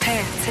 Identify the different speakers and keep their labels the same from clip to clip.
Speaker 1: P3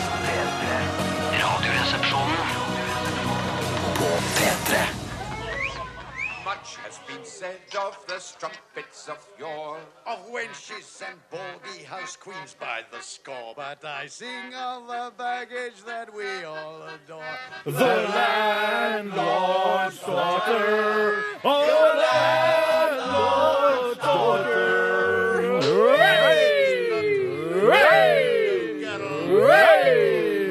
Speaker 2: P3. Radioresepsjonen på P3.
Speaker 3: Much has been said of the strumpets of yore, of wenches and baldy house queens by the score. But I sing of the baggage that we all adore.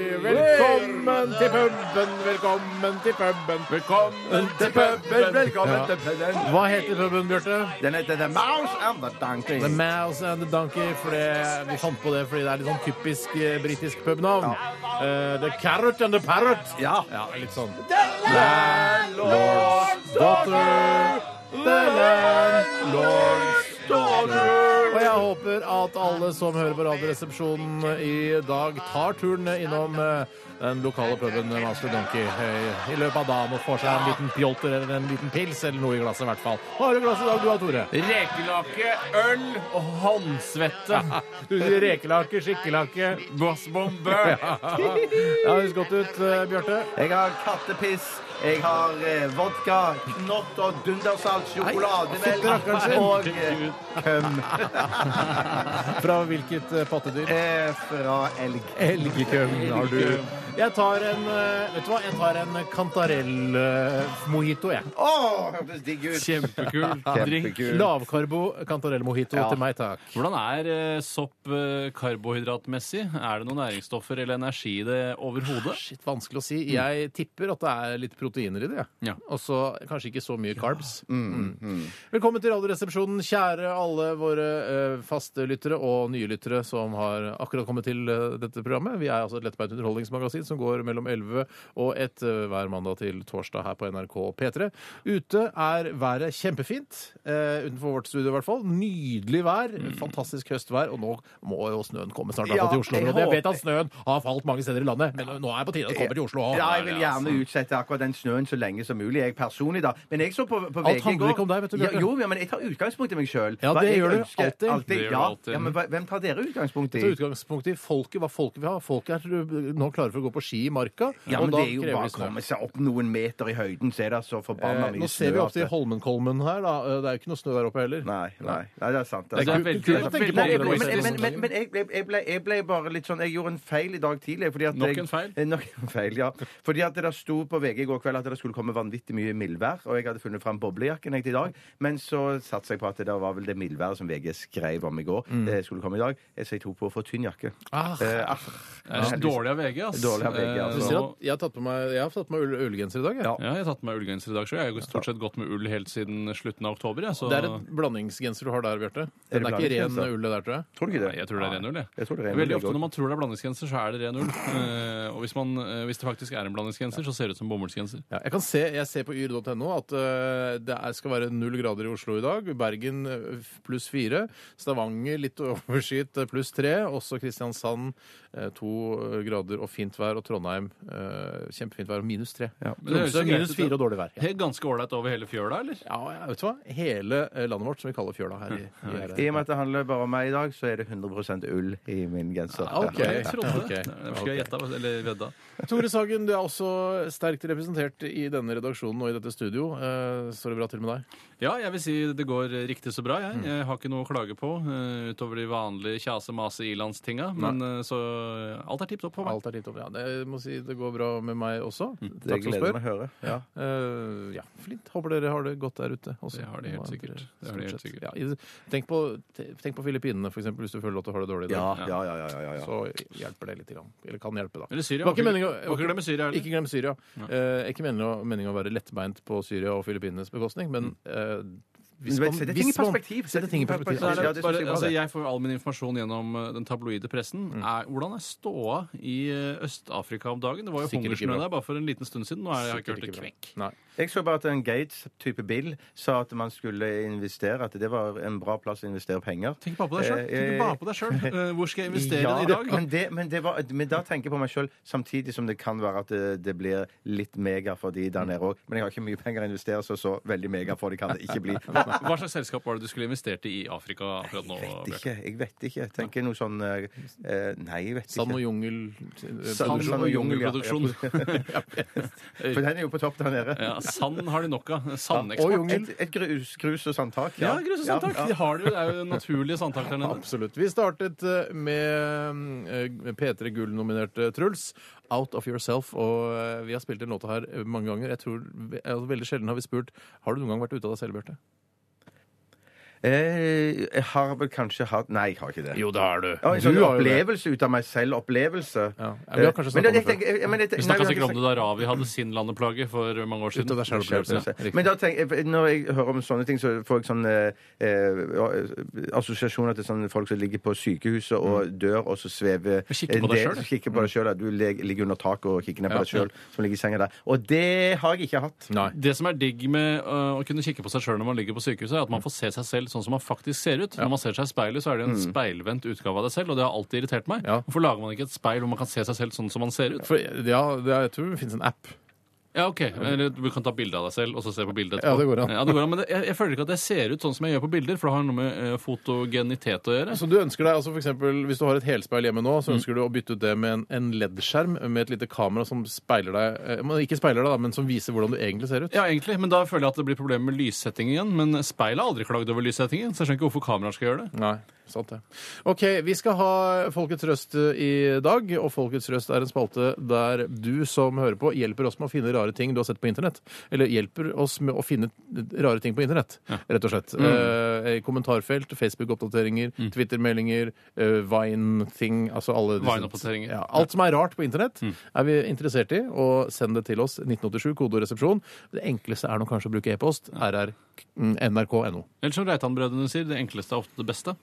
Speaker 4: Velkommen til puben, velkommen til puben, velkommen til puben, velkommen til puben. Hva heter puben, Bjarte?
Speaker 5: Den heter The Mouse and the Donkey.
Speaker 4: The Mouse and the Donkey. For det, vi fant på det fordi det er litt sånn typisk eh, britisk pubnavn. Eh, the Carrot and the Parrot.
Speaker 5: Ja.
Speaker 4: litt sånn. The Landlord's Daughter. The Landlord's Daughter. Og jeg håper at alle som hører på Radioresepsjonen i dag, tar turen innom eh, den lokale puben Mouse and the Donkey eh, i løpet av dagen og får seg en liten pjolter eller en liten pils eller noe i glasset, i hvert fall. Hva har du i glasset i dag, du da, Tore?
Speaker 6: Rekelake, øl og håndsvette.
Speaker 4: Du sier rekelake, skikkelake.
Speaker 6: Bossbombe.
Speaker 4: Ja, det høres godt ut, eh, Bjarte.
Speaker 5: Jeg har kattepiss, jeg har eh, vodka, knott og dundersalt, sjokolademelk
Speaker 4: Nei, fytti rakkeren sin.
Speaker 5: og eh, køm
Speaker 4: Fra hvilket eh, pattedyr?
Speaker 5: eh, fra elg.
Speaker 4: Elgekøm har du. Jeg tar en eh, vet du hva? Jeg tar en kantarell-mojito, jeg.
Speaker 5: Å, hørtes digg ut.
Speaker 6: Kjempekul drink.
Speaker 5: Kjempekul.
Speaker 4: Lavkarbo kantarell-mojito
Speaker 5: Ja.
Speaker 4: til meg, takk.
Speaker 6: Hvordan er eh, sopp eh, karbohydratmessig? Er det noen næringsstoffer eller energi i det overhodet?
Speaker 4: Shit, vanskelig å si. Jeg tipper at det er litt proteiner i det. jeg.
Speaker 6: Ja.
Speaker 4: Og så kanskje ikke så mye carbs. Mm. Velkommen til Radioresepsjonen, kjære alle våre eh, faste lyttere og nye lyttere som har akkurat kommet til eh, dette programmet. Vi er altså et lettbeint underholdningsmagasin som går mellom 11 og 1 eh, hver mandag til torsdag her på NRK P3. Ute er været kjempefint, eh, utenfor vårt studio i hvert fall. Nydelig vær, fantastisk høstvær, og nå må jo snøen komme snart i hvert fall til
Speaker 5: Mm. Ja, jeg
Speaker 4: Oslo-området. Jeg vet
Speaker 5: håper-
Speaker 4: at snøen har falt mange steder i landet, men nå er det på tide at den kommer til Oslo. også. altså.
Speaker 5: Ja, jeg vil gjerne utsette akkurat den snøen så lenge som mulig, jeg personlig, da. Men jeg så på, på VG i går
Speaker 4: Alt handler ikke om deg, vet du,
Speaker 5: Ja,
Speaker 4: Bjarte.
Speaker 5: jo, ja, men jeg tar utgangspunkt i meg sjøl.
Speaker 4: Ja, det gjør du alltid.
Speaker 6: Det gjør du
Speaker 5: ja.
Speaker 6: alltid.
Speaker 5: ja, men hva- hvem tar dere utgangspunkt i?
Speaker 4: Så utgangspunktet i folket, hva folket vil ha. Folket er til du nå klare for å gå på ski i marka,
Speaker 5: Ja,
Speaker 4: og
Speaker 5: men
Speaker 4: da
Speaker 5: det er jo
Speaker 4: krever
Speaker 5: bare
Speaker 4: vi
Speaker 5: å
Speaker 4: snø.
Speaker 5: komme seg opp noen meter i høyden, så er det så forbanna
Speaker 4: Eh,
Speaker 5: mye
Speaker 4: nå ser vi
Speaker 5: snø
Speaker 4: opp til
Speaker 5: at det-
Speaker 4: Holmenkollen her, da. Eh, Det er jo ikke noe snø der oppe heller.
Speaker 5: Nei, nei, nei, det er sant. Det er
Speaker 6: Det
Speaker 5: sant.
Speaker 6: Altså, er veldig,
Speaker 4: kult å tenke på.
Speaker 6: veldig
Speaker 5: Men,
Speaker 4: det er
Speaker 5: men,
Speaker 4: sånn.
Speaker 5: men, men jeg, ble, jeg, ble, jeg ble bare litt sånn Jeg gjorde en feil i dag tidlig. Fordi at
Speaker 6: Nok
Speaker 5: jeg-
Speaker 6: en feil?
Speaker 5: Eh, Nok en feil, ja. Fordi at det der sto på VG i går kveld at det skulle komme vanvittig mye mildvær. Og jeg hadde funnet fram boblejakken jeg, til i dag. Men så satsa jeg på at det der var vel det mildværet som VG skrev om i går,
Speaker 6: Mm.
Speaker 5: det skulle komme i dag. Eh, Så jeg tok på for tynn jakke.
Speaker 4: Ah.
Speaker 5: Eh, ah.
Speaker 6: Det er så dårlig av VG, ass.
Speaker 5: Dårlig av VG,
Speaker 6: Eh,
Speaker 5: altså.
Speaker 4: Du
Speaker 6: nå-
Speaker 4: ser at jeg har tatt på meg, jeg har tatt på meg ull- ullgenser i dag. Jeg.
Speaker 5: Ja.
Speaker 6: Ja, jeg har tatt med ullgenser i dag, så jeg har stort sett gått med ull helt siden slutten av oktober. Jeg, så...
Speaker 4: Det er en blandingsgenser du har der, Bjarte. Den
Speaker 5: det
Speaker 4: er ikke ren
Speaker 5: blandingsgenser?
Speaker 4: ull, det der, tror jeg.
Speaker 5: Tror du ikke det?
Speaker 6: Nei, jeg tror det er ren ull, jeg.
Speaker 5: Jeg tror det er ren ull,
Speaker 6: Veldig
Speaker 5: jeg
Speaker 6: ofte
Speaker 5: også.
Speaker 6: når man tror det er blandingsgenser, så er det ren ull. Eh, og hvis, man, eh, hvis det faktisk er en blandingsgenser, så ser det ut som bomullsgenser.
Speaker 4: Ja, jeg, kan se, jeg ser på yr.no at eh, det er, skal være null grader i Oslo i dag. Bergen eh, f- pluss fire. Stavanger litt overskyet eh, pluss tre. Også Kristiansand eh, to eh, grader og fint vær. Og Trondheim eh, kjempefint vær og minus tre.
Speaker 6: Men det høres jo
Speaker 4: Tromsø
Speaker 6: greit ut,
Speaker 4: minus fire
Speaker 6: da.
Speaker 4: og dårlig vær. Ja.
Speaker 6: Helt Ganske ålreit over hele fjøla, eller?
Speaker 4: ja, vet du hva? Hele eh, landet vårt som vi kaller fjøla her i, i her.
Speaker 5: I og med at det handler bare om meg i dag, så er det 100 ull i min genser.
Speaker 4: Ah, ok.
Speaker 6: Jeg trodde
Speaker 4: Ok.
Speaker 6: det. Derfor skulle jeg gjette, eller vedda.
Speaker 4: Tore Sagen, du er også sterkt representert i denne redaksjonen og i dette studio. Eh, Står det bra til med deg?
Speaker 6: Ja, jeg vil si det går riktig så bra. Jeg, jeg har ikke noe å klage på eh, utover de vanlige kjase-mase-ilandstinga. Men eh, så alt er tipp topp for meg.
Speaker 4: Alt er litt opp. Ja, det, jeg må si det går bra med meg også.
Speaker 6: Mm,
Speaker 5: Det
Speaker 4: Takk som
Speaker 5: gleder
Speaker 4: spør.
Speaker 5: meg å høre. Ja.
Speaker 4: Eh, ja, flint. Håper dere har det godt der ute. Også.
Speaker 6: Det har de helt sikkert. Det har de helt
Speaker 4: Stort sett.
Speaker 6: sikkert.
Speaker 4: Ja, i- tenk, på, te- tenk på Filippinene, for eksempel, hvis du føler at du har det dårlig i
Speaker 5: Ja,
Speaker 4: dag.
Speaker 5: ja, ja, ja, ja, ja.
Speaker 4: Så hjelper det litt. Grann. Eller kan hjelpe, da.
Speaker 6: Eller Syria.
Speaker 4: Var ikke
Speaker 6: Må ikke-
Speaker 4: meningen å-
Speaker 6: må ikke glemme Syria heller.
Speaker 4: Ikke glem Syria. Eh, ikke meningen å, meningen å være lettbeint på Syria og Filippinenes bekostning, men
Speaker 6: Mm.
Speaker 4: eh, hvis
Speaker 5: Men
Speaker 4: man-
Speaker 5: sette ting
Speaker 4: hvis
Speaker 5: i
Speaker 4: man-
Speaker 5: perspektiv.
Speaker 4: Sette ting i
Speaker 5: Ja,
Speaker 4: perspektiv.
Speaker 6: Så er
Speaker 5: det synes
Speaker 6: det bare,
Speaker 5: jeg var
Speaker 6: altså,
Speaker 5: det.
Speaker 6: jeg får all min informasjon gjennom eh, den tabloide pressen. Er, hvordan er ståa i eh, Øst-Afrika om dagen? Det var jo
Speaker 4: Sikkert ikke
Speaker 6: hungersnød
Speaker 4: bra.
Speaker 6: der bare for en liten stund siden. Nå har altså, jeg ikke hørt
Speaker 4: Sikkert ikke
Speaker 6: et
Speaker 4: bra.
Speaker 6: kvekk.
Speaker 4: Nei.
Speaker 5: Jeg så bare at en Gates-type bil sa at man skulle investere, at det var en bra plass å investere penger.
Speaker 6: Tenk bare på deg sjøl. Tenk bare på deg selv. Eh, Hvor skal jeg investere
Speaker 5: Ja,
Speaker 6: i dag?
Speaker 5: Men, det, men, det var, men da tenker jeg på meg sjøl, samtidig som det kan være at det, det blir litt mega for de der nede òg. Men jeg har ikke mye penger å investere, så så veldig mega for de kan det ikke bli.
Speaker 6: Hva slags selskap var det du skulle investert i i Afrika akkurat nå?
Speaker 5: Jeg vet
Speaker 6: Bjarte?
Speaker 5: ikke. jeg vet ikke. Jeg tenker noe sånn eh, eh, Nei, jeg vet
Speaker 4: Sand og
Speaker 5: ikke.
Speaker 4: jungel eh,
Speaker 5: Sand-
Speaker 4: produksjon.
Speaker 5: sand og jungel, ja.
Speaker 6: Jungelproduksjon.
Speaker 5: For den er jo på topp der nede.
Speaker 6: Ja, sand har de nok av.
Speaker 4: Og
Speaker 6: Sandeksport.
Speaker 4: jungel.
Speaker 5: Et, et grus, grus og sandtak.
Speaker 6: Ja, grus og sandtak. De har det jo. Det er jo naturlige sandtak der nede.
Speaker 4: Absolutt. Vi startet eh, med eh, P3 Gull-nominerte Truls. Out of Yourself. Og eh, vi har spilt den låta her eh, mange ganger. Jeg tror, ve- altså, Veldig sjelden har vi spurt Har du noen gang vært ute av deg selv, Bjarte.
Speaker 5: Eh, jeg har vel kanskje hatt Nei, jeg har ikke det.
Speaker 4: Jo, det har du.
Speaker 5: Ja, en sånn opplevelse ut av meg selv. Opplevelse. Eh,
Speaker 4: Ja, vi har
Speaker 5: Men
Speaker 4: kanskje
Speaker 5: da-
Speaker 4: snakket om det
Speaker 5: jeg tenker- jeg- men jeg tenker-
Speaker 6: Vi
Speaker 5: nei,
Speaker 6: snakka
Speaker 5: vi
Speaker 6: sikkert
Speaker 5: har
Speaker 6: om
Speaker 5: ikke
Speaker 6: det da Ravi hadde sin landeplage for mange år
Speaker 4: Ut av
Speaker 6: siden.
Speaker 4: deg selv opplevelse.
Speaker 5: snakket-
Speaker 4: Riktig.
Speaker 5: Men da tenker jeg, når jeg hører om sånne ting, så får jeg sånne eh, eh, assosiasjoner til sånne folk som ligger på sykehuset og dør, og så svever
Speaker 6: kikker på deg
Speaker 5: det-
Speaker 6: selv, du.
Speaker 5: kikker på deg selv, ja. Du leg- ligger under taket og kikker ned på
Speaker 4: Ja,
Speaker 5: deg sjøl, som ligger i senga der. Og det har jeg ikke hatt.
Speaker 4: Nei.
Speaker 6: Det som er digg med øh, å kunne kikke på seg sjøl når man ligger på sykehuset, er at man får se seg selv sånn som man faktisk ser ut. Når man ser seg i speilet, så er det en speilvendt utgave av deg selv, og det har alltid irritert meg.
Speaker 4: Ja.
Speaker 6: Hvorfor lager man ikke et speil hvor man kan se seg selv sånn som man ser ut?
Speaker 4: For, ja, det er, jeg tror det finnes en app.
Speaker 6: Ja, ok. Eller du kan ta bilde av deg selv og så se på bildet etterpå.
Speaker 4: Ja, det går an.
Speaker 6: Men det, jeg, jeg føler ikke at jeg ser ut sånn som jeg gjør på bilder, for det har noe med eh, fotogenitet å gjøre.
Speaker 4: Så du ønsker deg, altså for eksempel, Hvis du har et helspeil hjemme nå, så ønsker du å bytte ut det med en, en LED-skjerm med et lite kamera som speiler deg eh, men Ikke speiler deg, da, men som viser hvordan du egentlig ser ut.
Speaker 6: Ja, egentlig, men da føler jeg at det blir problemer med lyssettingen igjen. Men speilet har aldri klagd over lyssettingen, så jeg skjønner ikke hvorfor kameraer skal gjøre det.
Speaker 4: Nei, sant det. OK, vi skal ha Folkets røst eh, i dag. Og Folkets røst er en spalte der du som hører på, hjelper oss med å finne rare ting du har sett på internett. Eller hjelper oss med å finne rare ting på internett, rett og slett. Eh, i kommentarfelt, Facebook-oppdateringer, Twitter-meldinger, eh, Vine-ting, altså alle disse-
Speaker 6: Vine-oppdateringer.
Speaker 4: Ja, alt som er rart på internett, er vi interessert i. Og send det til oss. 1987, koderesepsjon. Det enkleste er nå kanskje å bruke e-post. RR, nrk.no.
Speaker 6: Eller som Reitan-brødrene sier, det enkleste er ofte det beste.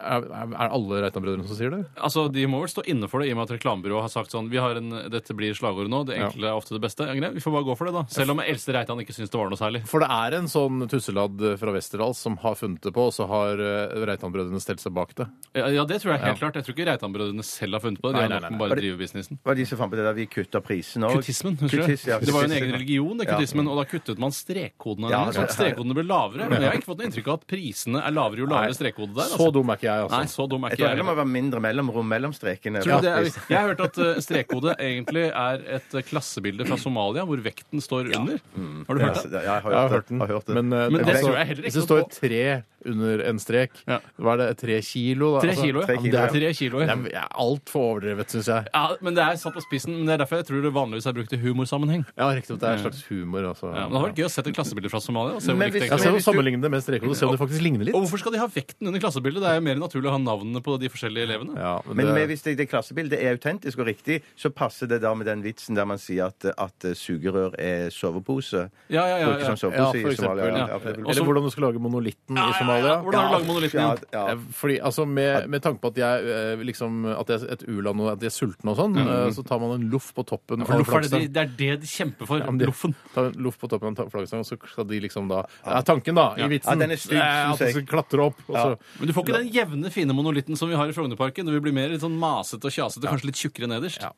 Speaker 4: Er, er er alle Reitan-brødrene som sier det?
Speaker 6: Altså, De må vel stå inne for det, i og med at reklamebyrået har sagt sånn vi har en, Dette blir slagordet nå. Det enkle er ofte det beste. Ja, greit, vi får bare gå for det, da. Selv om Else Reitan ikke syns det var noe særlig.
Speaker 4: For det er en sånn tusseladd fra Westerdals som har funnet det på, og så har eh, Reitan-brødrene stelt seg bak det.
Speaker 6: Ja, ja, det tror jeg helt klart. Jeg tror ikke Reitan-brødrene selv har funnet på det. De
Speaker 4: Nei,
Speaker 6: har
Speaker 4: nei,
Speaker 6: nok
Speaker 4: nei.
Speaker 6: med bare å drive businessen.
Speaker 5: Hva er de som fant på det der vi kutta prisen òg?
Speaker 6: Kuttismen, husker du? Det var jo en egen religion, det, kuttismen, og da kuttet man strekkodene.
Speaker 5: Ja,
Speaker 6: sånn at
Speaker 5: det-
Speaker 6: strekkodene ble lavere. Men jeg har ikke fått noe inntrykk av at prisene er lavere jo lavere strekkode der.
Speaker 4: Så dum er ikke jeg,
Speaker 6: Nei,
Speaker 4: altså.
Speaker 6: så dum er
Speaker 5: Jeg
Speaker 6: ikke
Speaker 5: tror
Speaker 6: jeg.
Speaker 5: det må
Speaker 6: heller.
Speaker 5: være mindre mellomrom mellom strekene.
Speaker 6: Tror du det er,
Speaker 5: faktisk.
Speaker 6: jeg har hørt at eh, strekkode egentlig er et eh, klassebilde fra Somalia, hvor vekten står under. Har du hørt det?
Speaker 5: Ja, Altså, jeg har
Speaker 4: Jeg har
Speaker 5: hørt
Speaker 4: hørt
Speaker 5: det.
Speaker 4: den.
Speaker 5: Har hørt det.
Speaker 4: Men, eh,
Speaker 6: Men det
Speaker 4: altså,
Speaker 6: tror jeg heller ikke
Speaker 4: Hvis det
Speaker 6: noe
Speaker 4: står tre under en strek,
Speaker 6: Ja.
Speaker 4: hva er det? Tre kilo? Da?
Speaker 6: Tre
Speaker 4: Altså,
Speaker 6: kilo,
Speaker 5: tre
Speaker 6: ja.
Speaker 5: kilo,
Speaker 6: Det
Speaker 5: ja.
Speaker 6: er tre kilo,
Speaker 4: Det
Speaker 6: ja.
Speaker 4: er det er altfor overdrevet, syns jeg.
Speaker 6: Ja, men Det er satt på spissen, men det er derfor jeg tror det vanligvis er brukt i humorsammenheng.
Speaker 4: Ja, riktig at det er en slags humor, altså.
Speaker 6: Ja, men Det hadde vært gøy å sette et klassebilde fra Somalia. og se hvor
Speaker 5: Men
Speaker 6: likt det
Speaker 5: hvis-
Speaker 4: Ja,
Speaker 6: egentlig
Speaker 4: se
Speaker 6: er.
Speaker 4: om
Speaker 5: hvis du-
Speaker 4: Sammenligne det med strekene, og se om det faktisk ligner
Speaker 6: Og
Speaker 4: litt.
Speaker 6: hvorfor skal de ha vekten under klassebildet? Det er jo mer naturlig å ha navnene på de forskjellige elevene.
Speaker 4: Ja,
Speaker 5: Men
Speaker 4: det-
Speaker 5: med, hvis det, det klassebildet er autentisk og riktig, så passer det da med den vitsen der man sier at, at eh, sugerør er sovepose.
Speaker 6: Ja, ja, ja,
Speaker 5: Brukes
Speaker 6: ja.
Speaker 5: som sovepose
Speaker 4: ja, for
Speaker 5: i Somalia.
Speaker 4: eksempel.
Speaker 5: Ja,
Speaker 4: Ja.
Speaker 5: for eksempel.
Speaker 4: Eller hvordan du skal lage monolitten i Somalia.
Speaker 6: Hvordan har du laget monolitten?
Speaker 5: Ja,
Speaker 6: igjen?
Speaker 5: ja.
Speaker 4: Eh, Fordi, altså, med, med tanke på at jeg, eh, liksom, at jeg er et u-land og at de er sultne og sånn, eh, så tar man en loff på toppen
Speaker 6: Mm. For
Speaker 4: av
Speaker 6: loff er det, de,
Speaker 4: flaggstangen.
Speaker 6: det er det de kjemper for.
Speaker 4: Ja, men de-
Speaker 6: Loffen.
Speaker 4: tar en Loff på toppen av en ta- flaggstang, og så skal de liksom da ja, Tanken, da, i vitsen.
Speaker 5: Ja, den er stygg,
Speaker 4: eh,
Speaker 5: synes
Speaker 4: at de
Speaker 5: jeg.
Speaker 4: skal klatre opp. Og så.
Speaker 6: Men du får ikke den jevne, fine monolitten som vi har i Frognerparken. Det vil bli mer litt sånn masete og kjasete, kanskje litt tjukkere nederst.
Speaker 4: Ja.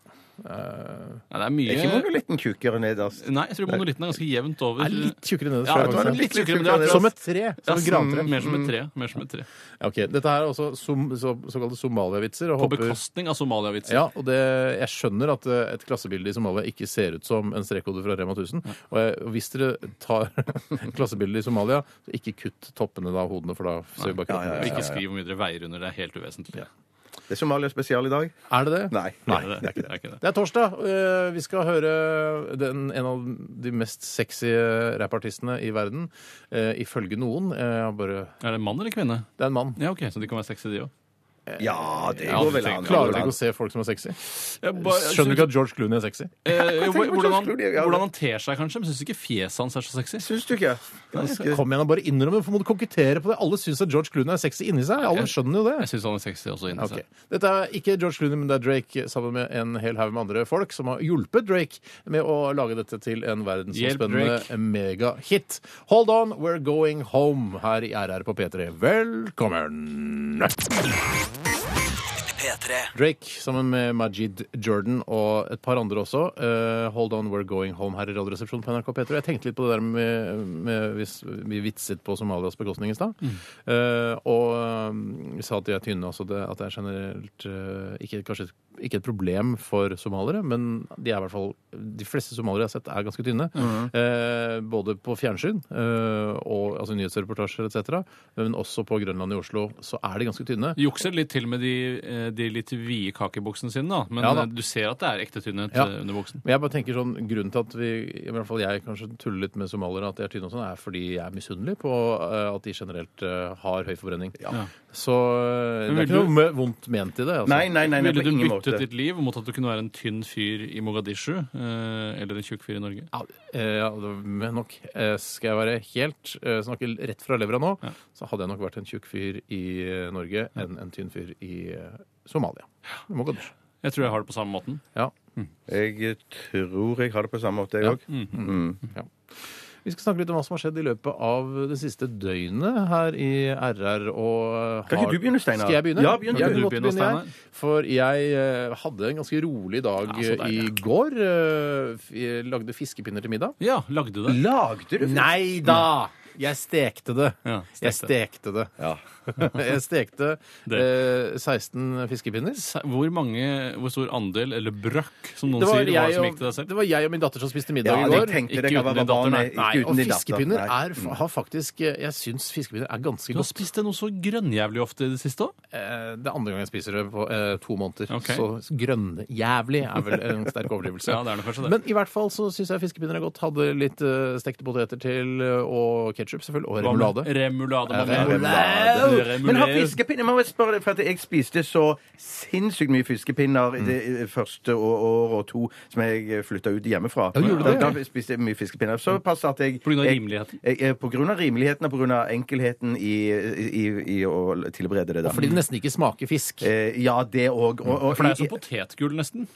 Speaker 6: Ja, det er
Speaker 5: Er ikke
Speaker 6: mye
Speaker 5: monolitten tjukkere nederst?
Speaker 6: Nei, jeg tror monolitten er ganske jevnt over.
Speaker 4: Er litt tjukkere nederst.
Speaker 6: ja,
Speaker 4: fra
Speaker 6: jeg tror den
Speaker 4: flaggstangen.
Speaker 6: er litt tjukkere, men det er akkurat-
Speaker 4: som et tre.
Speaker 6: ja, mm,
Speaker 4: Som et grantre.
Speaker 6: Mer som et tre. Mer som et tre.
Speaker 4: Ja, ok. Dette her er også som, så, såkalte somaliavitser. og
Speaker 6: På
Speaker 4: håper-
Speaker 6: bekostning av somaliavitser.
Speaker 4: Ja, og det, jeg skjønner at eh, et klassebilde i Somalia ikke ser ut som en strekkode fra Rema 1000. Og jeg, og hvis dere tar klassebildet i Somalia, så ikke kutt toppene da av hodene, for da ser vi bare
Speaker 5: Ja, ja,
Speaker 6: Og
Speaker 4: kroppen.
Speaker 6: ikke skriv hvor mye dere veier under. Det er helt uvesentlig.
Speaker 5: Det er Somalia spesial i dag?
Speaker 4: Er det det?
Speaker 5: Nei.
Speaker 6: det, er ikke det. Det er ikke det.
Speaker 4: Det er torsdag. Eh, Vi skal høre den, en av de mest sexy eh, rappartistene i verden. eh, Ifølge noen. Eh, jeg har Bare,
Speaker 6: Er det mann eller kvinne?
Speaker 4: det er en mann.
Speaker 6: Ja, ok, Så de kan være sexy, de òg.
Speaker 5: Ja, det
Speaker 6: Ja,
Speaker 5: går
Speaker 6: det
Speaker 5: vel an. det
Speaker 6: tenker jeg.
Speaker 5: går vel
Speaker 4: Klarer dere
Speaker 5: an.
Speaker 4: ikke å se folk som er sexy? Skjønner
Speaker 6: Skjønner
Speaker 4: du ikke at George Clooney er sexy?
Speaker 6: eh,
Speaker 5: tenker på
Speaker 6: hvordan, han,
Speaker 5: George Clooney, ja.
Speaker 6: hvordan han ter seg, kanskje. Men syns ikke fjeset hans er så sexy.
Speaker 5: Syns du ikke? Ganske...
Speaker 4: Kom igjen og bare innrøm det, for må du konkurrere på det? Alle syns at George Clooney er sexy inni seg. Alle skjønner jo det.
Speaker 6: Jeg syns han er sexy også inni
Speaker 4: Ok.
Speaker 6: seg.
Speaker 4: Dette er ikke George Clooney, men det er Drake sammen med en hel haug med andre folk som har hjulpet Drake med å lage dette til en
Speaker 6: Hjelp,
Speaker 4: verdensomspennende megahit. Hold on, we're going home her i RR på P3. Velkommen!
Speaker 2: P3.
Speaker 4: Drake sammen med Majid Jordan og et par andre også. Eh, Hold On We're Going Home her i Radioresepsjonen på NRK P3. Jeg tenkte litt på det der med, med hvis vi vitset på Somalias bekostning i stad. Eh, og eh, vi sa at de er tynne også, det, at det er generelt eh, ikke, kanskje ikke et problem for somaliere, men de er i hvert fall De fleste somaliere jeg har sett, er ganske tynne. Eh, både på fjernsyn eh, og altså nyhetsreportasjer etc., men også på Grønland i Oslo så er de ganske tynne.
Speaker 6: Jukser litt til med de, eh, de litt vide kakebuksene sine, da. Men
Speaker 4: Ja da.
Speaker 6: eh, du ser at det er ekte tynnhet
Speaker 4: Ja.
Speaker 6: eh, under buksen.
Speaker 4: Men jeg bare tenker sånn, Grunnen til at vi, i hvert fall jeg kanskje tuller litt med somaliere, at de er tynne og sånn, er fordi jeg er misunnelig på eh, at de generelt eh, har høy forbrenning. Så eh,
Speaker 6: Men
Speaker 4: det er
Speaker 6: vil
Speaker 4: ikke noe me- vondt ment i det. altså.
Speaker 5: Nei, nei, nei, nei på
Speaker 6: Ville du
Speaker 5: ingen
Speaker 6: byttet
Speaker 5: måte.
Speaker 6: ditt liv mot at du kunne være en tynn fyr i Mogadishu eh, eller en tjukk fyr i Norge?
Speaker 4: Ja, eh, ja, det- men nok eh, skal jeg være helt eh, snakke rett fra levra nå, så hadde jeg nok vært en tjukk fyr i eh, Norge enn en tynn fyr i eh, Somalia. Det må gå der.
Speaker 6: Jeg tror jeg har det på samme måten.
Speaker 4: Ja.
Speaker 5: Jeg tror jeg har det på samme måte, jeg òg.
Speaker 4: Vi skal snakke litt om hva som har skjedd i løpet av det siste døgnet her i RR. Og eh, har...
Speaker 5: Kan ikke du begynne, Steinar?
Speaker 4: Skal jeg begynne?
Speaker 5: Ja, begynn du.
Speaker 4: jeg
Speaker 6: Kan du
Speaker 4: kan godt
Speaker 6: begynne,
Speaker 4: begynne,
Speaker 6: Steinar?
Speaker 4: jeg. For jeg eh, hadde en ganske rolig dag
Speaker 6: Ja, så
Speaker 4: eh, i
Speaker 6: deilig.
Speaker 4: går. Eh, f- jeg lagde fiskepinner til middag.
Speaker 6: Ja, lagde du det?
Speaker 5: Lagde du
Speaker 4: Nei da! Jeg stekte det.
Speaker 6: Ja,
Speaker 4: Jeg stekte det.
Speaker 5: Ja.
Speaker 4: jeg stekte
Speaker 6: Det.
Speaker 4: eh, 16 fiskepinner.
Speaker 6: Se- Hvor mange, hvor stor andel, eller brøkk, som noen
Speaker 4: Det var,
Speaker 6: sier, var
Speaker 4: jeg
Speaker 6: det som gikk
Speaker 4: og,
Speaker 6: til deg selv?
Speaker 4: det var jeg og min datter som spiste middag
Speaker 5: Ja,
Speaker 4: i
Speaker 5: jeg
Speaker 4: går.
Speaker 5: tenkte det
Speaker 6: Ikke
Speaker 5: kan
Speaker 6: uten
Speaker 5: være
Speaker 6: din datter,
Speaker 5: barn,
Speaker 6: nei.
Speaker 5: ikke
Speaker 4: Nei,
Speaker 5: uten
Speaker 4: og
Speaker 5: din datter.
Speaker 4: fiskepinner
Speaker 5: Nei.
Speaker 4: er, har faktisk eh, Jeg syns fiskepinner er ganske
Speaker 6: Mm. Du har
Speaker 4: godt.
Speaker 6: spist noe så grønnjævlig ofte i det siste òg.
Speaker 4: Eh, Det er andre gang jeg spiser det på eh, to måneder.
Speaker 6: Ok.
Speaker 4: Så grønnjævlig er vel en sterk overdrivelse.
Speaker 6: Ja, det er nok kanskje det.
Speaker 4: Men i hvert fall så syns jeg fiskepinner er godt. Hadde litt eh, stekte poteter til, eh, og ketsjup selvfølgelig, og remulade.
Speaker 6: Remulade.
Speaker 4: Ja,
Speaker 6: mamma.
Speaker 4: remulade.
Speaker 6: Remulade.
Speaker 5: Men har fiskepinner Man må spørre deg, for at jeg spiste så sinnssykt mye fiskepinner i det første å- år og to som jeg flytta ut hjemmefra.
Speaker 4: Ja, gjorde du det?
Speaker 5: Da, da spiste jeg mye fiskepinner. Så pass at jeg
Speaker 6: På grunn av
Speaker 5: jeg-
Speaker 6: rimeligheten?
Speaker 5: Jeg, jeg, på grunn av rimeligheten og på grunn av enkelheten i, i, i å tilberede det. da.
Speaker 4: Fordi det nesten ikke smaker fisk.
Speaker 5: Eh, ja, det òg. Og, og,
Speaker 6: For det er som potetgull, nesten.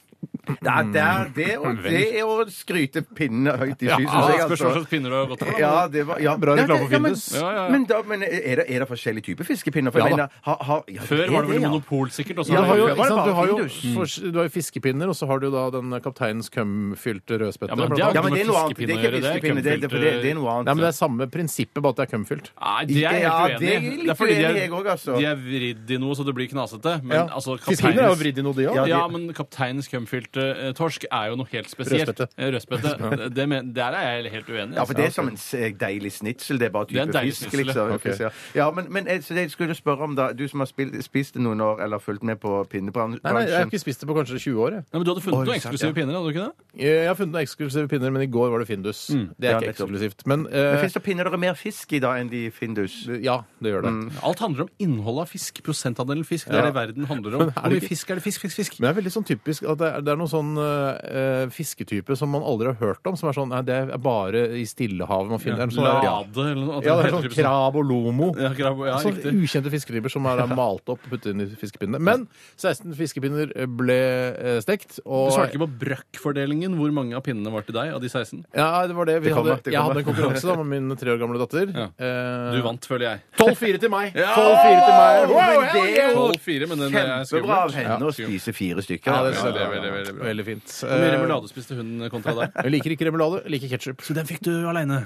Speaker 5: Ja, det er det, og det er å skryte pinnene høyt i sky, syns jeg.
Speaker 6: Mm. Ja, Spørs hva
Speaker 5: Altså.
Speaker 6: slags pinner du har gått for.
Speaker 5: Ja, det var, ja.
Speaker 4: Bra
Speaker 5: Ja,
Speaker 4: reklame
Speaker 5: det-
Speaker 4: for
Speaker 5: ja, men-
Speaker 4: Findus.
Speaker 6: Ja, ja, ja.
Speaker 5: Men, da, men er, det, er det forskjellige typer fiskepinner? For jeg
Speaker 4: Ja, da.
Speaker 5: mener, ha, ha, ja,
Speaker 6: Før
Speaker 5: det
Speaker 6: var det
Speaker 5: er
Speaker 6: vel
Speaker 5: ja.
Speaker 6: monopol, sikkert. Og så
Speaker 5: Ja,
Speaker 4: Du
Speaker 6: er det-
Speaker 4: har jo,
Speaker 5: før var
Speaker 4: ikke
Speaker 5: det
Speaker 4: sant,
Speaker 5: bare
Speaker 4: du har jo,
Speaker 5: Findus.
Speaker 4: for, du har jo fiskepinner, og så har du da den kapteinens kømfylte rødspette.
Speaker 6: Ja, men det
Speaker 4: blant
Speaker 6: er
Speaker 5: Ja,
Speaker 4: annet.
Speaker 5: men det er noe annet. Det er ikke
Speaker 6: Fiskepinner, det er
Speaker 5: fiskepinner, det, er- det, er- det, er- det er noe annet.
Speaker 4: Nei, men det er samme prinsippet, bare at det er kømfylt.
Speaker 6: Nei, det er jeg
Speaker 5: Ja,
Speaker 6: helt
Speaker 5: det er
Speaker 6: uenig i.
Speaker 5: litt
Speaker 6: Det er fordi de
Speaker 5: uenig jeg
Speaker 6: er,
Speaker 5: også, altså.
Speaker 6: de er vridd i noe, så det blir knasete. Men
Speaker 4: Ja.
Speaker 6: altså,
Speaker 4: Fiskepinner er jo
Speaker 6: kapteinens-
Speaker 4: vridd i noe, de òg.
Speaker 5: Ja,
Speaker 6: ja, men kapteinens kømfylte eh, torsk er jo noe helt spesielt.
Speaker 4: Rødspette.
Speaker 6: Eh, Rødspette. Det- Det, men, der er jeg helt uenig.
Speaker 5: Ja, for
Speaker 6: Altså.
Speaker 5: det er som en s- eh, deilig snitsel. Det er bare
Speaker 6: er en
Speaker 5: type
Speaker 6: deilig
Speaker 5: fisk,
Speaker 6: snitsel, ja.
Speaker 5: liksom.
Speaker 4: Ok.
Speaker 5: Fisk, ja. Ja, men, men eh, så det jeg skulle spørre om, da. Du som har spilt, spist det noen år, eller fulgt med på pinnebransjen.
Speaker 4: Nei, nei, jeg har ikke spist det på kanskje 20 år. Jeg,
Speaker 6: Nei, men du hadde funnet
Speaker 5: Oi,
Speaker 6: noen
Speaker 5: sant,
Speaker 6: eksklusive
Speaker 5: ja.
Speaker 6: pinner, hadde du ikke det?
Speaker 4: jeg har funnet noen eksklusive pinner, men i går var det Findus. Det er
Speaker 5: Ja,
Speaker 4: ikke
Speaker 5: nettopp.
Speaker 4: eksklusivt. Mm. Men,
Speaker 5: Men
Speaker 4: eh,
Speaker 5: Fins det pinner der er mer fisk i da enn de i Findus?
Speaker 4: ja, det gjør det.
Speaker 6: Alt handler om innholdet av fisk. Prosentandelen fisk. Det er det verden handler om.
Speaker 4: Men er det
Speaker 6: Hvor mye
Speaker 4: ikke-
Speaker 6: fisk er det? Fisk, fisk, fisk.
Speaker 4: Men det er veldig sånn typisk at det er, det er noen sånn eh, fisketype som man aldri har hørt om, som er sånn Nei, det er bare i Stillehavet man finner den. Sånn,
Speaker 6: Lade
Speaker 4: ja.
Speaker 6: eller noe. at
Speaker 4: ja, det er
Speaker 6: heter
Speaker 4: sånn
Speaker 6: typisk sånn-
Speaker 4: krab og lomo.
Speaker 6: Ja, krab, ja,
Speaker 4: Sånn
Speaker 6: riktig.
Speaker 4: ukjente fisketyper som er malt opp og puttet inn i fiskepinner. Men 16 fiskepinner ble eh, stekt. Og
Speaker 6: Du svarte ikke på brøkkfordelingen. Hvor mange av pinnene var til deg av de 16?
Speaker 4: Ja, det var det. Vi
Speaker 5: Det kommer,
Speaker 4: hadde,
Speaker 5: det
Speaker 4: jeg
Speaker 5: kommer.
Speaker 4: hadde en konkurranse da med min tre år gamle datter.
Speaker 6: Ja.
Speaker 4: Eh,
Speaker 6: Du vant, føler jeg.
Speaker 4: 12-4 til meg! 12-4
Speaker 6: Ja!
Speaker 4: til meg.
Speaker 5: Wow, hell yeah!
Speaker 6: 12-4, men den er
Speaker 5: Kjempebra av
Speaker 6: skummelt.
Speaker 5: henne å spise fire stykker.
Speaker 4: Ja, det
Speaker 6: Ja,
Speaker 4: synes jeg
Speaker 6: det er
Speaker 4: var
Speaker 6: veldig, veldig bra.
Speaker 4: Veldig fint.
Speaker 6: Hvor mye
Speaker 4: Eh,
Speaker 6: remulade spiste hun kontra deg?
Speaker 4: jeg liker ikke remulade, jeg liker ketsjup.
Speaker 6: Så den fikk du aleine.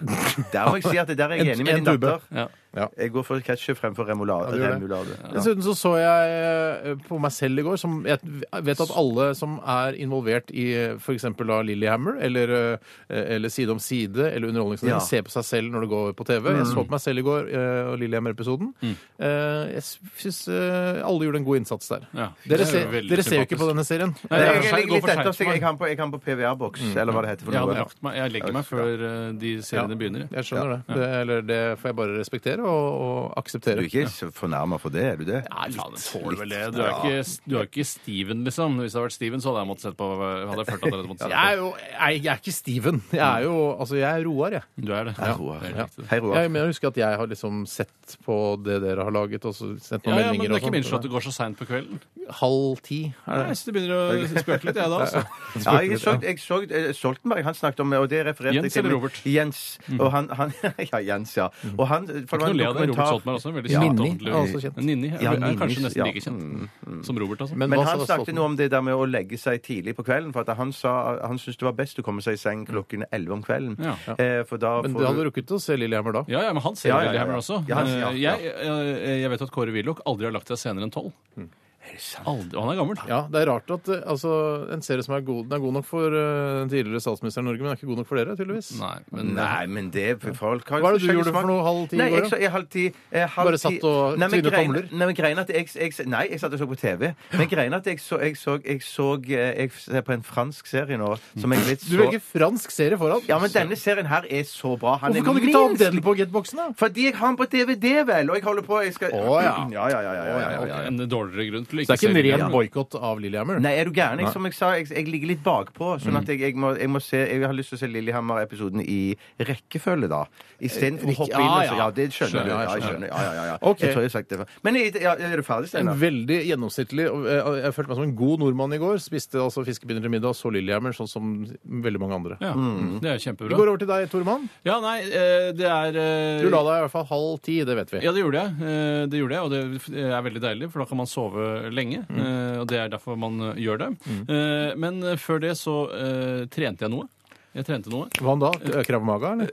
Speaker 5: Der må jeg si at det der er jeg
Speaker 4: En-
Speaker 5: enig med
Speaker 4: en
Speaker 5: din
Speaker 4: tube.
Speaker 5: datter.
Speaker 6: Ja.
Speaker 5: Jeg går for ketsjup fremfor
Speaker 4: Ja,
Speaker 5: remulade.
Speaker 4: du gjør det.
Speaker 5: remulade.
Speaker 4: Dessuten så så jeg eh, på meg selv i går, som jeg vet at alle som er involvert i eh, f.eks. Lillehammer, eller, eh, eller Side om side, eller Underholdningsavdelingen,
Speaker 5: Ja.
Speaker 4: ser på seg selv når det går på TV. Jeg
Speaker 6: Mm.
Speaker 4: så på meg selv i går eh, og Lillehammer-episoden. Eh, Jeg syns alle gjorde en god innsats der.
Speaker 6: Ja. Det
Speaker 4: Dere,
Speaker 6: er
Speaker 4: ser,
Speaker 6: veldig
Speaker 4: dere ser jo ikke
Speaker 6: sympatisk.
Speaker 4: på denne serien.
Speaker 5: Jeg, jeg,
Speaker 6: Nei, det er for
Speaker 5: jeg,
Speaker 6: sent- Mm. går
Speaker 5: litt
Speaker 6: for
Speaker 5: etter, så
Speaker 6: seint.
Speaker 5: jeg, jeg
Speaker 6: for meg.
Speaker 5: kan på, jeg kan på PVR-boks, eller hva det heter for
Speaker 6: Jeg hadde
Speaker 5: noe.
Speaker 6: lagt meg. Jeg legger meg før eh, de seriene begynner. jeg.
Speaker 4: Jeg skjønner det. det. Eller det får jeg bare respektere og, og
Speaker 5: Du
Speaker 4: akseptere.
Speaker 5: er ikke så fornærma for det, er du det?
Speaker 6: Nei, faen, jeg tåler vel det. Du er, ikke, du er ikke Steven, liksom. Hvis det hadde vært Steven, så hadde jeg måttet sett på hadde jeg følt at jeg hadde måttet
Speaker 4: Jeg er
Speaker 6: sett på.
Speaker 4: jo jeg, jeg er ikke Steven. Jeg er jo altså, jeg er Roar, jeg.
Speaker 6: Du er det.
Speaker 5: Hei, Roar.
Speaker 6: Det er riktig.
Speaker 5: Hei, Roar.
Speaker 4: Jeg mener, jeg husker at jeg har liksom sett på det dere har laget, og så sendt noen
Speaker 6: Ja, ja,
Speaker 4: meldinger
Speaker 6: men det er ikke
Speaker 4: og
Speaker 6: minst at
Speaker 4: sånt.
Speaker 6: det går så seint på kvelden.
Speaker 4: Halv ti, er
Speaker 6: Jeg
Speaker 4: det?
Speaker 6: synes det begynner å spøke litt, jeg da. Altså.
Speaker 5: Ja, jeg så, jeg så eh, Stoltenberg, han snakket om og det refererte
Speaker 6: Jens
Speaker 5: jeg til, men-
Speaker 6: eller Mm. Robert?
Speaker 5: Jens. Og han, han Ja, Jens, ja. Og han, for det var
Speaker 6: jo le av det. Robert
Speaker 5: dokumentar.
Speaker 6: Stoltenberg er også en veldig
Speaker 4: Ja.
Speaker 6: kjent
Speaker 4: Ninni
Speaker 6: ordentlig-
Speaker 4: er også kjent.
Speaker 6: Ninni er,
Speaker 5: Ja,
Speaker 6: er kanskje
Speaker 5: Ninni,
Speaker 6: nesten
Speaker 5: ja.
Speaker 6: like kjent
Speaker 4: Mm,
Speaker 6: som Robert, altså.
Speaker 4: Men
Speaker 5: Men
Speaker 4: hva
Speaker 5: han
Speaker 4: sa
Speaker 5: snakket
Speaker 4: Stoltenberg?
Speaker 5: noe om det der med å legge seg tidlig på kvelden. For at han sa han syntes det var best å komme seg i seng klokken 11 om kvelden.
Speaker 6: Ja.
Speaker 5: Eh, for da
Speaker 4: Men
Speaker 5: får
Speaker 4: du hadde
Speaker 5: du-
Speaker 4: rukket å se Lillehammer da?
Speaker 6: ja, ja, men han ser
Speaker 5: Ja, ja, ja,
Speaker 6: veldig
Speaker 5: ja.
Speaker 6: hammer også.
Speaker 5: Ja, han ser- ja,
Speaker 6: Eh,
Speaker 5: ja.
Speaker 6: Jeg, jeg, jeg vet at Kåre Willoch aldri har lagt seg senere enn tolv. Aldri- Og han er gammel.
Speaker 4: Ja, Det er rart at eh, altså, en serie som er god, den er god nok for eh, den tidligere statsministeren i Norge, men den er ikke god nok for dere, tydeligvis.
Speaker 6: Nei, men
Speaker 5: Nei, men det for folk har
Speaker 4: Hva er det du
Speaker 5: forskjellig
Speaker 4: gjorde for
Speaker 5: smak.
Speaker 4: noe halv ti i
Speaker 5: Nei,
Speaker 4: går,
Speaker 5: jeg
Speaker 4: da?
Speaker 5: sa- jeg halv ti. eh, halv
Speaker 4: Bare
Speaker 5: ti-
Speaker 4: satt og
Speaker 5: Nei, men
Speaker 4: tvinet
Speaker 5: greien-
Speaker 4: tomler?
Speaker 5: Nei, men greien at jeg, jeg, nei, jeg satt og så på TV. Men greien at jeg så Jeg, så, jeg, så, eh, jeg ser på en fransk serie nå som jeg litt
Speaker 4: Du
Speaker 5: så
Speaker 4: velger fransk serie foran.
Speaker 5: Ja, men denne serien her er så bra. Han
Speaker 4: Hvorfor
Speaker 5: er
Speaker 4: kan du ikke ta opp
Speaker 5: minst-
Speaker 4: den på getboxen, da?
Speaker 5: Fordi jeg har den på DVD, vel! Og jeg holder på jeg skal...
Speaker 4: Å, ja.
Speaker 5: Ja, ja, ja, ja, ja, ja, ja.
Speaker 6: en dårligere grunn til
Speaker 4: Så
Speaker 6: å
Speaker 4: det
Speaker 6: ikke
Speaker 4: er ikke en
Speaker 6: se-
Speaker 4: ren boikott av Lillehammer?
Speaker 5: Nei, er du gæren? Jeg, som jeg sa, jeg, jeg ligger litt bakpå. Sånn at jeg, jeg, må, jeg må se Jeg har lyst til å se Lillehammer-episoden i rekkefølge, da. Istedenfor å hoppe inn og
Speaker 4: ja,
Speaker 5: så
Speaker 4: ja.
Speaker 5: Ja, det skjønner du.
Speaker 4: Skjønner,
Speaker 5: Ja,
Speaker 4: ja,
Speaker 5: jeg skjønner. Ja, ja, ja, ja.
Speaker 4: Ok.
Speaker 5: Jeg tror jeg har sagt det før. Men er, ja, er du ferdig,
Speaker 4: En
Speaker 5: Steinar?
Speaker 4: veldig gjennomsnittlig og, eh, Jeg følte meg som en god nordmann i går. Spiste altså fiskepinner til middag, så Lillehammer, sånn som veldig mange andre.
Speaker 6: Ja, det er
Speaker 4: Vi
Speaker 6: kjempebra.
Speaker 4: går over til deg, Tormann.
Speaker 6: Ja, nei, eh, det er eh,
Speaker 4: Du la deg i hvert fall halv ti, det vet vi.
Speaker 6: Ja, det gjorde jeg. Eh, Det gjorde jeg, og det eh, er veldig deilig, for da kan man sove lenge. eh, Og det er derfor man eh, gjør det. Eh, Men før det så eh, trente jeg noe. Jeg trente noe.
Speaker 4: Hva da? Krav Maga, eller?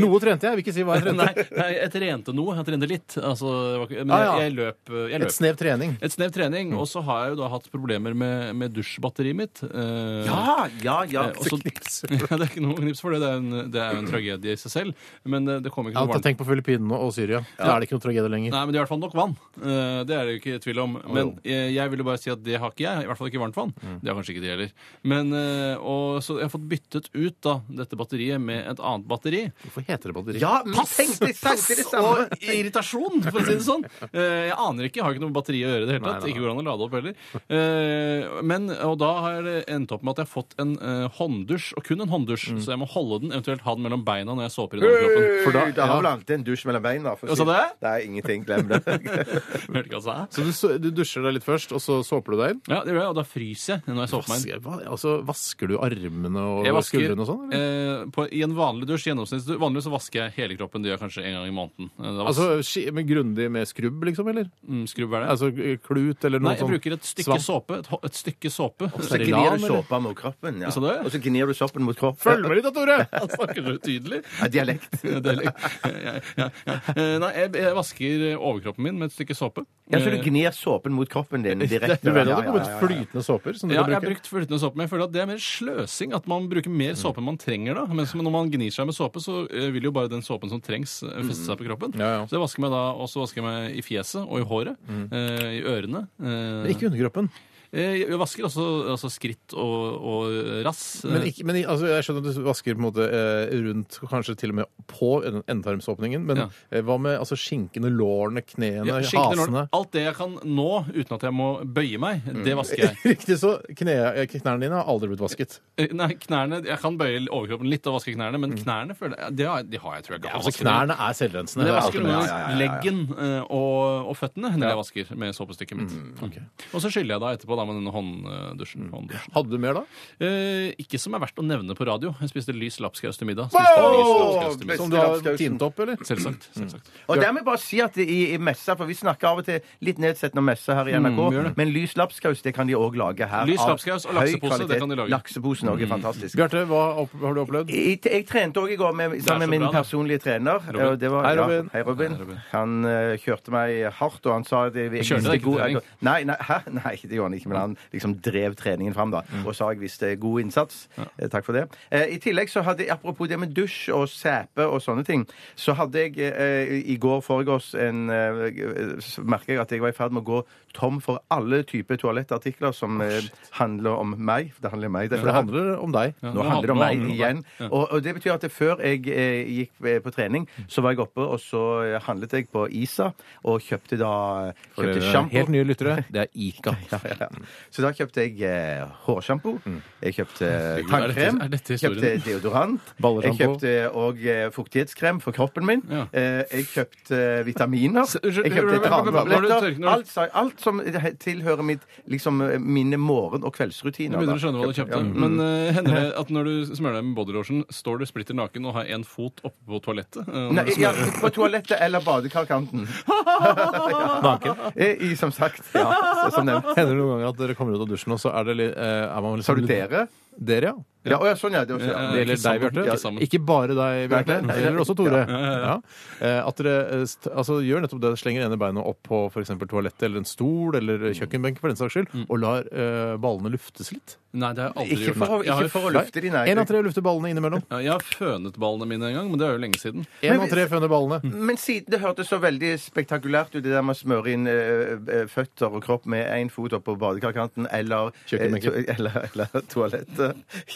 Speaker 4: Noe trente jeg. Jeg vil ikke si hva jeg
Speaker 6: Nei,
Speaker 4: trente.
Speaker 6: nei, jeg trente noe. Jeg trente litt. Altså, det var ikke- men
Speaker 4: Ah,
Speaker 6: jeg,
Speaker 4: ja.
Speaker 6: jeg løp. eh, Jeg
Speaker 4: Et
Speaker 6: løp.
Speaker 4: snev trening.
Speaker 6: Et snev trening. Og så har jeg jo da hatt problemer med, med dusjbatteriet mitt. eh,
Speaker 5: Ja, ja, ja.
Speaker 6: eh, og så- Ja, det er ikke noe knips for det. Det er, en, det er jo en tragedie i seg selv. Men eh, det kommer ikke
Speaker 4: Ja,
Speaker 6: noe
Speaker 4: ta
Speaker 6: varmt
Speaker 4: Tenk på Filippinene og Syria. Da er det ikke noe tragedie lenger.
Speaker 6: Nei, men det er i hvert fall nok vann. Eh, Det er det jo Mm. ikke tvil om. Men eh, jeg ville bare si at det har ikke jeg. I hvert fall ikke varmt vann. Det har kanskje ikke de heller. Men, eh, og, så jeg har fått byttet ut da dette batteriet med et annet batteri.
Speaker 4: Hvorfor heter det batteri?
Speaker 5: Ja, men tenkte jeg tenkte det samme!
Speaker 6: Og irritasjon, for å si det sånn. Eh, Jeg aner ikke. Jeg har ikke noe med batteri å gjøre i det hele tatt.
Speaker 4: nei, nei.
Speaker 6: Ikke går an å lade opp heller. Eh, Men, og da har det endt opp med at jeg har fått en eh, hånddusj, og kun en hånddusj.
Speaker 4: Mm.
Speaker 6: Så jeg må holde den, eventuelt ha den mellom beina når jeg såper i den kroppen.
Speaker 5: For da, da har vel alltid en dusj mellom beina. for å
Speaker 6: Hva sa
Speaker 5: si-
Speaker 6: du?
Speaker 5: Nei, ingenting. Glem det.
Speaker 6: Hørte ikke hva jeg sa.
Speaker 4: Så du, så- du dusjer deg litt først, og så såper du deg inn?
Speaker 6: Ja, det gjør jeg, og da fryser jeg når jeg såper meg.
Speaker 4: Vasker, hva, altså, vasker du armene og,
Speaker 6: Jeg
Speaker 4: og
Speaker 6: vasker,
Speaker 4: skuldrene og sånn? eller?
Speaker 6: eh, på, I en vanlig dusj, gjennomsnittsdusj, vanligvis så vasker jeg hele kroppen. Det gjør jeg kanskje en gang i måneden. Eh, Da vas-
Speaker 4: Altså, ski- men Grundig med skrubb, liksom? eller?
Speaker 6: mm, skrubb er det.
Speaker 4: Altså Klut eller noe
Speaker 6: Nei, jeg
Speaker 4: sånn
Speaker 6: bruker et stykke såpe. Et, hå- et stykke såpe.
Speaker 5: Så
Speaker 4: Sterilan,
Speaker 5: gnir du
Speaker 4: eller?
Speaker 5: såpa mot kroppen. Ja.
Speaker 6: Hva sa du?
Speaker 5: Og så gnir du såpen mot kroppen.
Speaker 4: Følg med litt da, Tore!
Speaker 6: Han snakker så tydelig.
Speaker 5: Ja, dialekt.
Speaker 6: Det er litt- ja, ja, ja. Eh, Nei, jeg, jeg vasker overkroppen min med et stykke såpe.
Speaker 5: Ja, så du
Speaker 6: Eh,
Speaker 5: gnir såpen mot kroppen din direkte.
Speaker 4: Du vet at
Speaker 5: Ja,
Speaker 4: det
Speaker 5: ja,
Speaker 4: kommer
Speaker 5: ja,
Speaker 4: ut
Speaker 5: ja.
Speaker 4: flytende såper? som du
Speaker 6: Ja,
Speaker 4: kan
Speaker 6: jeg har
Speaker 4: bruke?
Speaker 6: brukt flytende såpe, men jeg føler at det er mer sløsing. At man bruker mer
Speaker 4: Mm.
Speaker 6: såpe enn man trenger da. Mens når man gnir seg med såpe, så eh, vil jo bare den såpen som trengs, eh, feste seg på kroppen.
Speaker 4: Mm. Ja, ja.
Speaker 6: Så jeg vasker meg da, og så vasker jeg meg i fjeset og i håret. eh, I ørene. eh,
Speaker 4: Men Ikke underkroppen.
Speaker 6: Eh, Jeg vasker også altså skritt og, og rass. eh,
Speaker 4: Men, ikke, men i- altså, jeg skjønner at du vasker på en måte eh, rundt, kanskje til og med på en- endetarmsåpningen, men
Speaker 6: Ja.
Speaker 4: eh, hva med altså, skinkene, lårene, knærne,
Speaker 6: Ja, skinkene,
Speaker 4: hasene? Mm.
Speaker 6: lår. Alt det jeg kan nå uten at jeg må bøye meg, det vasker jeg.
Speaker 4: Riktig så kne, eh, knærne dine har aldri blitt vasket.
Speaker 6: Eh, Nei, knærne, Jeg kan bøye overkroppen litt og vaske knærne,
Speaker 5: Mm.
Speaker 6: men knærne føler jeg, det har, de har jeg, tror jeg. ikke.
Speaker 4: Altså,
Speaker 6: Vasker dem.
Speaker 4: knærne er selvrensende.
Speaker 6: Men jeg
Speaker 4: det er
Speaker 6: vasker
Speaker 4: alltid
Speaker 6: noen
Speaker 4: med.
Speaker 5: ja, ja, ja,
Speaker 6: ganger
Speaker 5: ja.
Speaker 6: leggen eh, og, og føttene når jeg vasker med såpestykket mitt.
Speaker 5: Mm.
Speaker 6: Og så skyller jeg da etterpå da med denne hånddusjen. hånddusjen.
Speaker 4: Hadde du mer da?
Speaker 6: Eh, ikke som er verdt å nevne på radio. Jeg spiste lys lapskaus til middag. Spiste lys lapskaus til
Speaker 5: Wow!
Speaker 6: middag.
Speaker 4: Som du har tint opp, eller?
Speaker 6: Selvsagt.
Speaker 5: Mm.
Speaker 6: selvsagt.
Speaker 5: Og der må jeg bare si at i, i messa, for vi snakker av og til litt nedsettende om messa her i NRK,
Speaker 6: Mm, vi gjør det.
Speaker 5: men lys lapskaus det kan de òg lage her.
Speaker 6: Lys
Speaker 5: av
Speaker 6: lapskaus og
Speaker 5: høy
Speaker 6: laksepose, det
Speaker 5: kvalitet.
Speaker 6: kan de lage. Mm.
Speaker 5: Lakseposen òg er fantastisk.
Speaker 4: Bjarte, hva opp- har du opplevd?
Speaker 5: Jeg, jeg trente òg i går med,
Speaker 6: så
Speaker 5: sammen med min
Speaker 6: bra, da.
Speaker 5: personlige trener.
Speaker 6: Robin.
Speaker 5: og det var-
Speaker 4: Hei,
Speaker 5: ja,
Speaker 4: Robin.
Speaker 5: hei, Robin.
Speaker 6: Hei, Robin.
Speaker 5: Han eh, kjørte meg hardt, og han sa at jeg
Speaker 6: Kjørte
Speaker 5: visste
Speaker 6: deg ikke til
Speaker 5: god-
Speaker 6: trening?
Speaker 5: Nei, nei, hæ? nei, det gjorde han ikke, men han liksom drev treningen fram, da.
Speaker 6: Mm.
Speaker 5: Og sa jeg visste god innsats. Eh, Takk for det. Eh, I tillegg så hadde jeg, apropos det med dusj og sæpe og sånne ting, så hadde jeg eh, i går foregårs en eh, så merker jeg at jeg var i ferd med å gå tom for alle typer toalettartikler som eh, handler om meg. Det handler om meg.
Speaker 4: For det handler om deg.
Speaker 6: Ja,
Speaker 5: Nå handler det om meg
Speaker 6: handler
Speaker 5: igjen. Og, og det betyr at det før jeg eh, gikk eh, på trening, så var jeg oppe, og så eh, handlet jeg på Isa, og kjøpte da eh,
Speaker 4: For
Speaker 5: kjøpte
Speaker 4: dere
Speaker 5: sjampo.
Speaker 4: helt nye lyttere, det er Ica.
Speaker 5: Ja, ja. Så da kjøpte jeg eh, hårsjampo, jeg kjøpte
Speaker 6: Mm.
Speaker 5: eh,
Speaker 6: Herregud, er dette-
Speaker 5: tannkrem,
Speaker 6: er dette historien?
Speaker 5: kjøpte deodorant, jeg
Speaker 4: Ballesjampo.
Speaker 5: kjøpte òg fuktighetskrem for kroppen min,
Speaker 6: Ja.
Speaker 5: eh, jeg kjøpte vitaminer,
Speaker 6: Se, unnskyld,
Speaker 5: jeg
Speaker 6: men-
Speaker 5: kjøpte
Speaker 6: men- men- men- når du tørker-
Speaker 5: tranetabletter
Speaker 6: når-
Speaker 5: alt, sa- alt som he- tilhører mitt, liksom, mine morgen- og kveldsrutiner.
Speaker 6: Jeg begynner
Speaker 5: da.
Speaker 6: å skjønne hva du kjøpte.
Speaker 5: Ja, mm.
Speaker 6: Men eh, hender det at når du smører deg med bodylotion, står du splitter naken og har én fot oppe på toalettet? eh, når
Speaker 5: Nei,
Speaker 6: du
Speaker 5: ja,
Speaker 6: smører deg?
Speaker 5: på toalettet eller badekarkanten.
Speaker 4: Naken.
Speaker 5: I, som sagt. Ja, så, som nevnt.
Speaker 4: Hender det noen ganger at dere kommer ut av dusjen, og så er det litt eh, er man liksom,
Speaker 5: Sa du dere?
Speaker 4: Dere, ja.
Speaker 5: Ja, å ja sånn, ja. Det var sånn,
Speaker 6: Ja,
Speaker 5: ja.
Speaker 4: Det gjelder
Speaker 6: ikke
Speaker 4: deg,
Speaker 6: sammen,
Speaker 4: Bjarte.
Speaker 6: ikke sammen.
Speaker 4: Ikke bare deg, Bjarte.
Speaker 5: Nei,
Speaker 4: Det
Speaker 5: nei,
Speaker 4: gjelder
Speaker 5: nei.
Speaker 4: også Tore. Ja. Eh, At dere eh, st- altså, gjør nettopp det, slenger ene beinet opp på f.eks. toalettet eller en stol eller kjøkkenbenk for den saks skyld, og lar eh, ballene luftes litt.
Speaker 6: Nei, det har jeg aldri
Speaker 5: Ikke
Speaker 6: gjort.
Speaker 5: for å-
Speaker 6: Jeg har
Speaker 5: ikke
Speaker 6: jo-
Speaker 5: for å lufte de, nei.
Speaker 4: Én av tre lufter ballene innimellom.
Speaker 6: Ja, Jeg har fønet ballene mine en gang, men det er jo lenge siden.
Speaker 4: Én av tre føner ballene.
Speaker 5: Men siden det hørtes så veldig spektakulært ut, det der med å smøre inn eh, eh, føtter og kropp med én fot opp på badekarkanten eller,
Speaker 4: Kjøkkenbenken.
Speaker 5: eh, to- eller, eller toalettet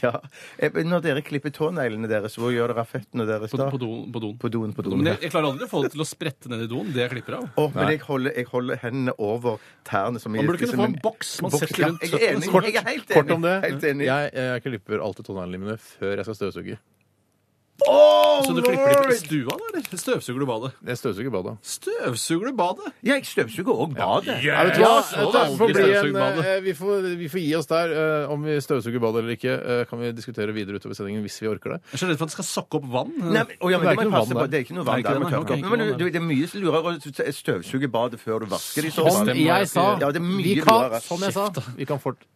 Speaker 5: Ja. Eh, men Når dere klipper tåneglene deres, hvor gjør dere av føttene deres
Speaker 6: På,
Speaker 5: da?
Speaker 6: på doen. På doen.
Speaker 5: På doen. På doen.
Speaker 6: Men jeg, jeg klarer aldri å få det til å sprette ned i doen. Det jeg klipper av.
Speaker 5: Å, men jeg holder, jeg holder hendene over tærne som
Speaker 6: Man burde kunne få en boks man setter rundt
Speaker 5: ja, Jeg er enig. Jeg er helt
Speaker 6: føttene.
Speaker 5: enig.
Speaker 4: Kort om det.
Speaker 5: Helt enig.
Speaker 4: Jeg, jeg klipper alltid tåneglene mine før jeg skal støvsuge.
Speaker 5: Å,
Speaker 6: Så du klipper det
Speaker 5: lord!
Speaker 6: ikke i stua, da? eller? Støvsuger du badet?
Speaker 4: Jeg støvsuger badet.
Speaker 6: Støvsuger du badet?
Speaker 5: Ja, jeg støvsuger òg badet.
Speaker 4: Er det
Speaker 6: Ja,
Speaker 4: klart?
Speaker 6: så
Speaker 4: Dette
Speaker 6: vanlig
Speaker 4: får bli en,
Speaker 6: støvsugbade.
Speaker 4: eh, vi, får, vi får gi oss der. eh, Om vi støvsuger badet eller ikke, eh, kan vi diskutere videre utover sendingen hvis vi orker det.
Speaker 6: Jeg er så redd for at det skal sokke opp vann.
Speaker 5: Nei, men, å ja, men det, må
Speaker 4: Det er ikke
Speaker 5: jeg
Speaker 4: noe
Speaker 5: passe
Speaker 4: vann
Speaker 5: på.
Speaker 4: der.
Speaker 5: det er ikke noe
Speaker 6: Nei,
Speaker 5: vann
Speaker 6: ikke
Speaker 5: der.
Speaker 6: det,
Speaker 5: må jeg tørke
Speaker 6: nei. Ok,
Speaker 5: opp.
Speaker 6: ikke
Speaker 5: Men
Speaker 6: noe
Speaker 5: du,
Speaker 6: vann
Speaker 5: det er mye lurere å støvsuge badet før du vasker det. i så fall.
Speaker 4: Som
Speaker 6: Stemmer.
Speaker 4: jeg sa
Speaker 5: Ja, det er mye
Speaker 4: vi kan,
Speaker 5: lurere.
Speaker 4: Som jeg sa, vi kan fort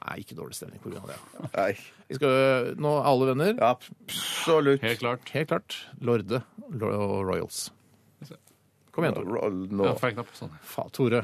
Speaker 4: Nei, ikke dårlig stemning pga. det.
Speaker 5: Nei,
Speaker 4: Vi skal nå er alle venner.
Speaker 5: Absolutt.
Speaker 6: Helt klart.
Speaker 4: Helt klart Lorde Lo- og Royals. Kom igjen, Tore.
Speaker 5: Roll
Speaker 6: Ja,
Speaker 5: nå.
Speaker 6: feil knapp. Sånn.
Speaker 4: Fa, Tore.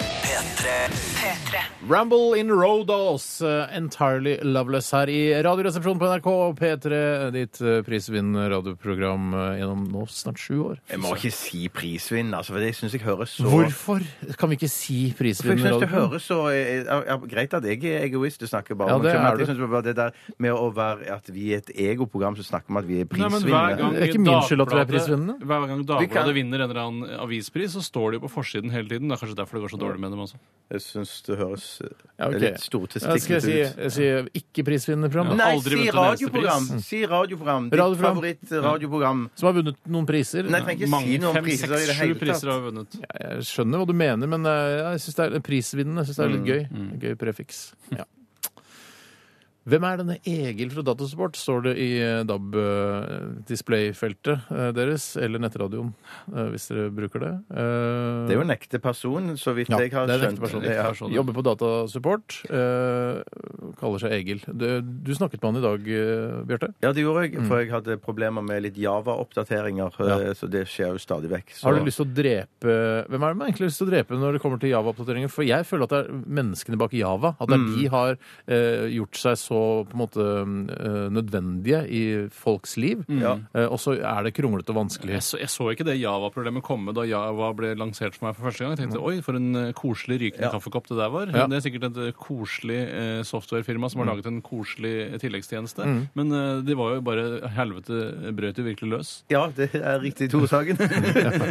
Speaker 2: P3.
Speaker 1: P3.
Speaker 4: Ramble in Rodos, eh, Entirely Loveless her i Radioresepsjonen på NRK og P3, ditt eh, prisvinnende radioprogram eh, gjennom nå snart sju år.
Speaker 5: Jeg må ikke si prisvinn, altså, for det syns jeg høres så
Speaker 4: Hvorfor kan vi ikke si
Speaker 5: For jeg
Speaker 4: prisvinnende
Speaker 5: synes det
Speaker 4: radioprogram?
Speaker 5: høres så eh, ja, Greit at jeg er egoist og snakker bare
Speaker 4: Ja,
Speaker 5: om
Speaker 4: det
Speaker 5: det. men
Speaker 4: er
Speaker 5: Jeg
Speaker 4: du.
Speaker 5: synes bare det der med å være at vi er et egoprogram som snakker om at vi er
Speaker 6: Nei, men hver gang
Speaker 5: prisvinnende.
Speaker 4: Det er ikke min skyld at dere er
Speaker 6: Dagbladet-
Speaker 4: prisvinnende.
Speaker 6: Hver gang
Speaker 5: Vi kan-
Speaker 6: Dagbladet vinner en eller annen avispris, så står de jo på forsiden hele tiden. Det er kanskje derfor det går så dårlig med dem også.
Speaker 5: Jeg syns det høres eh,
Speaker 4: Ja,
Speaker 5: litt
Speaker 4: ok. Ja, skal jeg
Speaker 5: stortestikkete
Speaker 4: si,
Speaker 5: ut.
Speaker 4: jeg sier ikke prisvinnende program?
Speaker 5: Nei,
Speaker 6: Aldri
Speaker 5: si
Speaker 6: vunnet en eneste
Speaker 5: radioprogram!
Speaker 6: pris.
Speaker 5: Si radioprogram. Ditt
Speaker 4: Mm. Radioprogram. Mm.
Speaker 5: favoritt-radioprogram.
Speaker 4: Som har vunnet noen priser?
Speaker 5: Nei, jeg trenger ikke si
Speaker 6: Mange,
Speaker 5: noe om
Speaker 6: fem,
Speaker 5: priser i
Speaker 6: seks,
Speaker 5: det
Speaker 6: sju
Speaker 5: hele
Speaker 6: priser
Speaker 5: tatt.
Speaker 6: har vi vunnet.
Speaker 4: Jeg skjønner hva du mener, men eh, jeg synes det er prisvinnende. Jeg synes det er litt gøy. Gøy prefiks. Ja. Hvem er denne Egil fra Datasport, står det i eh, DAB-displayfeltet eh, deres, eller nettradioen, eh, hvis dere bruker det.
Speaker 5: Det
Speaker 4: Eh,
Speaker 5: er jo en ekte person, så vidt
Speaker 4: ja,
Speaker 5: jeg har
Speaker 4: det er en
Speaker 5: skjønt.
Speaker 4: ekte person.
Speaker 5: Ja.
Speaker 6: person.
Speaker 4: Jobber på Datasupport. eh, kaller seg Egil. Du, du snakket med han i dag, eh, Bjarte.
Speaker 5: Ja, det gjorde
Speaker 4: Mm.
Speaker 5: jeg, for jeg hadde problemer med litt Java-oppdateringer. eh, Så det skjer jo stadig vekk. Så.
Speaker 4: Har du lyst til å drepe Hvem er det man egentlig har lyst til å drepe når det kommer til Java-oppdateringer? For jeg føler at det er menneskene bak Java. At det er de har eh, gjort seg så på en måte eh, nødvendige i folks liv.
Speaker 5: Mm.
Speaker 4: Eh, og så er det kronglete og vanskelig.
Speaker 6: Jeg så, jeg så ikke det Java-problemet komme da Java ble lansert for meg for første gang. Jeg tenkte oi, for en eh, koselig rykende kaffekopp det der var.
Speaker 4: Ja.
Speaker 6: Det er sikkert et eh, koselig eh, softwarefirma som har laget en koselig eh, tilleggstjeneste. Men eh, de var jo bare helvete eh, brøt jo virkelig løs.
Speaker 5: Ja, det er riktig Tore Sagen.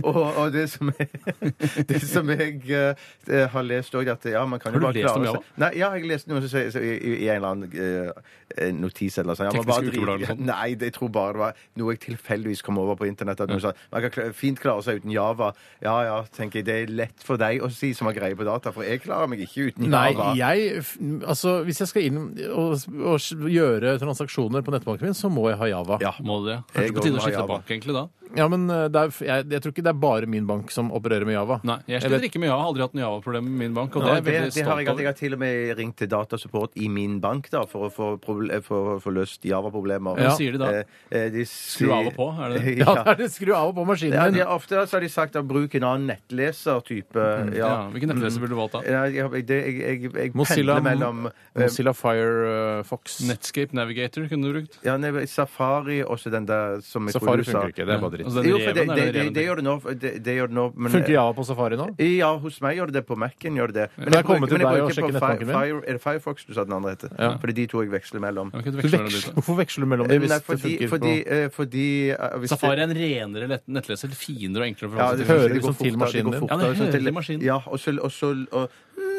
Speaker 5: og, og det som jeg, det som jeg eh, har lest òg, at ja, man kan jo
Speaker 6: Har du
Speaker 5: bare
Speaker 6: lest om
Speaker 5: klare
Speaker 6: Java?
Speaker 5: Nei, ja, jeg leste noe som sier så i, i- i en eller annen eh, notis eller noe sånt. Ja, man
Speaker 6: Teknisk
Speaker 5: bare
Speaker 6: Ukeblad eller
Speaker 5: driter-
Speaker 6: sånt.
Speaker 5: Nei, det- jeg tror bare det var noe jeg tilfeldigvis kom over på internett. At noen sa man kan kla- fint klare seg uten Java. Ja ja, tenker jeg, det er lett for deg å si som har greie på data, for jeg klarer meg ikke uten
Speaker 4: Nei,
Speaker 5: Java.
Speaker 4: jeg, f- altså, hvis jeg skal inn og, og s- gjøre transaksjoner på nettbanken min, så må jeg ha Java.
Speaker 5: Ja.
Speaker 6: Må det.
Speaker 5: Jeg
Speaker 6: Kanskje på
Speaker 5: går
Speaker 6: tide å
Speaker 5: med
Speaker 6: skifte
Speaker 5: Java.
Speaker 6: bank, egentlig, da.
Speaker 4: Ja, men eh, det er, f- jeg, jeg tror ikke det er bare min bank som opererer med Java.
Speaker 6: Nei, jeg
Speaker 4: Jeg
Speaker 6: sliter
Speaker 4: vet-
Speaker 6: ikke med Java. Har aldri hatt noe Java-problem med min bank, og det
Speaker 5: Ja,
Speaker 6: er jeg
Speaker 5: det, det har
Speaker 6: veldig
Speaker 5: jeg,
Speaker 6: stolt
Speaker 5: hatt. jeg
Speaker 6: over.
Speaker 5: har til og med ringt til datasupport i min bank da, for å få, proble- for å få løst Java-problemer. Eh,
Speaker 6: Hva sier de da?
Speaker 5: Skru
Speaker 6: av og på, er det det?
Speaker 4: Ja, det er det. Skru av og på maskinen
Speaker 5: Ja,
Speaker 4: din.
Speaker 5: de, ofte så har de sagt at bruk en annen nettleser-type.
Speaker 6: Mhm. Ja,
Speaker 5: Ja. Mm. Eh,
Speaker 6: Hvilken nettleser burde du valgt, da?
Speaker 5: Ja, jeg, det, jeg, jeg, jeg
Speaker 4: Mozilla,
Speaker 5: pendler mellom eh,
Speaker 4: Mozilla Fire eh, Fox.
Speaker 6: Netscape Navigator kunne du brukt.
Speaker 5: ja, nei, Safari og så den der som jeg tror
Speaker 4: Safari
Speaker 5: du sa.
Speaker 4: funker ikke. Det er bare dritt.
Speaker 6: Altså, den
Speaker 5: Jo, for det,
Speaker 6: reven, er
Speaker 5: det,
Speaker 6: den
Speaker 5: det,
Speaker 6: reven
Speaker 5: det
Speaker 6: til?
Speaker 5: gjør det nå. Det, det gjør det nå men, eh,
Speaker 4: Funker Java på Safari nå?
Speaker 5: Ja, hos meg gjør det det. På Mac-en gjør det det. Men
Speaker 4: Kan jeg komme
Speaker 5: bruker-
Speaker 4: til
Speaker 5: men
Speaker 4: deg og
Speaker 5: bruker på
Speaker 4: sjekke
Speaker 5: Fi-
Speaker 4: nettbanken min?
Speaker 5: Fire, er det Firefox du sa den andre heter?
Speaker 4: Ja.
Speaker 5: Fordi de to jeg veksler mellom.
Speaker 6: Kan ikke
Speaker 4: Du
Speaker 6: du veksle mellom de
Speaker 4: veksler-
Speaker 6: to?
Speaker 4: Hvorfor veksler du mellom
Speaker 5: Eh,
Speaker 4: dem hvis
Speaker 5: Nei,
Speaker 4: det
Speaker 5: fordi,
Speaker 4: funker
Speaker 5: fordi,
Speaker 4: på
Speaker 5: eh, fordi eh, hvis
Speaker 6: Safari er en renere lett- nettlese. Litt finere og enklere. å
Speaker 5: Ja,
Speaker 6: forholde seg
Speaker 5: det
Speaker 6: til.
Speaker 4: hører
Speaker 5: det går
Speaker 4: liksom til
Speaker 5: fortere, det går
Speaker 4: maskinen din.
Speaker 5: fortere,
Speaker 6: Ja, det
Speaker 5: sånn
Speaker 6: hører
Speaker 5: til-
Speaker 6: til maskinen.
Speaker 5: Ja, og så og, så- og,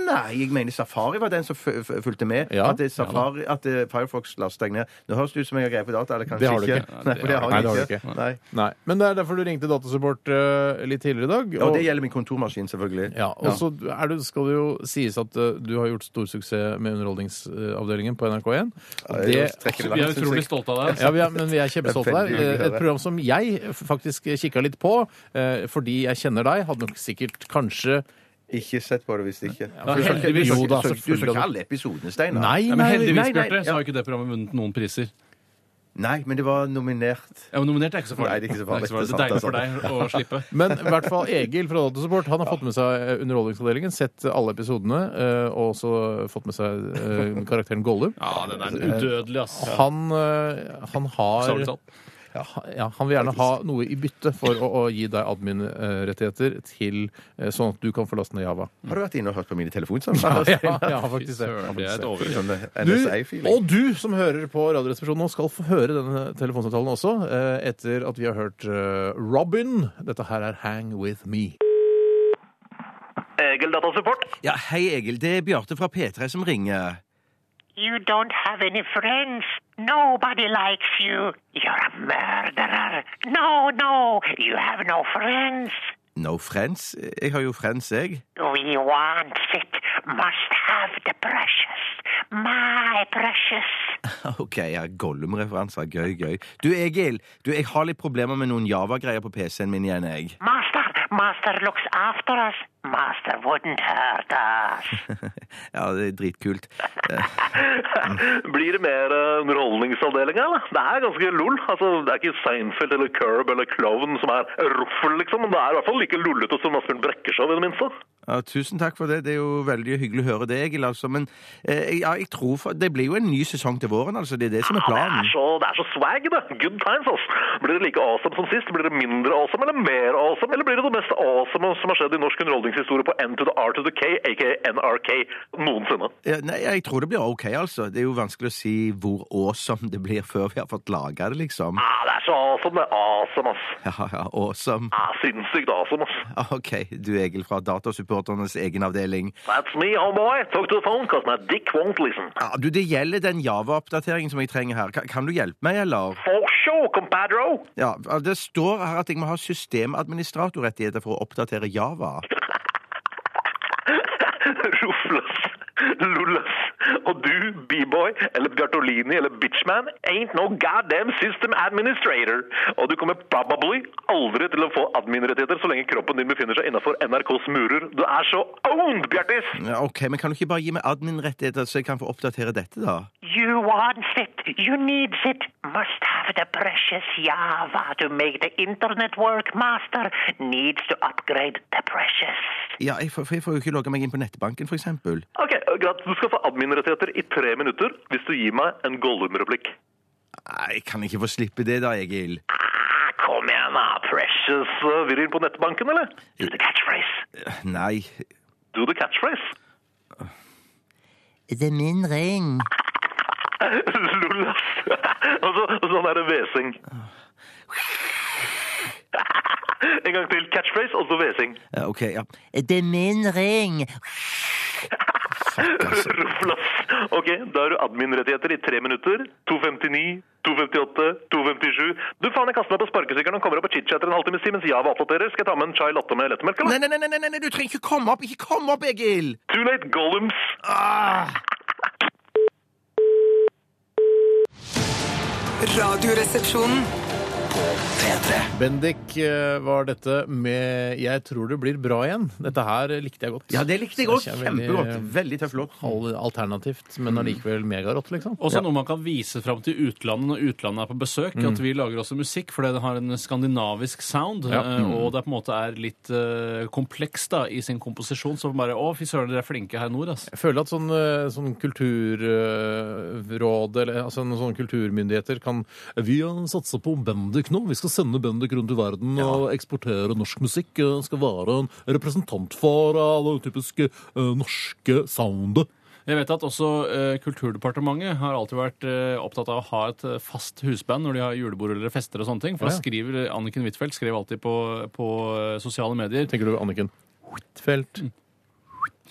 Speaker 5: Nei, jeg mener Safari var den som fu- fu- fulgte med.
Speaker 4: Ja.
Speaker 5: At, det er Safari, at eh, Firefox lasta jeg ned. Nå høres det ut som jeg har greie på data, eller kanskje
Speaker 4: Det har du ikke.
Speaker 5: Nei, for det har
Speaker 4: Nei,
Speaker 5: jeg
Speaker 4: det har du
Speaker 5: ikke.
Speaker 4: ikke.
Speaker 5: Nei.
Speaker 4: Nei. Men det er derfor du ringte Datasupport eh, litt tidligere i dag.
Speaker 5: Og det gjelder min kontormaskin, selvfølgelig.
Speaker 4: ja, og så er det, skal det jo sies at eh, du har gjort stor suksess med Underholdningsavdelingen på NRK1. Og
Speaker 5: Jeg
Speaker 4: det
Speaker 5: strekker det
Speaker 6: Vi er
Speaker 5: langt, synes jeg.
Speaker 6: utrolig stolte av deg.
Speaker 4: Ja, vi er, men vi er kjempestolte
Speaker 5: Det er
Speaker 4: der.
Speaker 5: veldig hyggelig å
Speaker 4: Eh, Et
Speaker 5: høre.
Speaker 4: program som jeg f- faktisk kikka litt på, eh, fordi jeg kjenner deg, hadde nok sikkert kanskje
Speaker 5: Ikke sett på det hvis det ikke
Speaker 4: for
Speaker 5: Du så-
Speaker 4: heldigvis.
Speaker 5: Du så-
Speaker 4: Jo da,
Speaker 5: så- du så
Speaker 4: selvfølgelig.
Speaker 5: ikke alle episodene, Steinar?
Speaker 4: Nei,
Speaker 6: Ja, men
Speaker 4: nei,
Speaker 6: heldigvis,
Speaker 4: nei, nei.
Speaker 6: Bjarte, så har jo ikke det programmet vunnet noen priser.
Speaker 5: Nei, men det var nominert.
Speaker 6: Ja, men Nominert er ikke så farlig.
Speaker 5: Nei, det er ikke så farlig.
Speaker 6: Det er,
Speaker 5: Det er
Speaker 6: deilig
Speaker 5: sant,
Speaker 6: for
Speaker 5: det
Speaker 6: deg å slippe.
Speaker 4: Men i hvert fall Egil fra Datasupport han har fått med seg eh, Underholdningsavdelingen, sett alle episodene, eh, og også fått med seg eh, karakteren Gollum.
Speaker 6: Ja, den er udødelig, ass.
Speaker 4: Han, eh, han har
Speaker 6: Savnet alt.
Speaker 4: ja, Han vil gjerne ha noe i bytte for å, å gi deg admin-rettigheter til eh, sånn at du kan få laste ned Java.
Speaker 5: Har du vært inne og hørt på mine telefonsamtaler?
Speaker 4: Ja, ja, faktisk det.
Speaker 6: Søren, det er et overgrep.
Speaker 5: Sånn
Speaker 4: Du,
Speaker 5: NSA-feeling.
Speaker 4: og du som hører på Radioresepsjonen nå, skal få høre denne telefonsamtalen også, eh, etter at vi har hørt eh, Robin. Dette her er Hang With Me.
Speaker 2: Egil Datasupport.
Speaker 5: Ja, hei, Egil. Det er Bjarte fra P3 som ringer.
Speaker 1: You don't have any friends. Nobody likes you. You're a murderer. No, no, you have no friends.
Speaker 5: No friends? Jeg har jo friends, jeg.
Speaker 1: We want it. Must have the precious. My precious.
Speaker 5: OK, ja, Gollum-referanser. Gøy, gøy. Du, Egil, du, jeg har litt problemer med noen Java-greier på PC-en min igjen, jeg.
Speaker 1: Master, master looks after us. Master wouldn't hurt us.
Speaker 5: ja, det er dritkult.
Speaker 2: Blir det mer eh, underholdningsavdeling, eller? Det er ganske lol. Altså, det er ikke Seinfeld eller Curb eller Clown som er ruffel, liksom. Men det er i hvert fall like lullete som Asbjørn Brekkeshow, i det minste.
Speaker 5: Ja, tusen takk for det. Det er jo veldig hyggelig å høre det, Egil, altså. Men eh, ja, jeg tror for, det blir jo en ny sesong til våren, altså. Det er det som er
Speaker 2: Ja, det, er
Speaker 5: planen.
Speaker 2: så, det er så swag, det. Good times, ass. Blir det like awesome som sist? Blir det mindre awesome eller mer awesome? Eller blir det det mest awesome som har skjedd i norsk underholdningshistorie på N to the R to the K, aka NRK, noensinne?
Speaker 5: Ja, nei, jeg tror det blir OK, altså. Det er jo vanskelig å si hvor awesome det blir før vi har fått laga det, liksom.
Speaker 2: Ja, det er så awesome, det. Awesome, ass.
Speaker 5: Ja, ja, awesome. Ah,
Speaker 2: Ja, sinnssykt awesome, ass.
Speaker 5: OK, du Egil fra Datasupporternes egen avdeling.
Speaker 2: That's me, homeboy. Talk to the phone, cause my dick won't listen.
Speaker 5: Ja, du, det gjelder den Java-oppdateringen som jeg trenger her. Kan, kan du hjelpe meg, eller?
Speaker 2: For sure, compadro.
Speaker 5: Ja, det står her at jeg må ha systemadministratorrettigheter for å oppdatere Java.
Speaker 2: Rufles, lulles. Og du, b-boy, eller Bjartolini, eller bitchman, ain't no goddamn system administrator. Og du kommer probably aldri til å få adminrettigheter så lenge kroppen din befinner seg innenfor NRKs murer. Du er så owned, Bjartis!
Speaker 5: Ja, OK, men kan du ikke bare gi meg admin-rettigheter, så jeg kan få oppdatere dette, da?
Speaker 1: You want it. You need it. Must have the precious Java to make the internet work. Master needs to upgrade the precious.
Speaker 5: Ja, jeg får, for jeg får jo ikke logge meg inn på nettbanken, for eksempel.
Speaker 2: Ok, eh, greit. Du skal få adminrettigheter i tre minutter hvis du gir meg en Gollum-replikk.
Speaker 5: Nei, jeg kan ikke få slippe det da, Egil.
Speaker 2: Ah, kom igjen, da. Precious uh, virrer på nettbanken, eller? Do the catchphrase.
Speaker 5: Nei.
Speaker 2: Do the catchphrase.
Speaker 5: Det er min ring.
Speaker 2: Lol, ass. og så og sånn der hvesing. en gang til catchphrase, og så hvesing.
Speaker 5: Eh, OK, ja. Det er min ring. Fuck, altså.
Speaker 2: Ruffel, ass. Ok, da har du admin-rettigheter i tre minutter. 259, 258, 257. Du faen, jeg kaster meg på sparkesykkelen og kommer opp og chitchatter en halvtimes tid mens Java oppdaterer. Skal jeg ta med en chai latte med lettmelk, eller?
Speaker 5: Nei, nei, nei, nei, nei, nei, du trenger ikke komme opp! Ikke komme opp, Egil!
Speaker 2: Too late, golems.
Speaker 5: Ah.
Speaker 7: Radioresepsjonen.
Speaker 4: Bendik eh, var dette med 'Jeg tror det blir bra igjen'. Dette her likte jeg godt.
Speaker 5: Ja, det likte jeg òg. Kjempegodt. Mm. Veldig eh, tøff låt.
Speaker 4: Al- Alternativt, men allikevel megarått, liksom.
Speaker 6: Også noe man kan vise fram til utlandet når utlandet er på besøk. At vi lager også musikk, for det har en skandinavisk sound. eh, Og det er på en måte er litt eh, kompleks da, i sin komposisjon. Så bare Å, fy søren, dere er flinke her nord, ass.
Speaker 4: Jeg føler at sånn, eh, sånn kulturråd eller altså noen sånne kulturmyndigheter kan Vi eh, satser på Bendik nå. Vi skal sende Bendik rundt i verden og eksportere norsk musikk. Eh, Skal være en representant for eh, det typiske eh, norske soundet.
Speaker 6: Jeg vet at også eh, Kulturdepartementet har alltid vært eh, opptatt av å ha et eh, fast husband når de har julebord eller fester og sånne ting. For
Speaker 4: Ja.
Speaker 6: da skriver Anniken Huitfeldt skrev alltid på, på eh, sosiale medier
Speaker 4: Tenker du Anniken Huitfeldt?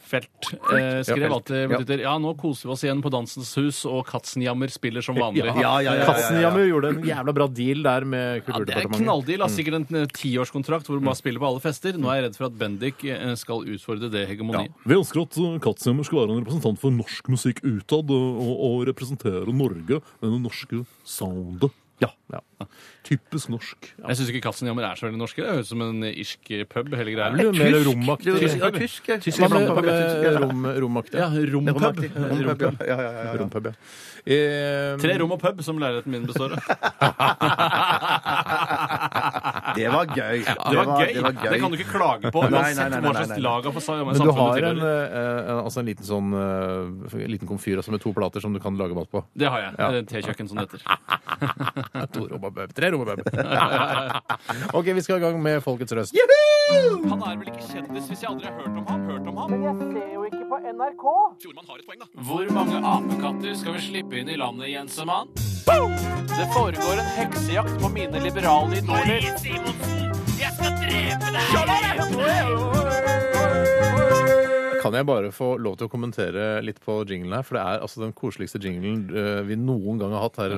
Speaker 6: Felt eh, skrev
Speaker 4: Felt.
Speaker 6: alltid på Twitter Ja, nå koser vi oss igjen på Dansens Hus, og Katzenjammer spiller som vanlig.
Speaker 5: ja, ja, ja, ja, ja.
Speaker 4: Katzenjammer gjorde en jævla bra deal der med
Speaker 6: Ja, det er
Speaker 4: Kulturdepartementet.
Speaker 6: knalldeal. da. Sikkert en eh, tiårskontrakt hvor du bare spiller på alle fester. Nå er jeg redd for at Bendik eh, skal utfordre det hegemoniet.
Speaker 8: Vi ønsker at uh, Katzenheimer skal være en representant for norsk musikk utad uh, og, og, og representere Norge med det norske soundet. Ja. Typisk norsk.
Speaker 6: Jeg syns ikke Katzenjammer er så veldig norsk. Det høres ut som en irsk pub. hele greia.
Speaker 4: Det er jo mer romaktig.
Speaker 5: Tysk, det var tysk, ja.
Speaker 4: Hva med- hva med rom- romaktig?
Speaker 6: Ja, rompub.
Speaker 5: Romaktig. Rompub, ja. Ja, ja, ja, ja.
Speaker 4: Rompub, ja. Eh,
Speaker 6: Tre rom og pub, som leiligheten min består av.
Speaker 5: Det var gøy.
Speaker 6: Det var gøy.
Speaker 5: Det var gøy.
Speaker 6: Det kan du ikke klage på,
Speaker 5: Nei, nei,
Speaker 6: uansett
Speaker 5: nei, nei,
Speaker 6: hva
Speaker 5: nei,
Speaker 6: slags
Speaker 5: nei.
Speaker 6: lag av sa-
Speaker 4: Men du har
Speaker 6: samfunnet
Speaker 4: en,
Speaker 6: tilhører.
Speaker 4: eh, altså en liten sånn eh, en liten komfyr altså med to plater som du kan lage mat på.
Speaker 6: Det har jeg.
Speaker 4: Ja.
Speaker 6: Det er Tekjøkken, som det heter.
Speaker 4: To rombabøb, tre rombabøb. OK, vi skal i gang med Folkets røst.
Speaker 6: Han er vel ikke kjendis hvis jeg aldri har hørt om ham? Hørt om ham? Men jeg ser jo ikke på NRK. Fjordmann har et poeng, da. Hvor mange apekatter skal vi slippe inn i landet, Jensemann? Det foregår en heksejakt på mine liberale idoler.
Speaker 4: Kan jeg bare få lov til å kommentere litt på jinglen her? For det er altså den koseligste jinglen eh, vi noen gang har hatt her i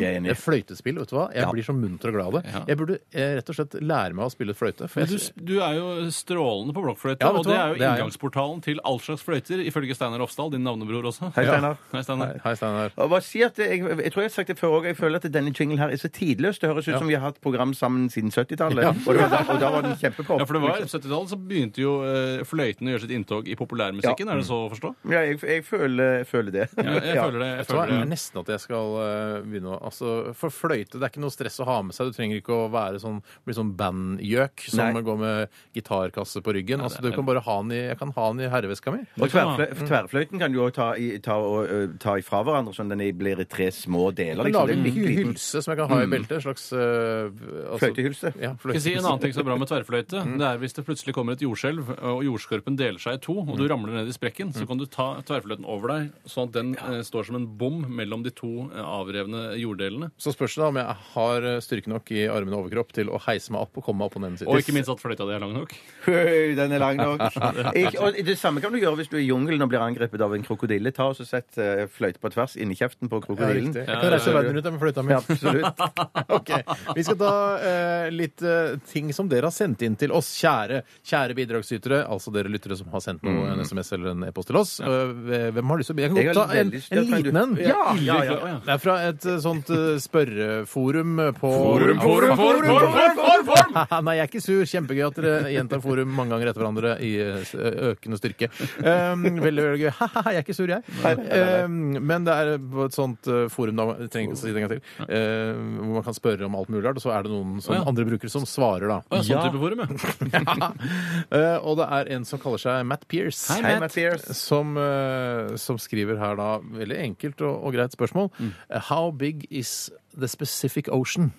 Speaker 5: Ja, jeg er enig.
Speaker 4: Det er fløytespill, vet du hva. Jeg blir så munter og glad av det.
Speaker 6: Ja.
Speaker 4: Jeg burde eh, rett og slett lære meg å spille fløyte. For
Speaker 6: Men du,
Speaker 4: jeg,
Speaker 6: du er jo strålende på blokkfløyte,
Speaker 4: Ja, vet
Speaker 6: og
Speaker 4: du hva?
Speaker 6: det er jo
Speaker 4: Det er jeg.
Speaker 6: inngangsportalen til all slags fløyter, ifølge Steinar Ofsdal, din navnebror også.
Speaker 5: Hei, Steinar.
Speaker 6: Hei, Steinar.
Speaker 4: hei, Steinar.
Speaker 5: Og bare si at det- jeg, jeg tror jeg har sagt det før òg, jeg føler at denne jinglen her er så tidløs. Det høres ut som vi har hatt program sammen siden 70-tallet. Og, det var da- og da var den kjempepop.
Speaker 6: Ja, for det var 70-tallet så begynte jo eh, fløyten å gjøre sitt inntog i populærmusikken, er det så å forstå?
Speaker 5: Ja, jeg, jeg føler, føler det.
Speaker 6: Ja,
Speaker 4: Vet
Speaker 6: jeg føler det. Jeg
Speaker 4: du hva?
Speaker 6: føler
Speaker 4: Det er
Speaker 6: det.
Speaker 4: nesten at jeg skal eh, begynne å altså, For fløyte det er ikke noe stress å ha med seg. Du trenger ikke å være sånn, bli sånn bandgjøk som
Speaker 5: Nei.
Speaker 4: går med gitarkasse på ryggen. altså, du kan bare ha den i, jeg kan ha den i herreveska mi.
Speaker 5: Og tverrfløy, tverrfløyten kan du òg ta, i- ta, og, ø, ta ifra hverandre, sånn den blir i tre små deler.
Speaker 4: Jeg
Speaker 5: Liksom.
Speaker 4: lager
Speaker 5: Det er
Speaker 4: en
Speaker 5: litt
Speaker 4: hy-
Speaker 5: liten Mm.
Speaker 4: hylse som jeg kan ha i beltet. En slags eh, altså-
Speaker 5: fløytehylse.
Speaker 4: Ja,
Speaker 6: Skal jeg si En annen
Speaker 4: fløytehylse.
Speaker 6: ting som er bra med tverrfløyte, det er hvis det plutselig kommer et jordskjelv, og jordskorpen deler seg i to, og du ramler ned i sprekken, så kan du ta tverrfløyten over deg, sånn at den eh, står som en bom mellom de to eh, avrevne jorddelene.
Speaker 4: Så spørs det da om jeg har eh, styrke nok i armene og overkropp til å heise meg opp og komme meg opp på den ene siden.
Speaker 6: Og ikke minst at fløyta di er lang nok.
Speaker 5: Høy, Den er lang nok. Ikke, og det samme kan du gjøre hvis du er i jungelen og blir angrepet av en krokodille. Ta og så Sett eh, fløyte på tvers inni kjeften på
Speaker 4: Ja,
Speaker 5: krokodillen.
Speaker 4: riktig. Jeg kan reise verden rundt med fløyta mi.
Speaker 5: Ja, absolutt.
Speaker 4: Ok, Vi skal ta eh, litt eh, ting som dere har sendt inn til oss, kjære kjære bidragsytere. Altså dere lyttere som har sendt noe, en SMS eller en e-post til oss. Eh, hvem har lyst til å be? Jeg
Speaker 5: Mm. Jeg har
Speaker 4: kan godt ta en,
Speaker 5: veldig lyst til
Speaker 4: en
Speaker 5: å ta en, du.
Speaker 4: liten en.
Speaker 5: Ja, ja, ja.
Speaker 6: Å, ja.
Speaker 4: Det er fra et eh, sånt eh, spørreforum eh, på
Speaker 6: Forum, forum, forum, forum, forum, forum, forum!
Speaker 4: Nei, jeg er ikke sur. Kjempegøy at dere gjentar forum mange ganger etter hverandre i eh, s- økende styrke. Um, veldig, veldig gøy. Ha-ha, jeg er ikke sur, jeg. Um, men det er på et sånt eh, forum, da, jeg trenger ikke å si det en gang til, eh, hvor man kan spørre om alt mulig rart, og så er det noen som,
Speaker 6: Å, ja.
Speaker 4: andre brukere som svarer, da.
Speaker 6: Å, ja, sånn type forum, ja.
Speaker 4: Eh, og det er en som kaller seg Matt Pierce.
Speaker 6: Hei,
Speaker 5: Hei,
Speaker 6: Matt.
Speaker 5: Mathias.
Speaker 4: Som, eh, som skriver her da veldig enkelt og, og greit spørsmål.
Speaker 6: Mm.
Speaker 4: How big is the specific ocean?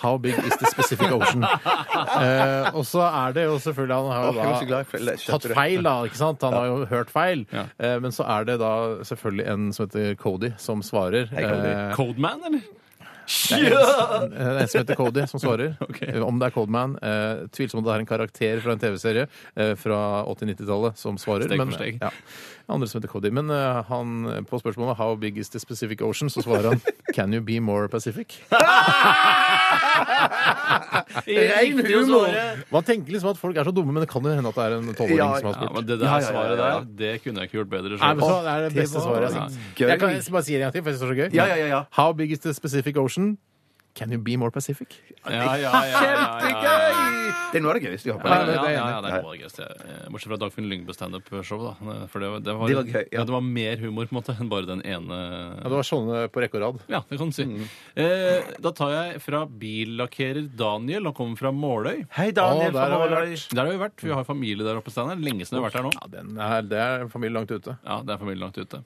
Speaker 4: How big is the specific ocean? Eh, og så er det jo selvfølgelig Han har
Speaker 5: Åh, jeg var så
Speaker 4: jo da
Speaker 5: glad jeg skjønte
Speaker 4: tatt
Speaker 5: det.
Speaker 4: feil, da. ikke sant? Han har jo hørt feil.
Speaker 6: Ja.
Speaker 4: Eh, men så er det da selvfølgelig en som heter Cody, som svarer.
Speaker 5: Cody.
Speaker 4: Eh,
Speaker 6: Codeman, eller?
Speaker 4: det er en som heter Cody, som svarer. Om det er Codeman. Eh, tvilsomt om det er en karakter fra en TV-serie eh, fra 80-90-tallet som svarer.
Speaker 6: Steg for
Speaker 4: men, eh,
Speaker 6: steg.
Speaker 4: Ja, andre som heter Cody. Men eh, han, på spørsmålet 'How big is the Pacific Ocean?' så svarer han 'Can you be more Pacific?'
Speaker 5: Rein humor!
Speaker 4: Man tenker liksom at folk er så dumme, men det kan jo hende at det er en tolvåring
Speaker 5: Ja,
Speaker 4: som har
Speaker 6: Ja,
Speaker 4: spurt.
Speaker 6: men det der
Speaker 5: Ja, ja, ja,
Speaker 6: svaret
Speaker 5: ja, ja.
Speaker 6: der, det kunne jeg ikke gjort bedre
Speaker 4: Nei,
Speaker 6: selv.
Speaker 4: men så er det beste
Speaker 5: var
Speaker 4: svaret. Jeg, har sagt.
Speaker 5: gøy.
Speaker 4: jeg kan jeg bare si det en gang til, for jeg synes det er så gøy.
Speaker 5: Ja, ja, ja, ja.
Speaker 4: How big is the Pacific Ocean? Can you be more Pacific?
Speaker 6: Ja, ja, ja, ja, ja, ja.
Speaker 5: Det er noe av det gøyeste vi har på.
Speaker 6: Ja,
Speaker 4: det-
Speaker 6: ja,
Speaker 4: det er jeg
Speaker 6: ja,
Speaker 4: enig i.
Speaker 6: ja, det er noe av det gøyeste. Eh, Bortsett fra Dagfinn Lyngbø standup-show, da. For det, var- det, var,
Speaker 5: Det var gøy, ja.
Speaker 6: ja, det var mer humor på en måte enn bare den ene
Speaker 4: Ja, det var sånne på rekke og rad.
Speaker 6: Ja, det kan du si. Eh, da tar jeg fra billakkerer Daniel, han kommer fra Måløy.
Speaker 5: Hei,
Speaker 4: Å,
Speaker 5: Daniel.
Speaker 4: der
Speaker 5: fra
Speaker 4: har vi
Speaker 5: Måløy.
Speaker 4: vært.
Speaker 6: Der har vi vært. Vi har familie der oppe, Steinar. Lenge siden jeg har vært her nå.
Speaker 4: Ja, den er, det er en familie langt ute.
Speaker 6: Ja, det er familien langt ute.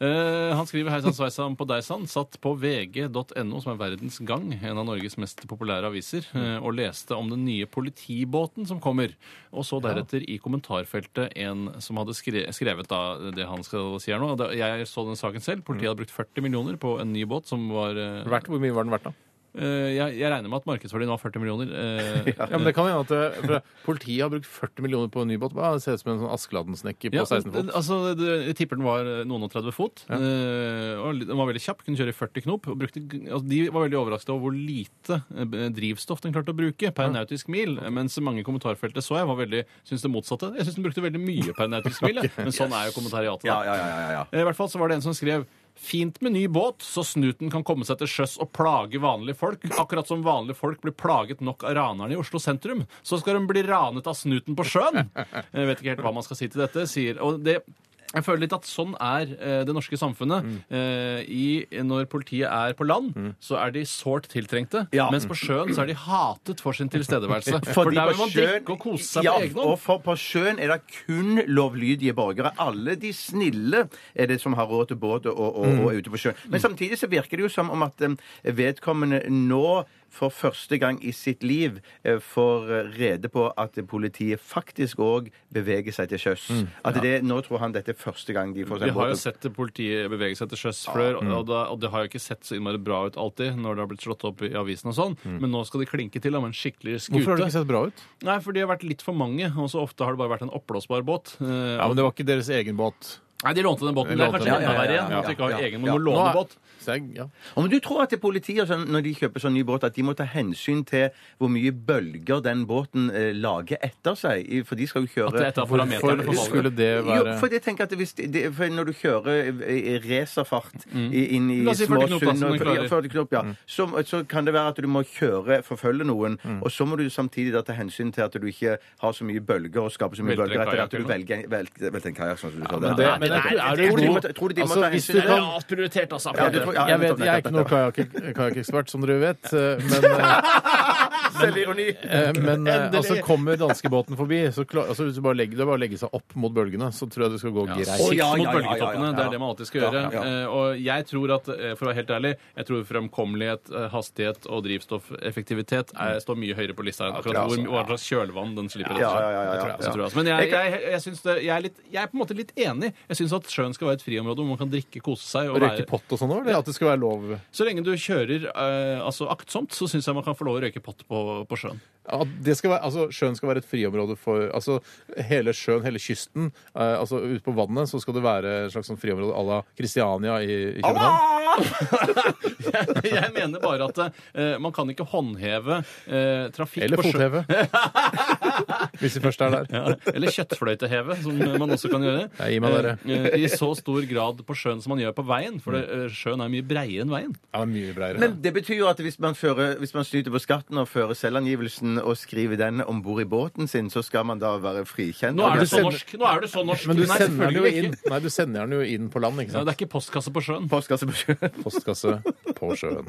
Speaker 6: Eh, han skriver Heisan sveisan på deisan. Satt på vg.no, som er Verdens Gang, en av Norges mest populære aviser, eh, og leste om den nye politibåten som kommer. Og så deretter i kommentarfeltet en som hadde skre skrevet da det han skal si her nå. Da- Jeg så den saken selv. Politiet hadde brukt 40 millioner på en ny båt som var eh,
Speaker 4: Verdt, hvor mye var den verdt, da?
Speaker 6: Eh, jeg, jeg regner med at markedsverdien var 40 millioner. eh,
Speaker 4: Ja, men det kan hende at eh, for Politiet har brukt 40 millioner på en ny båt. Hva, Det ser ut som en sånn Askeladden-snekker på
Speaker 6: Ja,
Speaker 4: 16
Speaker 6: den-
Speaker 4: fot.
Speaker 6: altså, det- jeg tipper den var noen og 30 fot. eh, og litt- den var veldig kjapp, kunne kjøre i 40 knop. Og brukte, altså, de var veldig overrasket over hvor lite eh, drivstoff den klarte å bruke per nautisk mil. Mens mange i kommentarfeltet så jeg var veldig, syntes det motsatte. Jeg syns den brukte veldig mye per nautisk mil, jeg. men sånn er jo kommentariatet. da.
Speaker 5: Ja, ja, ja, ja, ja.
Speaker 6: Eh, I hvert fall så var det en som skrev Fint med ny båt, så snuten kan komme seg til sjøs og plage vanlige folk. Akkurat som vanlige folk blir plaget nok av ranerne i Oslo sentrum. Så skal de bli ranet av snuten på sjøen! Jeg vet ikke helt hva man skal si til dette. Sier, og det, jeg føler litt at sånn er eh, det norske samfunnet.
Speaker 5: Mm.
Speaker 6: Eh, i, når politiet er på land, så er de sårt tiltrengte.
Speaker 5: Ja.
Speaker 6: Mens på sjøen så er de hatet for sin tilstedeværelse. for
Speaker 5: Fordi
Speaker 6: der
Speaker 5: på
Speaker 6: vil man
Speaker 5: sjøen-
Speaker 6: drikke og kose seg
Speaker 5: ja,
Speaker 6: på egen hånd.
Speaker 5: Og for, på sjøen er det kun lovlydige borgere. Alle de snille er det som har råd til båt og, og,
Speaker 6: Mm.
Speaker 5: og er ute på sjøen. Men samtidig så virker det jo som om at em, vedkommende nå for første gang i sitt liv eh, får rede på at politiet faktisk òg beveger seg til sjøs. At det, nå tror han dette er første gang de får
Speaker 6: Mm. Vi
Speaker 5: seg en
Speaker 6: har jo
Speaker 5: båt.
Speaker 6: sett politiet bevege seg til sjøs før,
Speaker 4: Mm.
Speaker 6: og- og, da, og det har jo ikke sett så innmari bra ut alltid når det har blitt slått opp i avisen og sånn, men nå skal de klinke til om en skikkelig skute.
Speaker 4: Mm. Hvorfor har det ikke sett bra ut?
Speaker 6: Nei, for de har vært litt for mange, og så ofte har det bare vært en oppblåsbar båt. Eh,
Speaker 4: Ja, men Det var ikke deres egen båt.
Speaker 6: Nei, de lånte den båten.
Speaker 4: De
Speaker 6: Det er
Speaker 4: lånte
Speaker 6: kanskje
Speaker 4: den.
Speaker 6: enda
Speaker 5: Ja, ja,
Speaker 6: verre
Speaker 5: ja,
Speaker 6: igjen,
Speaker 5: ja,
Speaker 6: at de ikke har
Speaker 5: ja,
Speaker 6: egen,
Speaker 5: ja.
Speaker 6: men må
Speaker 4: Nå
Speaker 6: låne
Speaker 4: er-
Speaker 6: båt.
Speaker 4: Så jeg- Ja.
Speaker 5: Om du tror at det er politiet og sånn, når de kjøper sånn ny båt, at de må ta hensyn til hvor mye bølger den båten eh, lager etter seg? i- For de skal jo kjøre
Speaker 6: At det er et av
Speaker 4: Hvorfor
Speaker 6: parameterne for valget.
Speaker 4: skulle
Speaker 5: Jo,
Speaker 4: det være
Speaker 5: for jeg tenker at hvis de, de, for Når du kjører i- i racerfart i-
Speaker 4: Mm.
Speaker 5: inn i
Speaker 6: La oss si 40
Speaker 5: små
Speaker 6: knop, da,
Speaker 5: sund
Speaker 6: som du
Speaker 5: og-
Speaker 6: klarer.
Speaker 5: ja, 40 knop, ja. så, så kan det være at du må kjøre, forfølge noen,
Speaker 4: Mm.
Speaker 5: og så må du samtidig da ta hensyn til at du ikke har så mye bølger og skaper så mye
Speaker 6: Velter en
Speaker 5: bølger etter det at
Speaker 6: kajak
Speaker 5: du velger, velger, velger en kajakk, sånn som du sa. der.
Speaker 4: men det- men er- er du
Speaker 5: tror de må
Speaker 4: god-
Speaker 5: ta- tror de må ta
Speaker 4: Altså, hvis
Speaker 5: hensyn
Speaker 4: du
Speaker 5: til-
Speaker 4: kan-
Speaker 6: Lavt prioritert, altså.
Speaker 5: Ja, du tror- ja,
Speaker 4: jeg,
Speaker 5: nettopp,
Speaker 4: vet, jeg
Speaker 5: nettopp,
Speaker 4: er ikke noen
Speaker 5: nettopp.
Speaker 4: kajakk- kajakkekspert, som dere vet, eh, men, eh,
Speaker 5: Selvironi.
Speaker 4: eh, men eh, altså, kommer danskebåten forbi, så klar, altså, hvis du bare legger, det er bare å legge seg opp mot bølgene, så tror jeg det skal gå
Speaker 6: Ja,
Speaker 4: greit.
Speaker 6: Sikt
Speaker 5: ja, ja, ja,
Speaker 6: mot
Speaker 5: ja,
Speaker 6: bølgetoppene.
Speaker 5: ja.
Speaker 6: Det er det man alltid skal gjøre.
Speaker 5: Ja, ja.
Speaker 6: Eh, Og jeg tror at, eh, for å være helt ærlig, jeg tror fremkommelighet, eh, hastighet og drivstoffeffektivitet er, står mye høyere på lista enn akkurat hvor, hva slags kjølvann den slipper ut.
Speaker 5: altså, Ja, ja, ja, ja, ja.
Speaker 6: Det tror jeg, altså. Men jeg, jeg, jeg, syns det, jeg, er litt, jeg er på en måte litt enig. Jeg syns at sjøen skal være et friområde hvor man kan drikke, kose seg. Og
Speaker 4: Røyke
Speaker 6: være,
Speaker 4: pott og sånn òg, eller at det skal være lov?
Speaker 6: så lenge du kjører eh, altså aktsomt, så syns jeg man kan få lov å røyke pott på, på sjøen.
Speaker 4: At det skal være, altså, sjøen skal være et friområde for altså, hele sjøen, hele kysten. Eh, altså Ute på vannet så skal det være et slags sånn friområde à la Kristiania i, i København.
Speaker 6: Jeg mener bare at eh, man kan ikke håndheve eh, trafikk
Speaker 4: Eller
Speaker 6: på sjø-
Speaker 4: fotheve. Hvis vi først er der.
Speaker 6: Ja, eller kjøttfløyteheve, som man også kan gjøre.
Speaker 4: Nei, gi meg dere.
Speaker 6: Eh, I så stor grad på sjøen som man gjør på veien, for det, eh, sjøen er mye breiere enn veien.
Speaker 4: Ja, mye breiere.
Speaker 5: Men det betyr jo at hvis man, fører, hvis man snyter på skatten og fører selvangivelsen og skriver den om bord i båten sin, så skal man da være frikjent?
Speaker 6: Nå er du
Speaker 4: du
Speaker 6: så
Speaker 4: sender-
Speaker 6: norsk! Nå er du så norsk.
Speaker 4: Men du
Speaker 6: Nei,
Speaker 4: sender den jo
Speaker 6: selvfølgelig
Speaker 4: inn
Speaker 6: ikke.
Speaker 4: Nei, du sender den jo inn på land, ikke
Speaker 6: Ja, det
Speaker 4: sant?
Speaker 6: er ikke postkasse på sjøen.
Speaker 5: Postkasse på sjøen.
Speaker 4: Postkasse på sjøen.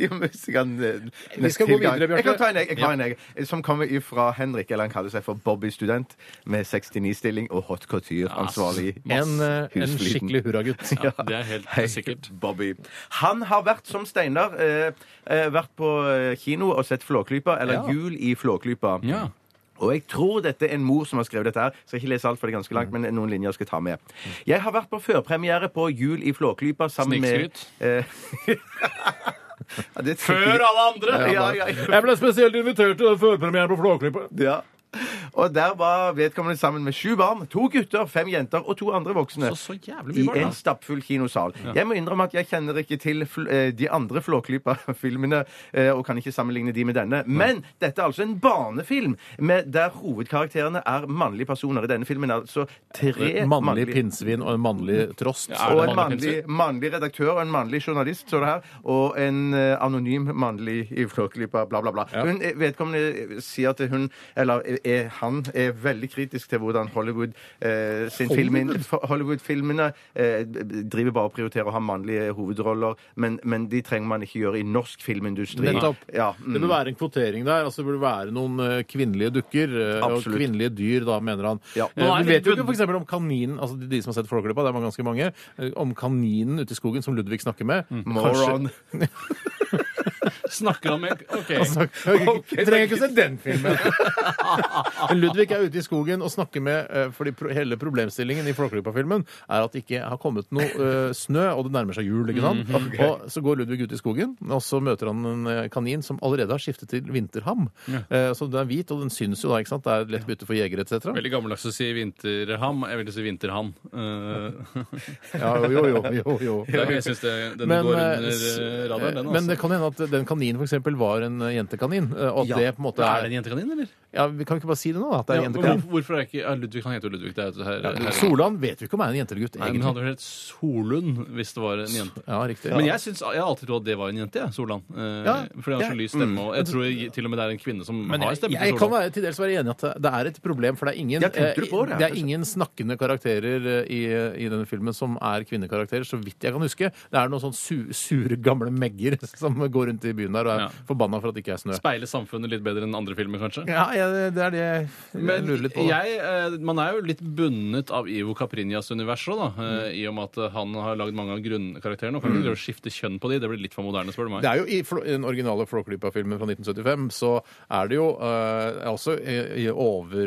Speaker 5: Jo, men hvis jeg kan, eh,
Speaker 4: skal
Speaker 5: neste
Speaker 4: gå
Speaker 5: gang-
Speaker 4: videre, Bjarte.
Speaker 5: Jeg kan ta en, jeg, jeg har en jeg, eh, som kommer fra Henrik, eller han kaller seg for Bobby Student, med 69-stilling og hot couture-ansvarlig.
Speaker 4: En, eh, en
Speaker 5: Husfliden.
Speaker 4: skikkelig hurragutt.
Speaker 6: Ja, det er helt
Speaker 5: Hei,
Speaker 6: sikkert.
Speaker 5: Bobby. Han har vært som Steinar, eh, eh, vært på eh, kino og sett Flåklypa, eller Jul i Flåklypa.
Speaker 6: Ja.
Speaker 5: Og jeg tror dette er en mor som har skrevet dette her. Skal ikke lese alt, for det er ganske langt, men noen linjer skal jeg ta med. Jeg har vært på førpremiere på Jul i Flåklypa sammen med eh, ja, det er
Speaker 6: Før alle andre!
Speaker 5: Ja, ja, ja.
Speaker 4: Jeg ble spesielt invitert til førpremieren på Flåklypa.
Speaker 5: ja. Og der var vedkommende sammen med sju barn, to gutter, fem jenter og to andre voksne.
Speaker 6: Så, så jævlig
Speaker 5: I
Speaker 6: mye barn.
Speaker 5: en
Speaker 6: da.
Speaker 5: stappfull kinosal. Jeg må innrømme at jeg kjenner ikke til fl eh, de andre Flåklypa-filmene, eh, og kan ikke sammenligne de med denne. Men dette er altså en barnefilm med, der hovedkarakterene er mannlige personer. I denne filmen er altså tre
Speaker 4: Mannlig pinnsvin og en mannlig trost.
Speaker 6: Ja,
Speaker 5: og
Speaker 6: Er det
Speaker 5: en
Speaker 6: mannlig
Speaker 5: mannlig, mannlig redaktør og en mannlig journalist, står det her. Og en eh, anonym mannlig i Flåklypa, bla, bla, bla. Hun, eh, vedkommende eh, sier at hun, eller eh, er, han, er veldig kritisk til hvordan Hollywood eh, sin filmin- for- Hollywood-filmene eh, d- driver bare og prioriterer å ha mannlige hovedroller, men, men de trenger man ikke gjøre i norsk filmindustri.
Speaker 4: Nettopp.
Speaker 5: Ja, mm.
Speaker 4: Det bør være en kvotering der. altså Det burde være noen eh, kvinnelige dukker eh, og
Speaker 5: Absolutt.
Speaker 4: kvinnelige dyr, da, mener han.
Speaker 5: Ja.
Speaker 4: Eh,
Speaker 6: Nå er
Speaker 4: Vi
Speaker 6: det-
Speaker 4: vet jo ikke f.eks. om kaninen altså de- De som har sett Flåklypa, det er ganske mange,
Speaker 5: Mm.
Speaker 4: eh, om kaninen ute i skogen som Ludvig snakker med.
Speaker 5: Moron.
Speaker 6: Snakker han med OK.
Speaker 4: Du Altså, trenger ikke å se den filmen. Men Ludvig er ute i skogen og snakker med eh, Fordi pro- hele problemstillingen i Flåklypa-filmen er at det ikke har kommet noe eh, snø, og det nærmer seg jul. ikke sant?
Speaker 6: Mhm.
Speaker 4: Og Så går Ludvig ut i skogen, og så møter han en eh, kanin som allerede har skiftet til vinterham. Eh, Så den er hvit, og den syns jo da, ikke sant? Det er et lett bytte for jegere etc.
Speaker 6: Veldig gammeldags å si vinterham. Jeg ville si vinterhann. Eh,
Speaker 4: Ja, jo, jo, jo, jo,
Speaker 6: det
Speaker 4: jo.
Speaker 6: er- jeg syns det- den
Speaker 4: Men,
Speaker 6: går
Speaker 4: eh,
Speaker 6: under
Speaker 4: s-
Speaker 6: eh, radaren, den.
Speaker 4: eh, Men
Speaker 6: Altså.
Speaker 4: det kan hende at den kaninen for eksempel var en eh, jentekanin. eh, Og at det på en måte
Speaker 6: er
Speaker 4: er
Speaker 6: det en jentekanin, eller?
Speaker 4: Ja, vi Kan vi ikke bare si det nå? da, At det er
Speaker 6: Ja,
Speaker 4: en
Speaker 6: men
Speaker 4: jentekanin?
Speaker 6: hvor, hvorfor er ikke ja, Ludvig Han heter jo Ludvig. Det er jo her, her,
Speaker 4: Solan vet vi ikke om er en jente eller gutt,
Speaker 6: Nei, men han
Speaker 4: egentlig.
Speaker 6: hadde vel hett Solund hvis det var en jente.
Speaker 4: Ja, riktig.
Speaker 6: Men jeg, syns, jeg har alltid trodd at det var en jente, jeg, Solan. Eh,
Speaker 4: Ja,
Speaker 6: fordi han har så
Speaker 4: jeg-
Speaker 6: lys stemme. Og jeg tror jeg, til og med det er en kvinne som
Speaker 4: Men
Speaker 6: har
Speaker 4: jeg,
Speaker 6: stemme
Speaker 4: jeg
Speaker 6: til
Speaker 4: kan
Speaker 6: Solan.
Speaker 4: være, til dels være enig i at det er et problem, for det er ingen,
Speaker 5: Ja, tenkte du på det,
Speaker 4: eh,
Speaker 5: ja,
Speaker 4: det er
Speaker 5: kanskje?
Speaker 4: ingen snakkende karakterer eh, i, i denne filmen som er kvinnekarakterer, så vidt jeg kan huske. Det er noen sånn su, sure gamle megger som går rundt i byen der og er
Speaker 6: Ja.
Speaker 4: forbanna for at det ikke er snø.
Speaker 6: Speile samfunnet litt bedre enn andre filmer, kanskje.
Speaker 4: Ja, jeg, det er det jeg
Speaker 6: Men
Speaker 4: lurer litt på. da.
Speaker 6: jeg, eh, man er jo litt bundet av Ivo Caprinias univers òg, da. eh, I og med at eh, han har lagd mange av grunnkarakterene. Og kan ikke drive og skifte kjønn på de, Mm. det blir litt for moderne, spør du meg.
Speaker 4: Det er jo I Flo- den originale Flåklypa-filmen fra 1975 så er det jo eh, også eh, i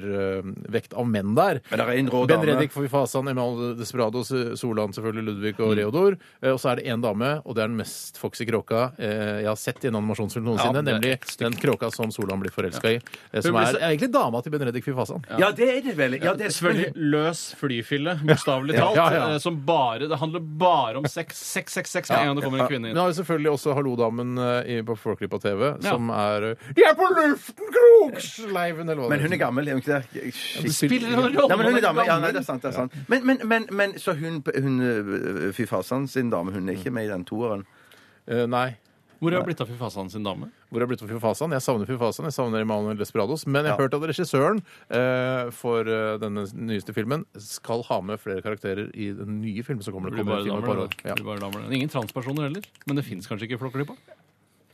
Speaker 4: overvekt av menn der.
Speaker 5: Men det er en rå
Speaker 4: ben
Speaker 5: dame.
Speaker 4: Reddik, Fasan, Emal Desperados, Solan selvfølgelig, Ludvig
Speaker 6: Mm.
Speaker 4: og Reodor. Eh, og så er det én dame, og det er den mest foxy kråka eh, jeg har sett i en animasjonsfilm noensinne.
Speaker 6: men det er
Speaker 4: nemlig den kråka som Solan blir forelska i. eh, som
Speaker 6: Hun blir
Speaker 4: er,
Speaker 6: så-
Speaker 4: er egentlig dama til Ben Reddik Fifasan.
Speaker 5: Ja, det er det vel. Ja, det er
Speaker 6: Selvfølgelig løs flyfille, bokstavelig talt.
Speaker 4: Ja, ja, ja.
Speaker 6: eh, Som bare, det handler bare om sex. Sex, sex, sex med en gang det kommer en kvinne
Speaker 4: Men
Speaker 6: inn.
Speaker 4: det er jo selvfølgelig også Hallo-damen eh, i- på Flåklypa TV,
Speaker 6: Ja.
Speaker 4: som er eh, De er på luften, Kroksleiven! Eller hva
Speaker 5: Men
Speaker 4: det
Speaker 5: hun er gammel, er hun ikke det? Shit.
Speaker 6: Spiller det noen rolle?
Speaker 5: Nei, men hun
Speaker 6: om
Speaker 5: er dame. Ja, nei,
Speaker 6: gammel?
Speaker 5: det er sant. det er sant. Men, men, men, men så hun, hun øh, Fy fasan sin dame, hun er
Speaker 4: Mm.
Speaker 5: ikke med i den toeren?
Speaker 4: Eh, Nei.
Speaker 6: Hvor er blitt av Fifasan sin dame?
Speaker 4: Hvor har det blitt av Fifasan? Jeg savner Fifasan, jeg savner Emanuel Desperados. Men jeg har hørt at regissøren eh, for eh, denne nyeste filmen skal ha med flere karakterer i den nye filmen som kommer.
Speaker 6: Det
Speaker 4: Det
Speaker 6: blir
Speaker 4: kommer
Speaker 6: bare
Speaker 4: en film om et
Speaker 6: damer,
Speaker 4: par
Speaker 6: da.
Speaker 4: år.
Speaker 6: Det
Speaker 4: Ja.
Speaker 6: blir bare damer. Ingen transpersoner heller. Men det fins kanskje ikke Flåklypa?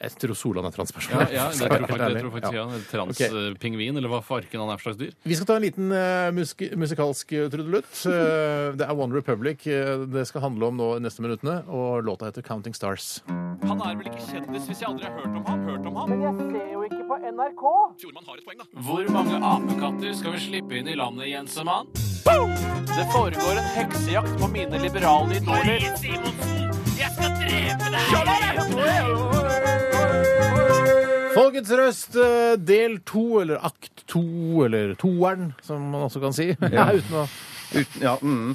Speaker 4: Jeg tror Solan er transperson.
Speaker 6: Ja, ja, det
Speaker 4: Skal jeg
Speaker 6: tror
Speaker 4: være helt ærlig.
Speaker 6: jeg faktisk, jeg tror faktisk
Speaker 4: Ja.
Speaker 6: ja. Transpingvin, eller hva farken han er for slags dyr.
Speaker 4: Vi skal ta en liten eh, musk musikalsk eh, trudelutt. Eh, det er One Republic eh, det skal handle om nå de neste minuttene, og låta heter Counting Stars.
Speaker 6: Han er vel ikke kjendis hvis jeg aldri har hørt om ham? Hørt om ham? Hvor mange apekatter skal vi slippe inn i landet, Jensemann? Det foregår en heksejakt på mine liberale idoler.
Speaker 4: Folkets røst, eh, del to, eller akt to, eller toeren, som man også kan si. Uten å
Speaker 5: Uten, ja, mm.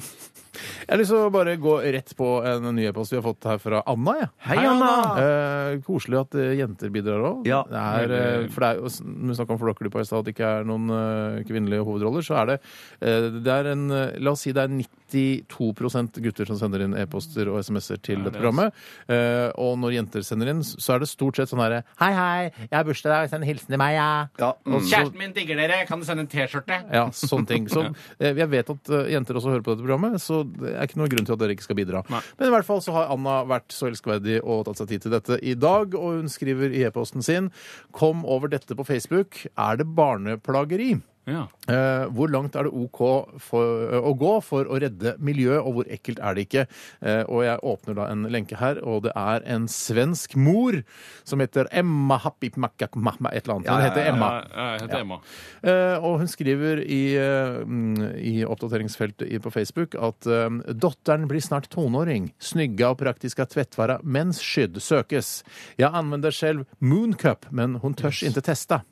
Speaker 4: Jeg har lyst til å bare gå rett på en ny e-post vi har fått her fra Anna. Ja.
Speaker 5: Hei, Anna!
Speaker 4: Eh, koselig at eh, jenter bidrar òg.
Speaker 5: Ja.
Speaker 4: For det er jo, s- når vi snakka om Flåklypa i stad, at det ikke er noen eh, kvinnelige hovedroller, så er det, eh, det er en, eh, La oss si det er 92 gutter som sender inn e-poster og SMS-er til dette programmet.
Speaker 5: altså-
Speaker 4: Eh, og når jenter sender inn, så er det stort sett sånn herre Hei, hei, jeg har bursdag i dag, send hilsen til meg, ja.
Speaker 5: ja, mm.
Speaker 6: Kjæresten min digger dere. Kan du sende en T-skjorte?
Speaker 4: Ja, sånne ting. Så eh, jeg vet at eh, jenter også hører på dette programmet, så det er ikke noen grunn til at dere ikke skal bidra. Men i hvert fall så har Anna vært så elskverdig og tatt seg tid til dette i dag, og hun skriver i e-posten sin Kom over dette på Facebook. Er det barneplageri?
Speaker 6: Ja.
Speaker 4: Eh, hvor langt er det OK for, eh, å gå for å redde miljøet, og hvor ekkelt er det ikke? Eh, og jeg åpner da en lenke her, og det er en svensk mor som heter Emma Happy-Makka-Mamma, et eller annet. Hun heter Emma.
Speaker 6: Jeg heter Emma.
Speaker 4: Eh, og hun skriver i, eh, mm, i oppdateringsfeltet i- på Facebook at eh, dotteren blir snart tonåring. Snygga og praktiska tvättvaror mens skydd søkes. Jeg anvender selv Mooncup, men hun törs inte testa.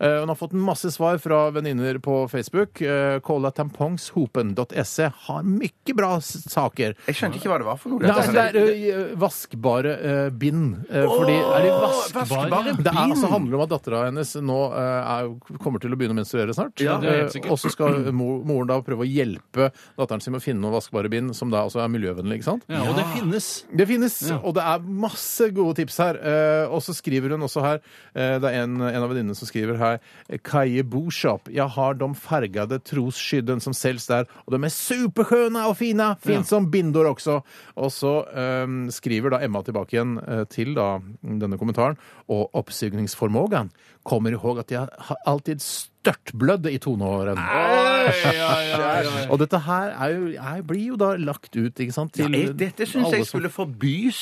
Speaker 4: Eh, hun har fått masse svar fra venninner på Facebook. Eh, Kolla tampongshopen.se E har mycket bra s- saker.
Speaker 5: Jeg skjønte ikke hva det var for noe.
Speaker 4: Nei, altså, det er eh, vaskbare eh, bind. Eh, fordi er de vaskbare?
Speaker 5: vaskbare
Speaker 4: Det er, altså, handler om at dattera hennes nå eh, er, kommer til å begynne å menstruere snart.
Speaker 5: Ja,
Speaker 6: det er helt
Speaker 4: Eh,
Speaker 6: sikkert.
Speaker 4: og så skal mo- moren da prøve å hjelpe datteren sin med å finne noen vaskbare bind som da altså er miljøvennlig, ikke sant?
Speaker 6: Ja, og det finnes.
Speaker 4: Det finnes, og det er masse gode tips her. Eh, og så skriver hun også her eh, Det er en, en av venninnene som skriver her Kaje Boshop. Jeg har de fargede trosskydden som selges der, og de er superskjønne og fine! Fins som bindor også! Og så eh, skriver da Emma tilbake igjen eh, til da denne kommentaren og oppsugningsformågan. kommer ihåg at jeg har alltid størtblødd i tonåren. Og dette her er jo, er, blir jo da lagt ut, ikke sant, til
Speaker 5: Jeg, dette syns
Speaker 4: alle
Speaker 5: jeg
Speaker 4: som-
Speaker 5: skulle forbys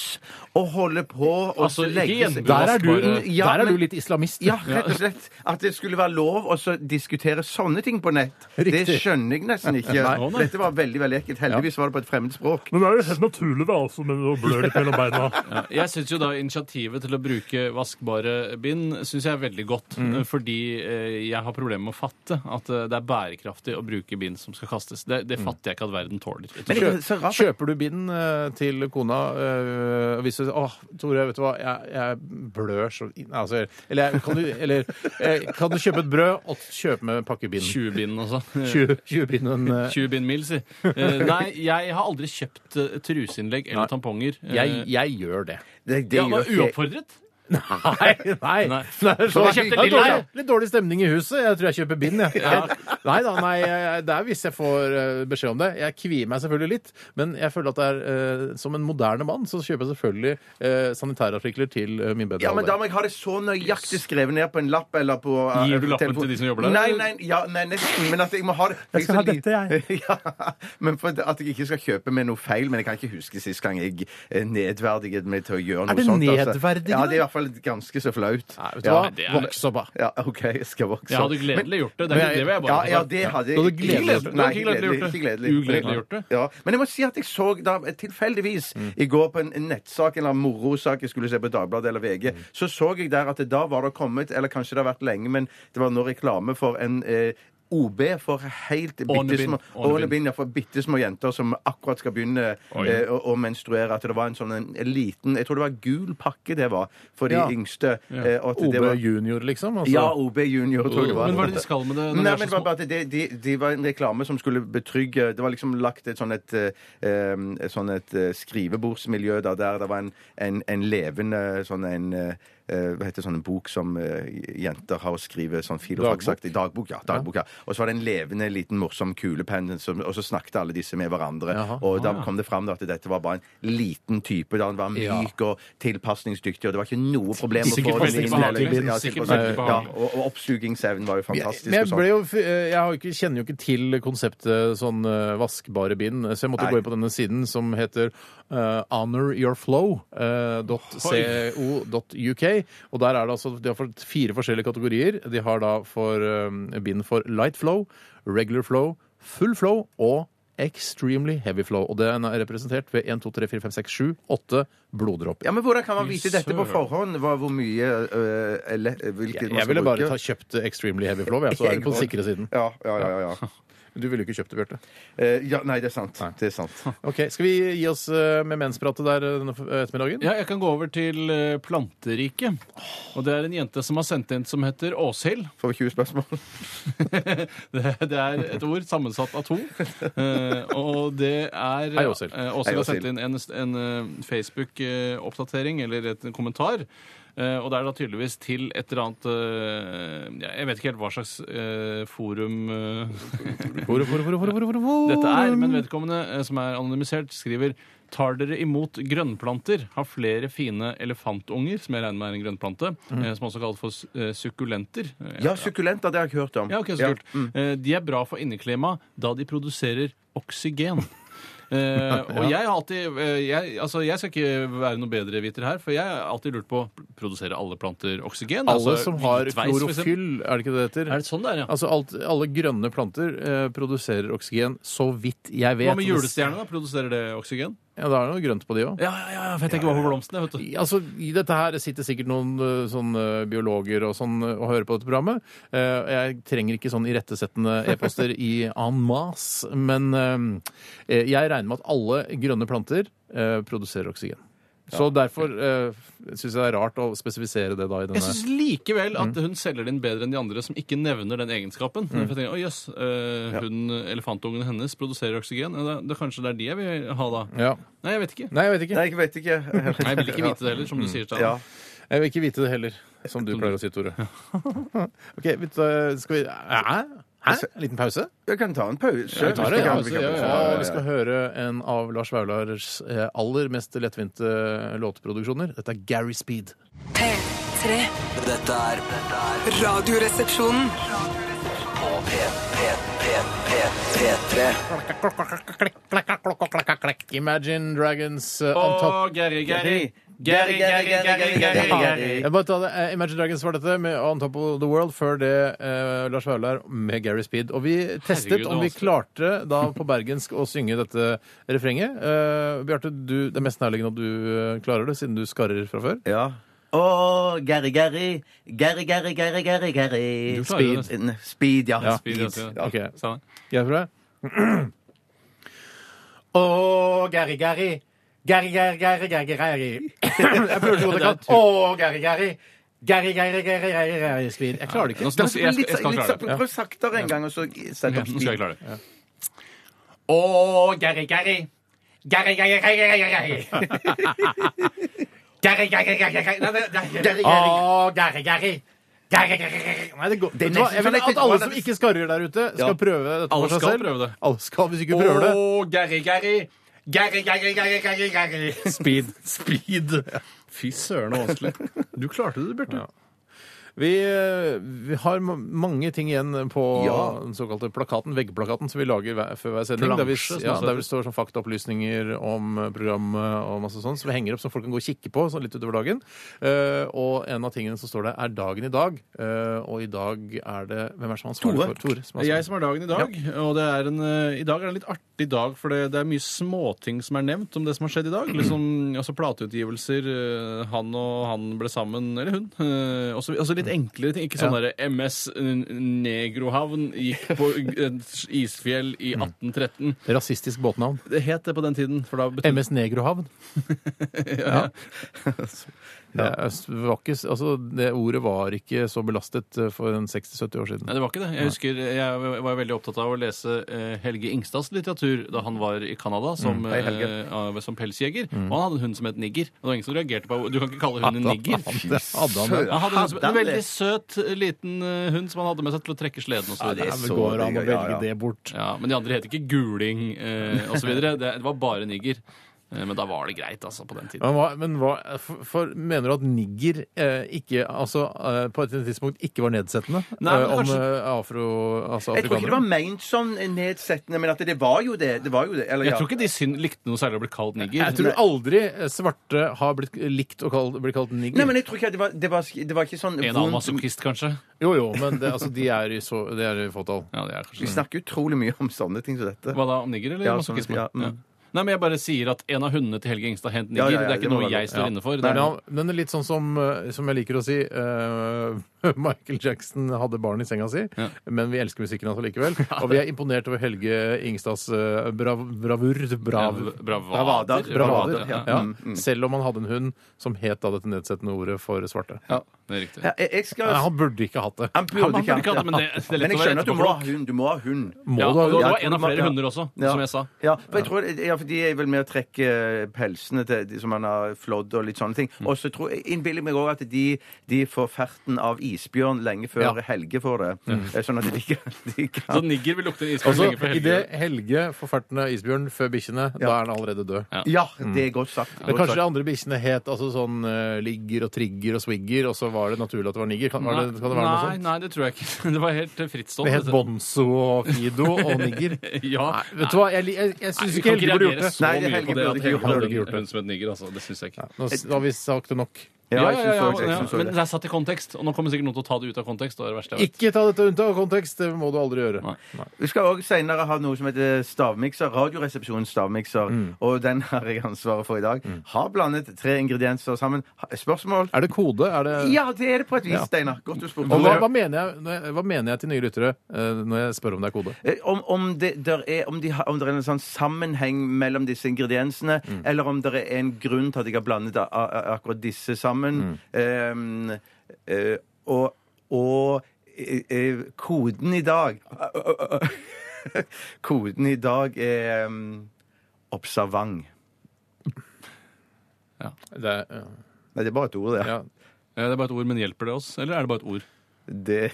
Speaker 5: å holde på og
Speaker 6: Altså,
Speaker 5: legge
Speaker 6: igjen,
Speaker 5: seg
Speaker 4: Der er du,
Speaker 5: Ja,
Speaker 4: der er
Speaker 5: men-
Speaker 4: du litt islamist.
Speaker 5: Ja, rett og slett. At det skulle være lov å så diskutere sånne ting på nett. Det
Speaker 4: Riktig.
Speaker 5: skjønner jeg nesten ikke.
Speaker 6: nei.
Speaker 5: Dette var veldig veldig ekkelt. Heldigvis var det på et fremmed språk.
Speaker 8: Men det er jo helt naturlig da, altså, med å blø litt mellom beina.
Speaker 6: Ja, jeg syns jo da initiativet til å bruke vaskbare bind synes jeg er veldig godt.
Speaker 5: Mm.
Speaker 6: Fordi eh, jeg har problemer med å fatte at eh, det er bærekraftig å bruke bind som skal kastes. Det, det fatter jeg ikke at verden tåler.
Speaker 5: Mm. Men det er så
Speaker 4: Kjø-
Speaker 5: rart.
Speaker 4: Kjøper du bind eh, til kona eh, og hvis du sier åh, Tore, vet du hva, jeg, jeg blør så inn- altså, Eller, jeg- kan du, eller eh, kan du kjøpe et brød og kjøpe med en pakke bind?
Speaker 6: 20 bind, altså.
Speaker 4: 20, 20 bind og en, eh,
Speaker 6: 20 bind mil, si. Eh, nei, jeg har aldri kjøpt eh, truseinnlegg eller tamponger. Eh,
Speaker 4: jeg, jeg gjør det.
Speaker 5: Det, det
Speaker 6: ja,
Speaker 5: gjør
Speaker 6: men
Speaker 5: ikke jeg.
Speaker 6: uoppfordret?
Speaker 4: Nei, nei.
Speaker 6: Nei.
Speaker 4: Nei, så,
Speaker 6: jeg kjøpte
Speaker 4: det er
Speaker 6: lilla,
Speaker 4: dårlig,
Speaker 6: jeg.
Speaker 4: litt dårlig stemning i huset. Jeg tror jeg kjøper bind, jeg. Nei da, nei. jeg- Det er hvis jeg får eh, beskjed om det. Jeg kvier meg selvfølgelig litt, men jeg føler at det er eh, som en moderne mann, så kjøper jeg selvfølgelig eh, sanitærartikler til eh, min bedre
Speaker 5: Ja, men
Speaker 4: halvdel.
Speaker 5: da må jeg ha det så nøyaktig skrevet ned på en lapp eller på eh,
Speaker 6: Gir du lappen
Speaker 5: telefon.
Speaker 6: til de som jobber der?
Speaker 5: Nei, nei, ja, nei nesten. Men at jeg må ha det
Speaker 8: Jeg skal ha dette, jeg.
Speaker 5: ja, men for at jeg ikke skal kjøpe med noe feil. Men jeg kan ikke huske sist gang jeg eh, nedverdiget meg til å gjøre noe
Speaker 4: det
Speaker 5: sånt. altså.
Speaker 4: nedverdigende?
Speaker 5: Ja, det er i hvert fall ganske så flaut.
Speaker 4: Nei, vet du
Speaker 5: ja.
Speaker 4: hva?
Speaker 6: det er-
Speaker 4: Voks opp, da.
Speaker 5: Ja, OK, jeg skal vokse
Speaker 6: Jeg hadde
Speaker 5: opp. Men-
Speaker 6: gledelig gjort det. Det, er
Speaker 4: Men
Speaker 6: ikke
Speaker 4: jeg-
Speaker 6: det vil jeg
Speaker 5: ja,
Speaker 6: bare
Speaker 5: ja, det hadde
Speaker 4: Du hadde
Speaker 5: jeg
Speaker 4: gledelig gjort
Speaker 6: det.
Speaker 5: Nei,
Speaker 6: Du hadde ikke gledelig gjort det.
Speaker 5: ikke gledelig.
Speaker 6: Ugledelig gjort det. Mm.
Speaker 5: Ja, men jeg må si at jeg så da tilfeldigvis i går på en nettsak eller en morosak jeg skulle se på Dagbladet eller
Speaker 6: Mm.
Speaker 5: VG, så så jeg der at det da var det kommet, eller kanskje det har vært lenge, men det var nå reklame for en eh, OB for helt bitte små
Speaker 6: Ånebind.
Speaker 5: Ånebind, ja, for bitte små jenter som akkurat skal begynne eh, å, å menstruere. At det var en sånn en liten Jeg tror det var gul pakke det var for de
Speaker 4: Ja.
Speaker 5: yngste. eh, og at det
Speaker 4: OB
Speaker 5: var-
Speaker 4: junior, liksom? Altså.
Speaker 5: ja, OB junior, tror jeg det var.
Speaker 6: Men hva er det de skal med det? når
Speaker 5: Nei,
Speaker 6: de er
Speaker 5: men det
Speaker 6: så
Speaker 5: var bare at det, de, de var en reklame som skulle betrygge Det var liksom lagt et sånn et, eh, um, et sånn et eh, skrivebordsmiljø da, der det var en, en, en levende sånn en eh, eh, hva heter sånn en bok som eh, jenter har å skrive sånn filofaksaktig? Dagbok. ja. dagbok, ja. Og så var det en levende, liten, morsom kulepenn, som- og så snakket alle disse med hverandre.
Speaker 4: Jaha.
Speaker 5: Og
Speaker 6: Ah,
Speaker 5: da kom det fram da, at dette var bare en liten type. da Han var myk og tilpasningsdyktig, og det var ikke noe problem å få
Speaker 6: Sikkert
Speaker 5: den
Speaker 6: veldig
Speaker 5: inn. eller-
Speaker 6: behagelig.
Speaker 5: Ja,
Speaker 6: Sikkert
Speaker 5: tilpasning-
Speaker 6: veldig
Speaker 5: ja,
Speaker 6: behagelig.
Speaker 5: og, og oppsugingsevnen var jo fantastisk.
Speaker 4: Men jeg,
Speaker 5: og sånn.
Speaker 4: ble jo, f- eh, jeg har jo ikke, kjenner jo ikke til konseptet sånn eh, vaskbare bind, så jeg måtte
Speaker 5: Nei.
Speaker 4: gå inn på denne siden som heter eh, honoryourflow.co.uk. og der er det altså De har fått fire forskjellige kategorier. De har da for eh, bind for light flow, regular flow, full flow og Extremely heavy flow. Og den er representert ved 1, 2, 3, 4, 5, 6, 7, 8 bloddråper.
Speaker 5: Ja, men Hvordan kan man vite dette på
Speaker 6: Søren.
Speaker 5: forhånd? Hva, hvor mye øh, eller, Hvilket
Speaker 4: Jeg,
Speaker 5: man
Speaker 4: jeg
Speaker 5: skal
Speaker 4: ville bare
Speaker 5: bruke?
Speaker 4: ta, kjøpt Extremely Heavy Flow, jeg, så er vi på den sikre siden.
Speaker 5: Ja, ja, ja. ja, ja.
Speaker 4: Du ville jo ikke kjøpt det, Bjarte.
Speaker 5: Eh, ja nei, det er sant. Det er sant.
Speaker 4: Ok, Skal vi gi oss eh, med menspratet der eh, denne eh, ettermiddagen?
Speaker 6: Ja, jeg kan gå over til eh, planteriket. Og det er en jente som har sendt inn som heter Åshild.
Speaker 5: Får vi 20 spørsmål?
Speaker 6: Det, det er et ord sammensatt av to. Eh, og det er
Speaker 4: Hei, Åshild.
Speaker 6: Eh,
Speaker 5: Hei,
Speaker 6: har sendt
Speaker 5: Åshild.
Speaker 6: inn en, en eh, Facebook-oppdatering eller et, en kommentar. Eh, og det er da tydeligvis til et eller annet eh, ja, Jeg vet ikke helt hva slags eh, forum eh,
Speaker 4: Hvor, hvor, hvor, hvor, hvor, hvor, hvor?
Speaker 6: dette er, men vedkommende eh, som er anonymisert, skriver Tar dere imot grønnplanter? Har flere fine elefantunger, som jeg regner med er en grønnplante, eh, som også kalles for su- eh, sukkulenter. Eh,
Speaker 5: Ja, sukkulenter. Det har jeg hørt om.
Speaker 6: ja, ok, så kult. Eh, De er bra for inneklima da de produserer oksygen. Eh, og jeg har alltid eh, jeg, altså jeg skal ikke være noe bedreviter her, for jeg har alltid lurt på Produserer alle planter oksygen?
Speaker 4: Alle
Speaker 6: Altså,
Speaker 4: som har
Speaker 6: hvitveis, for eksempel.
Speaker 4: klorofyll, er det ikke det det heter?
Speaker 6: Er det sånn det er, ja?
Speaker 4: Altså alt, Alle grønne planter eh, produserer oksygen, så vidt jeg vet.
Speaker 6: Hva med julestjernene? da? Produserer det oksygen?
Speaker 4: Ja, Da er det noe grønt på de òg.
Speaker 6: Ja, ja, ja, jeg vet ikke hva for blomstene. Vet du.
Speaker 4: Altså, I dette her sitter sikkert noen eh, sånne biologer og sånn eh, og hører på dette programmet. Eh, Jeg trenger ikke sånn irettesettende e-poster i en masse, men eh, jeg regner med at alle grønne planter eh, produserer oksygen. Så derfor uh, syns jeg det er rart å spesifisere det da i
Speaker 6: Jeg
Speaker 4: denne
Speaker 6: syns likevel at hun selger det inn bedre enn de andre som ikke nevner den egenskapen. For jeg tenker, å jøss, eh, hun, elefantungen hennes produserer oksygen. Ja, da, da kanskje det er de jeg vil ha da.
Speaker 4: ja.
Speaker 6: Nei, jeg vet ikke.
Speaker 4: Nei, jeg vet ikke.
Speaker 5: Nei, jeg vet ikke.
Speaker 6: Nei, Jeg vil ikke vite det heller, som du sier, Stein.
Speaker 5: Ja.
Speaker 4: Jeg vil ikke vite det heller, som du pleier å si, Tore. OK, vet du, skal vi Hæ? Hæ? En liten pause?
Speaker 5: Jeg kan ta en pause.
Speaker 4: Vi tar det,
Speaker 5: Vi
Speaker 4: ja.
Speaker 5: kan-
Speaker 6: altså,
Speaker 5: vi kan-
Speaker 6: ja,
Speaker 4: Ja, vi skal høre en av Lars eh, Vaulars eh, aller mest lettvinte låtproduksjoner. Dette er Gary Speed.
Speaker 7: P3. P3.
Speaker 9: Dette er dette er
Speaker 7: Radioresepsjonen.
Speaker 9: på P, P, P, P, P3.
Speaker 4: Imagine Dragons eh, on top.
Speaker 6: Og Gary, Gary.
Speaker 5: Gary, Gary, Gary, Gary, Gary.
Speaker 4: Jeg bare ta det. Eh, Imagine Dragons var dette med On Top of the World. Før det eh, Lars Vaular med Gary Speed. Og vi testet
Speaker 6: Herregud, det
Speaker 4: om
Speaker 6: var
Speaker 4: vi klarte da på bergensk å synge dette refrenget. Eh, Bjarte, du- det er mest nærliggende at du eh, klarer det, siden du skarrer fra før.
Speaker 5: Ja. Å, Gary, Gary, Gary, Gary, Gary, Gary, Gary.
Speaker 6: Du klarer det
Speaker 5: Speed. N- Speed, ja.
Speaker 4: Ja,
Speaker 6: Speed, altså.
Speaker 5: Ja.
Speaker 4: Ok,
Speaker 6: Sa han.
Speaker 4: Jeg prøver. Å, Gary, Gary. Gary, Gary, Gary, Gary, Gary. Jeg prøver så godt jeg kan. Å, Gary, Gary. Gary, Gary, Gary, Gary, Gary, Speed. Jeg klarer det ikke.
Speaker 6: Nå skal- nå skal- Jeg skal,
Speaker 5: Litt, sånn-
Speaker 6: jeg skal
Speaker 5: litt,
Speaker 6: klare det.
Speaker 5: prøv saktere en gang, og så sett
Speaker 6: Ok,
Speaker 5: opp
Speaker 6: nå skal jeg
Speaker 5: speed.
Speaker 6: klare det. Å, Gary, Gary. Gary, Gary, Gary, Gary, Gary. Gary, Gary, Gary, Gary. Nei, det- det-
Speaker 5: Gary, Gary.
Speaker 4: Å, Gary, Gary. Gary, Gary, Gary. Nei, det går.
Speaker 5: Det er
Speaker 4: Vet du hva?
Speaker 5: nesten
Speaker 4: Jeg vil
Speaker 5: som jeg
Speaker 4: at alle
Speaker 5: tenkte-
Speaker 4: som ikke skarrer der ute, skal
Speaker 5: Ja.
Speaker 4: prøve dette
Speaker 6: Alle
Speaker 4: for seg
Speaker 6: skal
Speaker 4: selv.
Speaker 6: prøve det.
Speaker 4: Alle skal, hvis ikke prøver det.
Speaker 6: Å, Gary, Gary. Gary, Gary, Gary, Gary, Gary.
Speaker 4: Speed.
Speaker 6: Fy søren, så vanskelig. Du klarte det, Bjarte.
Speaker 4: Vi, eh, vi har ma- mange ting igjen på
Speaker 5: Ja.
Speaker 4: den såkalte plakaten, veggplakaten som vi lager hver, før hver sending.
Speaker 6: Plansje,
Speaker 4: der, vi,
Speaker 6: som det
Speaker 4: ja,
Speaker 6: heter.
Speaker 4: der det står sånn faktaopplysninger om eh, programmet og masse sånn, som vi henger opp som folk kan gå og kikke på sånn litt utover dagen. Eh, og en av tingene som står der, er dagen i dag. Eh, og i dag er det Hvem er som er ansvarlig
Speaker 5: Tore.
Speaker 4: for Tore? Som er sånn.
Speaker 6: Det er jeg som har dagen i dag. Og det er en, eh, i dag er det en litt artig dag, for det, det er mye småting som er nevnt om det som har skjedd i dag. Liksom, altså Plateutgivelser, eh, han og han ble sammen, eller hun. eh, Også, altså litt enklere ting. Ikke sånn derre MS Negrohavn gikk på et isfjell i
Speaker 4: Mm.
Speaker 6: 1813.
Speaker 4: ansvarlig. Rasistisk båtnavn.
Speaker 6: Det het det på den tiden. For da betød
Speaker 4: MS Negrohavn. ja. Det, er- var ikke, altså, det ordet var ikke så belastet eh, for en 60-70 år siden.
Speaker 6: Nei, det var ikke det. Jeg husker jeg var veldig opptatt av å lese eh, Helge Ingstads litteratur da han var i Canada som,
Speaker 5: Mm. Hei, Helge. Mm.
Speaker 6: eh, av- som pelsjeger. Og han hadde en hund som het Nigger. Og det var ingen som reagerte på Du kan ikke kalle hunden nigger.
Speaker 4: Det hadde han, ja.
Speaker 6: Han hadde en,
Speaker 5: Hadde
Speaker 6: som, en
Speaker 5: han det?
Speaker 6: veldig søt eh, liten eh, hund som han hadde med seg til å trekke sleden og så
Speaker 5: det er
Speaker 6: videre.
Speaker 4: Ja, men
Speaker 5: så
Speaker 4: går det an å
Speaker 5: digg, ja,
Speaker 4: velge
Speaker 5: ja.
Speaker 4: det bort?
Speaker 6: Ja, men de andre het ikke Guling eh, og så videre. Det, det var bare Nigger. Eh, Men da var det greit, altså, på den tiden.
Speaker 4: Men, hva, men hva, for, for mener du at nigger eh, ikke, altså, eh, på et tidspunkt ikke var nedsettende
Speaker 6: Nei, men
Speaker 4: eh, om
Speaker 6: kanskje-
Speaker 4: eh, afro, altså
Speaker 5: Jeg tror ikke det var
Speaker 4: afrikanere?
Speaker 5: ment som nedsettende, men at det var jo det. Det var jo det. Eller,
Speaker 6: Jeg
Speaker 5: ja.
Speaker 6: tror ikke de syn likte noe særlig å bli kalt Nigger.
Speaker 4: Jeg tror aldri eh, svarte har blitt likt å kall- bli kalt nigger.
Speaker 5: Nei, men jeg tror ikke at det var, det var, det var ikke sånn
Speaker 6: En annen masochist, kanskje.
Speaker 4: Jo, jo, men det, altså, de er i, så, de er i fåtall.
Speaker 6: Ja, det er
Speaker 5: Vi
Speaker 6: kanskje
Speaker 5: snakker utrolig mye om sånne ting som dette.
Speaker 6: Hva da, om nigger eller
Speaker 5: Ja,
Speaker 6: masochisme?
Speaker 5: sånn, ja, mm.
Speaker 6: Ja. Nei, men Jeg bare sier at en av hundene til Helge Ingstad het nigger.
Speaker 5: Ja, ja, ja,
Speaker 6: det er
Speaker 5: det
Speaker 6: ikke
Speaker 5: må
Speaker 6: noe
Speaker 5: være
Speaker 6: jeg står inne for. Det
Speaker 4: Men
Speaker 6: er,
Speaker 4: han- men det er litt sånn som, eh, som jeg liker å si eh, Michael Jackson hadde barn i senga si,
Speaker 6: Ja.
Speaker 4: men vi elsker musikken hans likevel. Og vi er imponert over Helge Ingstads eh, brav, bravur. Brav,
Speaker 6: Brav- bravader.
Speaker 5: Bravader,
Speaker 4: bravader.
Speaker 5: bravader, ja.
Speaker 4: ja.
Speaker 5: Mm, mm.
Speaker 4: Selv om han hadde en hund som het da dette nedsettende ordet for svarte.
Speaker 6: det er riktig.
Speaker 5: Ja, jeg, jeg skal
Speaker 4: Nei, han burde ikke hatt det.
Speaker 5: Han
Speaker 6: Han
Speaker 5: burde
Speaker 6: burde
Speaker 5: ikke
Speaker 6: ikke hatt det, men det, det er
Speaker 5: Men jeg
Speaker 6: lett å være
Speaker 5: skjønner at du må ha
Speaker 6: etterpåklok.
Speaker 5: hund. Du må ha hund.
Speaker 4: Må
Speaker 6: Ja,
Speaker 4: du ha
Speaker 6: og det
Speaker 4: hund?
Speaker 6: var en av flere
Speaker 5: Ja.
Speaker 6: hunder også,
Speaker 5: Ja.
Speaker 6: som jeg sa.
Speaker 5: Ja, for jeg tror, ja, for de er vel med å trekke eh, pelsene til de som han har flådd og litt sånne ting.
Speaker 6: Mm.
Speaker 5: Og så tror jeg- innbiller jeg meg òg at de, de får ferten av isbjørn lenge før
Speaker 4: Ja.
Speaker 5: Helge får det. Sånn at de kan, de
Speaker 6: Mm. Så
Speaker 5: kan
Speaker 6: nigger vil lukte en isbjørn
Speaker 4: Altså,
Speaker 6: lenge før Helge.
Speaker 4: Idet Helge forfertende isbjørn før bikkjene, da er han allerede død.
Speaker 5: Ja,
Speaker 6: Mm.
Speaker 5: det er godt sagt.
Speaker 4: Men
Speaker 5: Godt
Speaker 4: kanskje de
Speaker 5: sagt.
Speaker 4: andre bikkjene het altså sånn eh, ligger og trigger og swigger, og så var det naturlig at det var nigger? Kan, var det, kan det være noe
Speaker 6: Nei,
Speaker 4: sånt?
Speaker 6: nei, det tror jeg ikke. Det var helt eh,
Speaker 4: Det
Speaker 6: frittstående.
Speaker 4: het Bonzo og Fido og Nigger.
Speaker 6: Ja.
Speaker 4: Nei, vet du hva, jeg, li- jeg, jeg
Speaker 6: Nei,
Speaker 4: syns
Speaker 6: vi
Speaker 4: ikke
Speaker 6: kan
Speaker 4: Helge
Speaker 6: ikke
Speaker 4: burde
Speaker 6: reagere
Speaker 4: gjort det.
Speaker 6: så
Speaker 5: Nei, det
Speaker 6: mye
Speaker 5: Helge
Speaker 6: på det
Speaker 5: burde
Speaker 6: at
Speaker 5: ikke gjort
Speaker 6: Helge hadde
Speaker 4: det.
Speaker 6: en hund som het nigger. altså. Det syns jeg ikke.
Speaker 4: Nå s- nå har vi sagt det nok.
Speaker 5: Ja, jeg synes også- jeg
Speaker 6: ja,
Speaker 5: synes også
Speaker 6: Men
Speaker 5: det.
Speaker 6: det er satt i kontekst, og nå kommer sikkert noen til å ta det ut av kontekst. og Det er det verste jeg vet.
Speaker 4: Ikke ta dette ut av kontekst, det må du aldri gjøre.
Speaker 6: Nei.
Speaker 5: Vi skal òg senere ha noe som heter stavmikser. Radioresepsjonens stavmikser.
Speaker 4: Mm.
Speaker 5: Og den har jeg ansvaret for i dag. Har blandet tre ingredienser sammen. Ha- Spørsmål?
Speaker 4: Er det kode? Er det
Speaker 5: Ja, det er det på et vis,
Speaker 4: Ja.
Speaker 5: Steinar. Godt du spurte.
Speaker 4: Og hva, hva, mener jeg, når jeg- hva mener jeg til nye lyttere eh, når jeg spør om det er kode?
Speaker 5: Eh, Om, om, det, der er, om, de har, om det er en sånn sammenheng mellom disse ingrediensene, eller om det er en grunn til at jeg har blandet a, a, akkurat disse sammen. Ehm, eh, og og eh, eh, koden i dag Koden i dag er ehm, observant.
Speaker 4: Det er,
Speaker 5: Nei, det er bare et ord, det.
Speaker 4: ja.
Speaker 6: Ja, Det er bare et ord, men hjelper det oss? Eller er det bare et ord?
Speaker 5: Det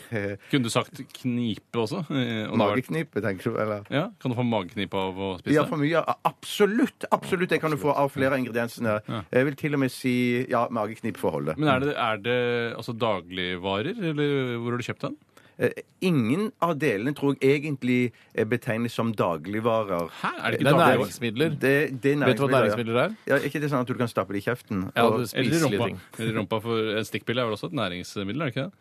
Speaker 6: Kunne du sagt knipe også? Eh, og det var-
Speaker 5: Mageknipe, tenker du? Eller?
Speaker 6: Ja, Kan du få mageknipe av å spise
Speaker 5: Ja,
Speaker 6: det?
Speaker 5: for mye. ja, Absolutt! absolutt, Det kan du få av flere av ingrediensene. Jeg vil til og med si ja, mageknip for å holde.
Speaker 6: Men er det, er det altså dagligvarer, eller hvor har du kjøpt den?
Speaker 5: Eh, Ingen av delene tror jeg egentlig eh, betegnes som dagligvarer.
Speaker 6: Hæ? Er det
Speaker 4: Det
Speaker 6: ikke
Speaker 4: er
Speaker 6: dagligvarer?
Speaker 4: næringsmidler.
Speaker 5: Det, det er
Speaker 4: Vet du hva
Speaker 5: næringsmidler,
Speaker 4: næringsmidler er?
Speaker 5: Ja, Er ikke det sånn at du kan stappe det i kjeften?
Speaker 4: Ja,
Speaker 5: Og-
Speaker 4: du
Speaker 6: Eller
Speaker 4: spiselige
Speaker 6: rumpa.
Speaker 4: ting.
Speaker 6: Eller rumpa for En stikkpille er vel også et næringsmiddel? er det ikke det?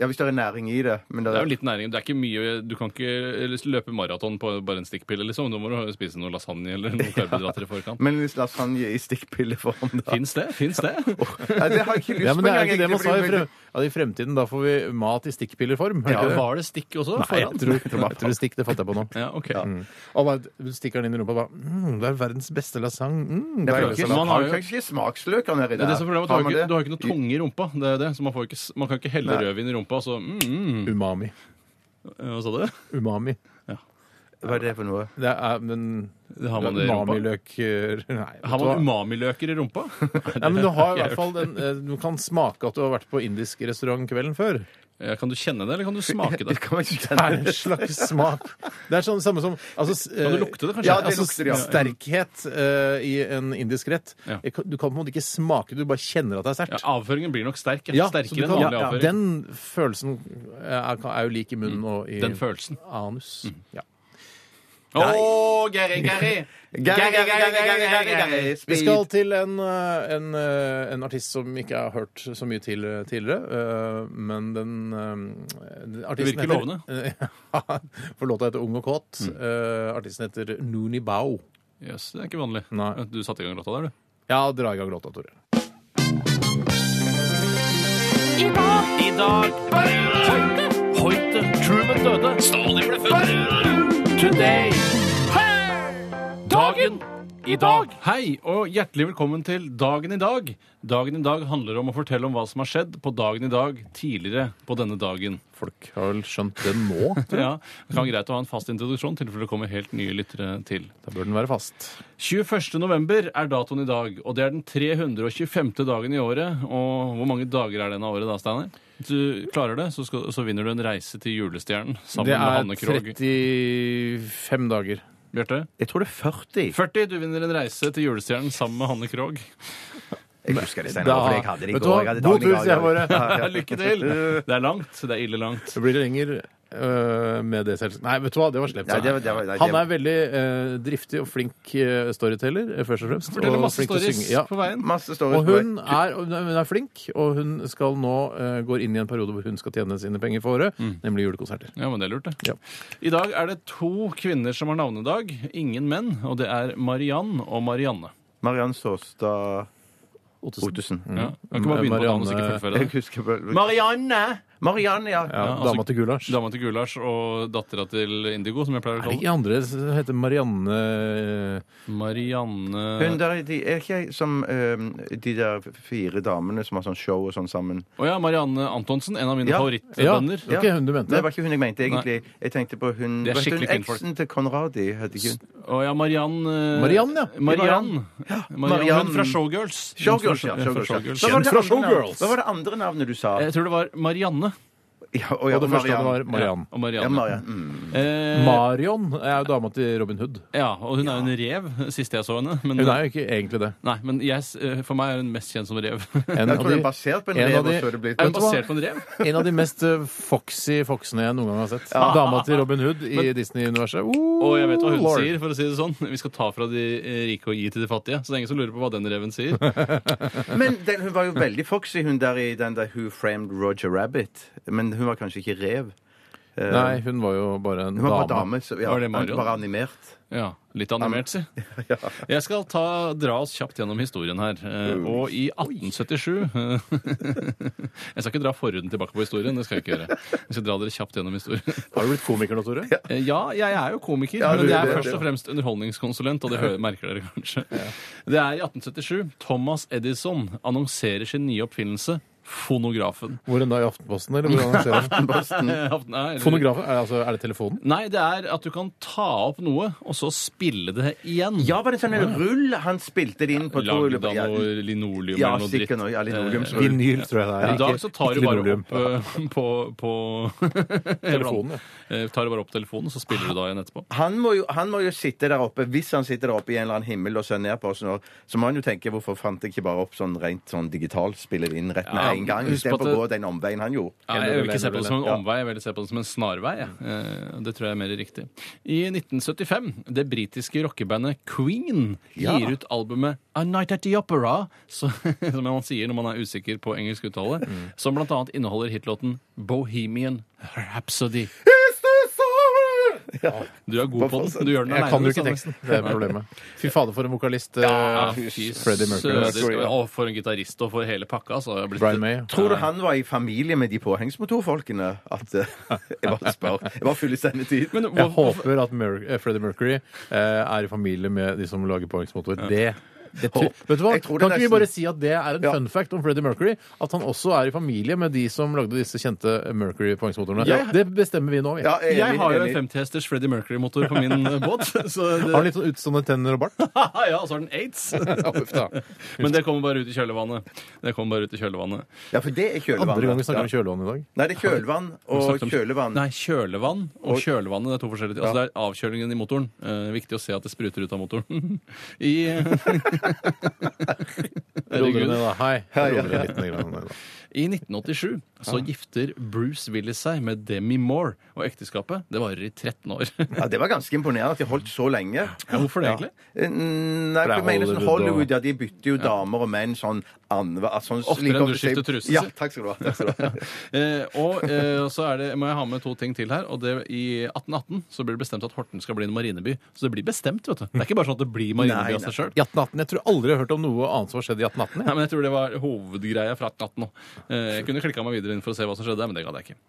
Speaker 5: ja, Hvis det er næring i det. Men det
Speaker 6: Det er jo litt næring. Det er ikke mye, Du kan ikke løpe maraton på bare en stikkpille, liksom. Nå må du spise noe lasagne eller noen karbohydrater i forkant.
Speaker 5: Men hvis lasagne i stikkpilleform, da?
Speaker 6: Fins det? Fins det?
Speaker 5: Nei, det har jeg ikke lyst
Speaker 4: Ja, men
Speaker 5: på
Speaker 4: det er
Speaker 5: engang,
Speaker 4: ikke det man
Speaker 5: egentlig,
Speaker 4: sa i,
Speaker 5: fordi-
Speaker 4: frem... ja, i fremtiden. Da får vi mat i stikkpilleform. er
Speaker 6: Ja,
Speaker 4: ikke det?
Speaker 6: var det stikk også?
Speaker 4: Nei, jeg tror, jeg tror, stikk. Det fatter jeg på nå.
Speaker 6: Ja, ok.
Speaker 4: Mm. Og bare, du stikker den inn i rumpa og bare mm, 'Det er verdens beste lasagne'. Mm,
Speaker 5: Jeg
Speaker 4: deilig
Speaker 5: får ikke-
Speaker 4: salat.
Speaker 6: man
Speaker 5: Man
Speaker 6: har
Speaker 5: har
Speaker 6: jo-
Speaker 5: jo ikke smaksløker nedi
Speaker 6: Det er det som er problemet, at du,
Speaker 5: Mm.
Speaker 6: har
Speaker 5: man
Speaker 6: ikke,
Speaker 5: det?
Speaker 6: du har ikke noe tunge i rumpa. Det er det, så man, får ikke, s- man kan ikke helle rødvin i rumpa. Så, mm, mm.
Speaker 4: Umami.
Speaker 6: Hva sa du?
Speaker 4: Umami.
Speaker 5: Hva er det for noe?
Speaker 4: Det er, men
Speaker 6: Det har man det i rumpa.
Speaker 4: Umamiløk eh, Nei. vet
Speaker 6: Har
Speaker 4: du hva?
Speaker 6: man umamiløker i rumpa?
Speaker 4: Nei, men du har i hvert fall den, eh, Du kan smake at du har vært på indisk restaurant kvelden før.
Speaker 6: Ja, Kan du kjenne det, eller kan du smake det?
Speaker 5: Det kan man ikke
Speaker 4: Det er
Speaker 5: kjenne.
Speaker 4: en slags smak. Det er sånn samme som altså, s-
Speaker 6: Kan du lukte det, kanskje?
Speaker 4: Ja,
Speaker 5: Ja, det
Speaker 4: altså,
Speaker 5: lukter, ja.
Speaker 4: Sterkhet eh, i en indisk rett.
Speaker 6: Ja.
Speaker 4: Jeg kan- Du kan på en måte ikke smake, du bare kjenner at det er
Speaker 6: Ja,
Speaker 4: sterkt.
Speaker 6: avføringen blir nok sterk.
Speaker 4: Ja, så du
Speaker 6: sterkere enn
Speaker 4: kan-
Speaker 6: vanlig
Speaker 4: ja,
Speaker 6: avføring. Mm.
Speaker 4: Den følelsen er, er jo lik i munnen og i
Speaker 6: Den følelsen. Mm.
Speaker 4: anus. Ja.
Speaker 6: Å, Geri, Geri!
Speaker 5: Gary, Gary, Gary, Gary, Gary, Gary,
Speaker 4: Vi
Speaker 5: speed.
Speaker 4: skal til en, eh, en, eh, en artist som ikke har hørt så mye til eh, tidligere, eh, men den, eh, den artisten
Speaker 6: virker lovende.
Speaker 4: lovende. For låta heter Ung og kåt.
Speaker 5: Mm.
Speaker 4: Eh, Artisten heter Nooni Bao.
Speaker 6: Jøss, det er ikke vanlig.
Speaker 4: Nei.
Speaker 6: Du satte i gang låta der, du.
Speaker 4: Ja, dra i gang låta, Tore.
Speaker 6: I dag Hoite, hoite, Truman døde. Stalin ble født. Today. Dagen i dag. Hei, og hjertelig velkommen til Dagen i dag. Dagen i dag handler om å fortelle om hva som har skjedd på dagen i dag tidligere på denne dagen.
Speaker 4: Folk har vel skjønt det nå?
Speaker 6: Ja, det kan være greit å ha en fast introduksjon til for det kommer helt nye lyttere til.
Speaker 4: Da bør den være fast.
Speaker 6: 21. november er datoen i dag, og det er den 325. dagen i året. Og hvor mange dager er den av året da, Steinar? Hvis du klarer det, så, skal, så vinner du en reise til julestjernen sammen
Speaker 4: Det
Speaker 6: med
Speaker 4: er
Speaker 6: Hanne Krogh.
Speaker 4: 35 dager.
Speaker 6: Bjarte?
Speaker 5: Jeg tror det er 40.
Speaker 6: 40. Du vinner en reise til julestjernen sammen med Hanne Krogh.
Speaker 5: Jeg husker det senere,
Speaker 4: Da-
Speaker 5: for jeg hadde det i
Speaker 4: Vet du
Speaker 5: går.
Speaker 4: hva?
Speaker 5: Jeg hadde
Speaker 4: God
Speaker 5: daglig
Speaker 4: tur,
Speaker 5: dag,
Speaker 4: sier jeg
Speaker 5: ja.
Speaker 4: bare.
Speaker 5: Ja, ja.
Speaker 6: Lykke til! Det er langt. Det er ille langt.
Speaker 4: Det blir lenger øh, med det selv. Nei, vet du hva, det var slemt.
Speaker 5: Nei, det var- det var- nei, det
Speaker 4: Han
Speaker 5: var-
Speaker 4: er veldig øh, driftig og flink øh, storyteller, øh, først og fremst.
Speaker 6: Forteller
Speaker 4: og
Speaker 6: masse
Speaker 4: flink til å
Speaker 6: stories
Speaker 4: synge. Ja.
Speaker 6: på veien.
Speaker 5: Masse stories
Speaker 4: Og
Speaker 5: på
Speaker 4: hun er, og hun er flink, og hun skal nå øh, går inn i en periode hvor hun skal tjene sine penger for året, nemlig julekonserter.
Speaker 6: Ja, men det er lurt, det.
Speaker 4: Ja.
Speaker 6: I dag er det to kvinner som har navnedag. Ingen menn. Og det er Mariann og Marianne.
Speaker 5: Mariann Saastad Ottesen. Mm.
Speaker 6: Ja. Kan ikke bare begynne på navnet og så ikke fullføre
Speaker 5: Jeg
Speaker 6: det.
Speaker 5: husker bare-
Speaker 6: Marianne!
Speaker 5: Marianne, ja.
Speaker 4: Ja,
Speaker 6: altså-
Speaker 4: Dama til gulasj.
Speaker 6: Dama til gulasj og dattera til Indigo, som jeg pleier å
Speaker 4: Er det
Speaker 6: kalle
Speaker 4: ikke andre som heter Marianne øh,
Speaker 6: den. Marianne
Speaker 5: Hun der, de, er ikke jeg som øhm, de der fire damene som har sånn show og sånn sammen?
Speaker 6: Å ja, Marianne Antonsen. En av mine
Speaker 5: Ja.
Speaker 4: Ja,
Speaker 6: favorittbønder.
Speaker 4: det var ikke hun
Speaker 5: Nei,
Speaker 4: du
Speaker 5: det
Speaker 4: mente.
Speaker 5: var ikke hun jeg mente, egentlig. Jeg tenkte på hun
Speaker 6: Det
Speaker 5: vet
Speaker 6: er
Speaker 5: du, hun
Speaker 6: skikkelig kvinnfolk.
Speaker 5: Eksen til Conradi, het ikke hun?
Speaker 6: Å ja, Mariann eh,
Speaker 4: Mariann, ja.
Speaker 6: Mariann. Mariann.
Speaker 5: Mariann.
Speaker 6: Hun fra Showgirls. Hun
Speaker 5: Showgirls,
Speaker 6: fra-
Speaker 5: ja.
Speaker 6: hun fra
Speaker 5: Showgirls, ja.
Speaker 6: Showgirls.
Speaker 5: Hva var det
Speaker 4: Kjent fra
Speaker 5: andre navnet?
Speaker 4: Showgirls.
Speaker 5: Hva var det andre navnet du sa?
Speaker 6: Jeg tror det var Marianne.
Speaker 5: Ja, og ja,
Speaker 4: Og det første
Speaker 5: Marianne.
Speaker 4: var Mariann.
Speaker 6: Og
Speaker 5: Ja,
Speaker 6: Marianne.
Speaker 5: Marianne. Mm.
Speaker 6: Eh,
Speaker 4: Marion er jo dama til Robin Hood.
Speaker 6: ja, og hun er jo en rev, siste jeg så henne. Men,
Speaker 4: Hun er jo ikke egentlig det.
Speaker 6: Nei, men jeg, s- eh, for meg er hun mest kjent som rev.
Speaker 5: Jeg
Speaker 4: En av
Speaker 5: tror det
Speaker 4: de-
Speaker 5: er basert på en
Speaker 4: en
Speaker 5: rev,
Speaker 4: av de-
Speaker 5: og så er det blitt
Speaker 4: Vet
Speaker 6: Er hun
Speaker 4: du hva?
Speaker 6: basert på en rev?
Speaker 4: En av de mest eh, foxy foksene jeg noen gang har sett. Dama til Robin Hood i Disney-universet. Oh,
Speaker 6: Og jeg vet hva hun
Speaker 4: lord.
Speaker 6: sier, for å si det sånn. Vi skal ta fra de eh, rike og gi til de fattige. Så det er ingen som lurer på hva den reven sier.
Speaker 5: Men den, hun var jo veldig foxy, hun der i den der Who Framed Roger Rabbit. Men hun var kanskje ikke rev. Eh,
Speaker 4: Nei, hun var jo bare en
Speaker 5: Hun var
Speaker 4: dame.
Speaker 5: bare dame. Så, ja,
Speaker 6: Var det Marion?
Speaker 5: Bare animert.
Speaker 6: Ja, Litt animert, si. Jeg skal ta, dra oss kjapt gjennom historien her. Eh, Og i 1877 Jeg skal ikke dra forhuden tilbake på historien. det skal Jeg ikke gjøre. Jeg skal dra dere kjapt gjennom historien.
Speaker 4: Har du blitt komiker nå, Tore?
Speaker 6: Eh, Ja, jeg er jo komiker,
Speaker 5: du
Speaker 6: men jeg
Speaker 5: er
Speaker 6: er
Speaker 5: det,
Speaker 6: først og fremst underholdningskonsulent, og det hø- merker dere kanskje. Det er i 1877 Thomas Edison annonserer sin nye oppfinnelse Fonografen.
Speaker 4: Hvor enn da? I Aftenposten, eller? Hvordan skjer det?
Speaker 6: Nei, eller-
Speaker 4: Fonografen? Er, altså, er det telefonen?
Speaker 6: Nei, det er at du kan ta opp noe, og så spille det igjen.
Speaker 5: Ja, var det sånn en rull han spilte det inn på? to
Speaker 6: Lagd av
Speaker 5: ja,
Speaker 6: noe linoleum
Speaker 5: ja,
Speaker 6: eller noe dritt. Eh,
Speaker 5: sikkert noe. Ja, linoleumsrull.
Speaker 4: Vinyl, tror jeg det er.
Speaker 6: I dag
Speaker 4: Ikke-
Speaker 6: så tar du
Speaker 4: ikke
Speaker 6: bare
Speaker 4: linoleum.
Speaker 6: opp eh, på, på
Speaker 4: Telefonen,
Speaker 6: Eh, Tar du bare opp telefonen, og så spiller du da igjen etterpå.
Speaker 5: Han må, jo, han må jo sitte der oppe, hvis han sitter der oppe i en eller annen himmel og ser ned på oss nå, så må han jo tenke hvorfor fant jeg ikke bare opp sånn rent sånn digitalt, spiller det inn rett med
Speaker 6: Ja,
Speaker 5: en gang,
Speaker 6: husk på
Speaker 5: istedenfor å
Speaker 6: at
Speaker 5: gå den omveien han gjorde.
Speaker 6: Nei, jeg vil ikke se på det som en
Speaker 5: Ja.
Speaker 6: omvei, jeg vil se på det som en snarvei. jeg. Eh, Det tror jeg er mer riktig. I 1975, det britiske rockebandet Queen gir ut albumet A Night At The Opera, så, som man sier når man er usikker på engelsk uttale, som blant annet inneholder hitlåten Bohemian Rhapsody. Du er god på den. Du gjør den
Speaker 4: Jeg kan jo ikke
Speaker 6: Sanne.
Speaker 4: teksten. Det er problemet. Fy fader, for en vokalist.
Speaker 6: Ja,
Speaker 4: eh,
Speaker 6: fy
Speaker 4: Freddie Mercury.
Speaker 6: søder. Og for en gitarist og for hele pakka. Så har jeg blitt
Speaker 4: Brian May.
Speaker 5: Tror du han var i familie med de påhengsmotorfolkene? At, eh, jeg bare spør. Jeg bare fyller sendetid.
Speaker 6: Men
Speaker 4: Jeg
Speaker 6: hvor,
Speaker 4: håper at Mer eh, Freddie Mercury eh, er i familie med de som lager påhengsmotor. Det, det tror,
Speaker 5: Håp.
Speaker 4: vet du hva?
Speaker 5: Jeg tror
Speaker 4: Kan
Speaker 5: det
Speaker 4: ikke vi
Speaker 5: nesten-
Speaker 4: bare si at det er en fun fact om Freddie Mercury? At han også er i familie med de som lagde disse kjente Mercury-påhengsmotorene?
Speaker 6: Jeg-
Speaker 4: Det bestemmer vi nå. vi.
Speaker 5: Ja,
Speaker 4: Har
Speaker 5: enig,
Speaker 6: jeg har jo
Speaker 5: enig.
Speaker 6: en 50-hesters Freddie Mercury-motor på min eh, båt. Så det,
Speaker 4: han litt sånn utstående tenner og bart?
Speaker 6: ja, og så har den aids. Men det kommer bare ut i kjølvannet. Det kommer bare ut i kjølvannet.
Speaker 5: Ja, for det er kjølvann.
Speaker 4: Andre gang vi snakker om
Speaker 5: ja.
Speaker 4: kjølvann i dag.
Speaker 5: Nei, det er kjølvann og kjølvann.
Speaker 6: Nei, kjølevann og kjølevannet. Det er to forskjellige ting. Altså, det er avkjølingen i motoren. Eh, viktig å se at det spruter ut av motoren. I,
Speaker 4: Roer
Speaker 6: Herregud.
Speaker 4: dere ned, da. Hei. Roer dere litt ned, da.
Speaker 6: I 1987 så gifter Bruce Willis seg med Demi Moore, og ekteskapet det varer i 13 år.
Speaker 5: Ja, det var ganske imponerende at de holdt så lenge.
Speaker 6: Ja, hvorfor det egentlig?
Speaker 5: Eh, Nei,
Speaker 4: det er
Speaker 5: for jeg mener sånn
Speaker 4: Hollywood og-
Speaker 5: Hollywood, ja, de bytter jo damer og menn sånn annenhver sånn,
Speaker 6: Oftere
Speaker 5: like
Speaker 6: enn du
Speaker 5: ofte sier-
Speaker 6: skifter truse,
Speaker 5: Ja,
Speaker 6: sier.
Speaker 5: takk skal du ha. Takk skal du ha.
Speaker 6: Eh, og eh, så er det, må jeg ha med to ting til her. Og det, I 1818 så blir det bestemt at Horten skal bli en marineby. Så det blir bestemt, vet du. Det er ikke bare sånn at det blir marineby
Speaker 5: Nei,
Speaker 6: av seg sjøl.
Speaker 4: I 1818. Jeg tror aldri jeg har hørt om noe annet som har skjedd i 1818.
Speaker 6: Nei, men Jeg tror det var hovedgreia fra 1818 òg. Eh, Jeg kunne klikka meg videre inn for å se hva som skjedde, men det gadd jeg ikke.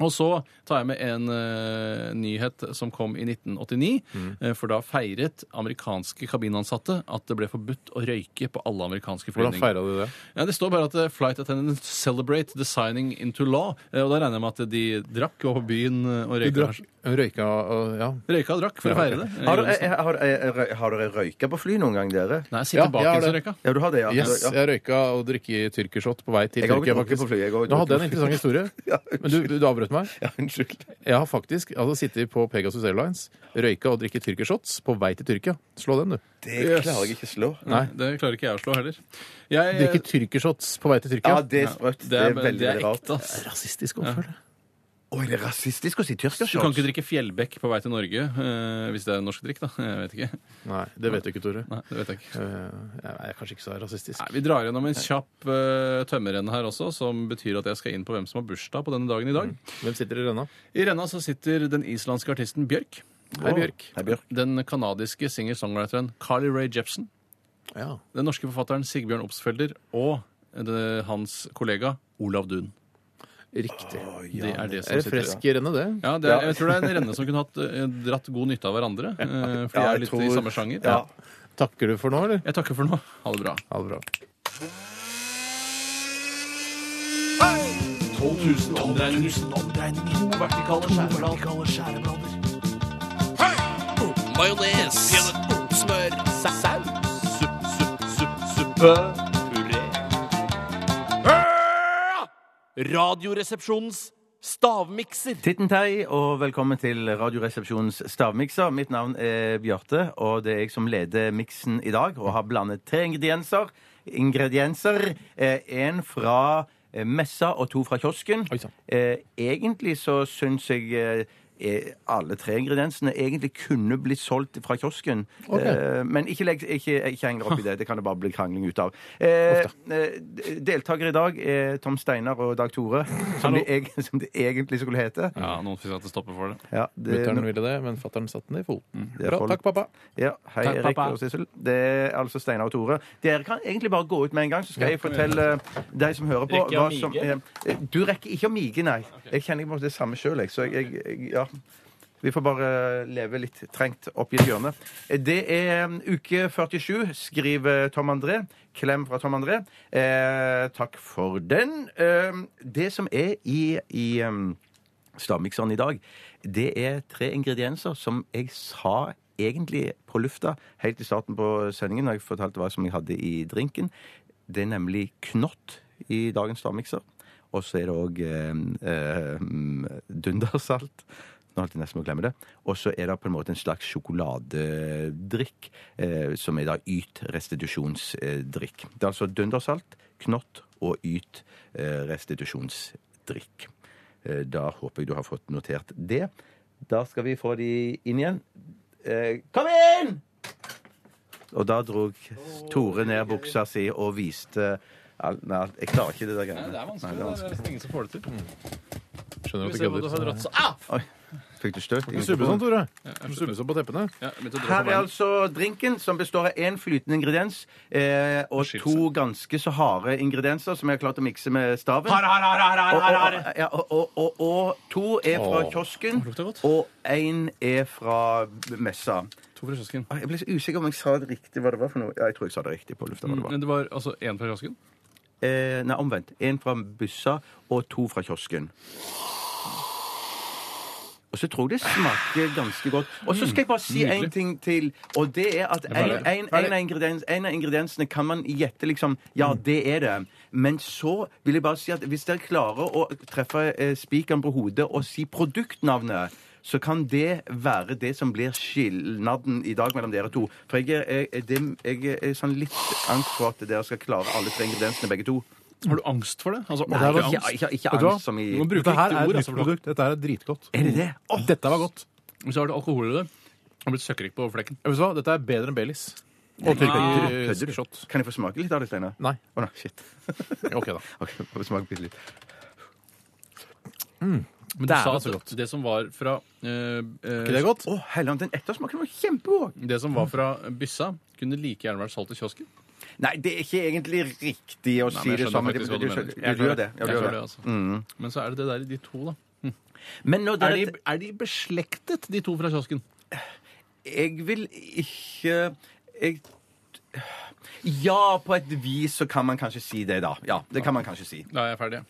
Speaker 6: Og så tar jeg med en eh, nyhet som kom i 1989.
Speaker 5: Mm.
Speaker 6: eh, for da feiret amerikanske kabinansatte at det ble forbudt å røyke på alle amerikanske
Speaker 4: Hvordan
Speaker 6: flyvninger.
Speaker 4: feira du det?
Speaker 6: Ja, det står bare at eh, flight attendants celebrate the signing into law. Eh, Og da regner jeg med at de drakk og på byen eh, og
Speaker 4: Du
Speaker 6: røyka.
Speaker 4: drakk, røyka og ja.
Speaker 6: Røyka og drakk for å feire det. Eh,
Speaker 5: Har,
Speaker 6: gjorde det sånn.
Speaker 5: eh, har, eh, røy- har dere røyka på fly noen gang, dere?
Speaker 6: Nei,
Speaker 4: Ja,
Speaker 6: jeg sitter bak
Speaker 4: jeg har
Speaker 6: en som
Speaker 4: det.
Speaker 6: røyka.
Speaker 5: Ja, du har det, ja.
Speaker 4: Yes,
Speaker 5: ja.
Speaker 4: jeg røyka og drikke tyrkershot på vei til
Speaker 5: Jeg har
Speaker 4: Tyrkia.
Speaker 5: ikke drukket på
Speaker 4: faktisk.
Speaker 5: fly, jeg har ikke
Speaker 4: Nå hadde jeg en
Speaker 5: drukket på
Speaker 4: interessant historie,
Speaker 5: Ja,
Speaker 4: men du, du avbrøt meg.
Speaker 5: Ja, unnskyld.
Speaker 4: Jeg har faktisk altså, sittet på Pegasus Airlines, røyka og drikket tyrkershots på vei til Tyrkia. Slå den, du.
Speaker 5: Det klarer jeg ikke slå.
Speaker 4: Nei.
Speaker 6: Det klarer ikke jeg å slå heller. Jeg,
Speaker 4: Drikke tyrkershots på vei
Speaker 5: Ja,
Speaker 4: til Tyrkia.
Speaker 5: det er sprøtt. Det er veldig,
Speaker 6: det er
Speaker 5: veldig rart.
Speaker 6: ekte, ass.
Speaker 4: Rasistisk oppførsel.
Speaker 5: Å, er det rasistisk å si
Speaker 6: Du kan ikke
Speaker 5: tyrkershots?
Speaker 6: drikke Fjellbekk på vei til Norge, eh, hvis det er norsk drikk, da. Jeg vet ikke.
Speaker 4: Nei, det vet du ikke, Tore.
Speaker 6: Nei, det vet jeg ikke.
Speaker 4: Eh, Jeg er kanskje ikke så rasistisk.
Speaker 6: Nei, vi drar gjennom en kjapp uh, tømmerrenne her også, som betyr at jeg skal inn på hvem som har bursdag på denne dagen i dag.
Speaker 4: Hvem sitter i renna?
Speaker 6: I renna så sitter den islandske artisten Bjørk.
Speaker 4: Hei, Bjørk.
Speaker 5: Nei, Bjørk.
Speaker 6: Den kanadiske singer-songwriteren Carly Rae Jepsen.
Speaker 4: Ja.
Speaker 6: Den norske forfatteren Sigbjørn Obstfelder og eh, det, hans kollega Olav Duun.
Speaker 4: Riktig.
Speaker 6: Det er det som
Speaker 4: Er det
Speaker 6: sitter i
Speaker 4: fresk i renne, det?
Speaker 6: Ja, det er, jeg tror det er en renne som kunne hatt, eh, dratt god nytte av hverandre. eh, For de
Speaker 5: Ja,
Speaker 6: er
Speaker 5: jeg
Speaker 6: litt i
Speaker 5: tror-
Speaker 6: samme sjanger.
Speaker 5: Ja.
Speaker 4: Takker du for nå, eller?
Speaker 6: Jeg takker for nå. Ha det bra.
Speaker 4: Ha det bra.
Speaker 9: 12 000 omdreininger. To vertikale skjæreblader. Majones. Smør. Saus. Supp, supp, supp, suppe. Puré. Radioresepsjonens stavmikser.
Speaker 5: Tittentei, og velkommen til Radioresepsjonens stavmikser. Mitt navn er Bjarte, og det er jeg som leder miksen i dag, og har blandet tre ingredienser. Ingredienser. eh, En fra eh, messa og to fra kiosken.
Speaker 4: Oi sånn. sann.
Speaker 5: Eh, Egentlig så syns jeg eh, eh, alle tre ingrediensene egentlig kunne blitt solgt fra kiosken.
Speaker 4: Ok.
Speaker 5: Eh, Men ikke, legg, ikke, ikke heng dere opp i det. Det kan det bare bli krangling ut av. Eh, eh, Deltakere i dag er Tom Steinar og Dag Tore, som, de, eg- som de egentlig skulle hete.
Speaker 6: Ja, Noen fikk at det stopper for det.
Speaker 5: Ja, det,
Speaker 4: Mutter'n ville det, men fatter'n satte den i foten.
Speaker 5: Mm. Det er
Speaker 4: Bra.
Speaker 5: folk.
Speaker 4: Takk, pappa.
Speaker 5: ja, hei,
Speaker 6: Takk,
Speaker 5: Erik
Speaker 6: pappa.
Speaker 5: og Sissel. Det er altså Steinar og Tore. Dere kan egentlig bare gå ut med en gang, så skal jeg fortelle deg som hører på
Speaker 6: Rekker jeg å mige?
Speaker 5: som, eh, Du rekker ikke å mige, nei. Jeg kjenner jeg på det samme sjøl, jeg. Så jeg, jeg, jeg ja. Vi får bare leve litt trengt opp i et hjørne. Det er um, uke 47, skriver Tom André. Klem fra Tom André. Eh, takk for den. Eh, det som er i, i um, stavmikseren i dag, det er tre ingredienser som jeg sa egentlig på lufta helt i starten på sendingen når jeg fortalte hva som jeg hadde i drinken. Det er nemlig knott i dagens stavmikser. Og så er det òg eh, eh, dundersalt. Nå holdt jeg nesten på å glemme det. Og så er det på en måte en slags sjokoladedrikk, eh, som er da Yt restitusjonsdrikk. Det er altså dundersalt, knott og Yt eh, restitusjonsdrikk. Eh, Da håper jeg du har fått notert det. Da skal vi få de inn igjen. Eh, Kom inn! Og da dro Tore ned buksa si og viste Al- Nei, jeg klarer ikke det der greiene. Nei, det er vanskelig.
Speaker 6: nesten ingen som får det til.
Speaker 4: Skjønner at
Speaker 6: Vi
Speaker 4: du
Speaker 6: ser hva
Speaker 4: kødder.
Speaker 6: du har dratt så- Ah!
Speaker 5: Fikk du støt? i
Speaker 4: Du subber
Speaker 5: mikrofonen?
Speaker 4: sånn, Tore. Du subber sånn på teppene.
Speaker 6: Ja, jeg begynte å dra
Speaker 5: Her
Speaker 6: på
Speaker 5: er
Speaker 6: veien.
Speaker 5: altså drinken, som består av én flytende ingrediens eh, og to ganske så harde ingredienser som jeg har klart å mikse med staven.
Speaker 6: Har, har, har, har,
Speaker 5: Og,
Speaker 6: har, har,
Speaker 5: og, ja, og, og, og, og to er fra
Speaker 4: Åh.
Speaker 5: kiosken,
Speaker 6: lukter godt.
Speaker 5: og én er fra messa.
Speaker 6: To fra kiosken.
Speaker 5: Ah, Jeg ble så usikker om jeg sa det riktig hva det var for noe. Ja, jeg tror jeg sa det riktig på lufta. hva det var.
Speaker 6: Men det var altså én fra kiosken?
Speaker 5: Eh, nei, omvendt. Én fra byssa og to fra kiosken. Og så tror jeg det smaker ganske godt. Og så skal jeg bare si én ting til. Og det er at en, en, en, av ingrediens, en av ingrediensene kan man gjette liksom Ja, det er det. Men så vil jeg bare si at hvis dere klarer å treffe eh, spikeren på hodet og si produktnavnet så kan det være det som blir skilnaden i dag mellom dere to. For jeg er, jeg, er- det, jeg er sånn litt angst for at dere skal klare alle tre ingrediensene, begge to.
Speaker 6: Har du angst for det? Altså,
Speaker 4: her var-
Speaker 6: ordentlig
Speaker 5: Ikke,
Speaker 6: angst?
Speaker 5: ikke, ikke
Speaker 4: Vet du hva?
Speaker 5: angst som i
Speaker 6: Du må bruke
Speaker 4: Dette her
Speaker 6: riktige
Speaker 4: er
Speaker 6: ord.
Speaker 4: et
Speaker 6: Altså,
Speaker 4: nytt
Speaker 6: for
Speaker 4: produkt. Dette her er dritgodt.
Speaker 5: Er det det? Åh,
Speaker 4: Dette var godt.
Speaker 6: da- Hvis du har det alkohol i det, har blitt søkkrik på flekken.
Speaker 4: Vet du hva? Dette er bedre enn Baileys. Og Eh,
Speaker 5: kødder
Speaker 4: tyrkisk
Speaker 5: du?
Speaker 4: shot.
Speaker 5: Kan jeg få smake litt av det, Steinar?
Speaker 4: Nei.
Speaker 5: Å nei, shit.
Speaker 4: OK, da.
Speaker 5: Ok, bare smake bitte litt.
Speaker 6: Men du
Speaker 4: Det er
Speaker 6: sa
Speaker 4: altså
Speaker 6: at
Speaker 4: godt.
Speaker 6: det som var fra eh, eh,
Speaker 4: Ikke det godt?
Speaker 5: Å, helland, den ettersmaken var kjempegod!
Speaker 6: det som var fra byssa, kunne like gjerne vært solgt i kiosken.
Speaker 5: Nei, det er ikke egentlig riktig å
Speaker 6: Nei,
Speaker 5: si
Speaker 6: men jeg
Speaker 5: det
Speaker 6: skjønner
Speaker 5: sånn. men
Speaker 6: faktisk
Speaker 5: du-
Speaker 6: hva du
Speaker 5: du-
Speaker 6: mener.
Speaker 5: du-
Speaker 6: Jeg
Speaker 5: Du gjør det. Ja,
Speaker 6: Jeg
Speaker 5: du
Speaker 6: gjør
Speaker 5: gjør
Speaker 6: det,
Speaker 5: det.
Speaker 6: altså. Men så er det det der i de to, da.
Speaker 5: Men når
Speaker 6: Er de,
Speaker 5: dere
Speaker 6: er de beslektet, de to fra kiosken?
Speaker 5: Jeg vil ikke jeg, Ja, på et vis så kan man kanskje si det, da. Ja, det kan man kanskje si.
Speaker 6: Da er jeg ferdig.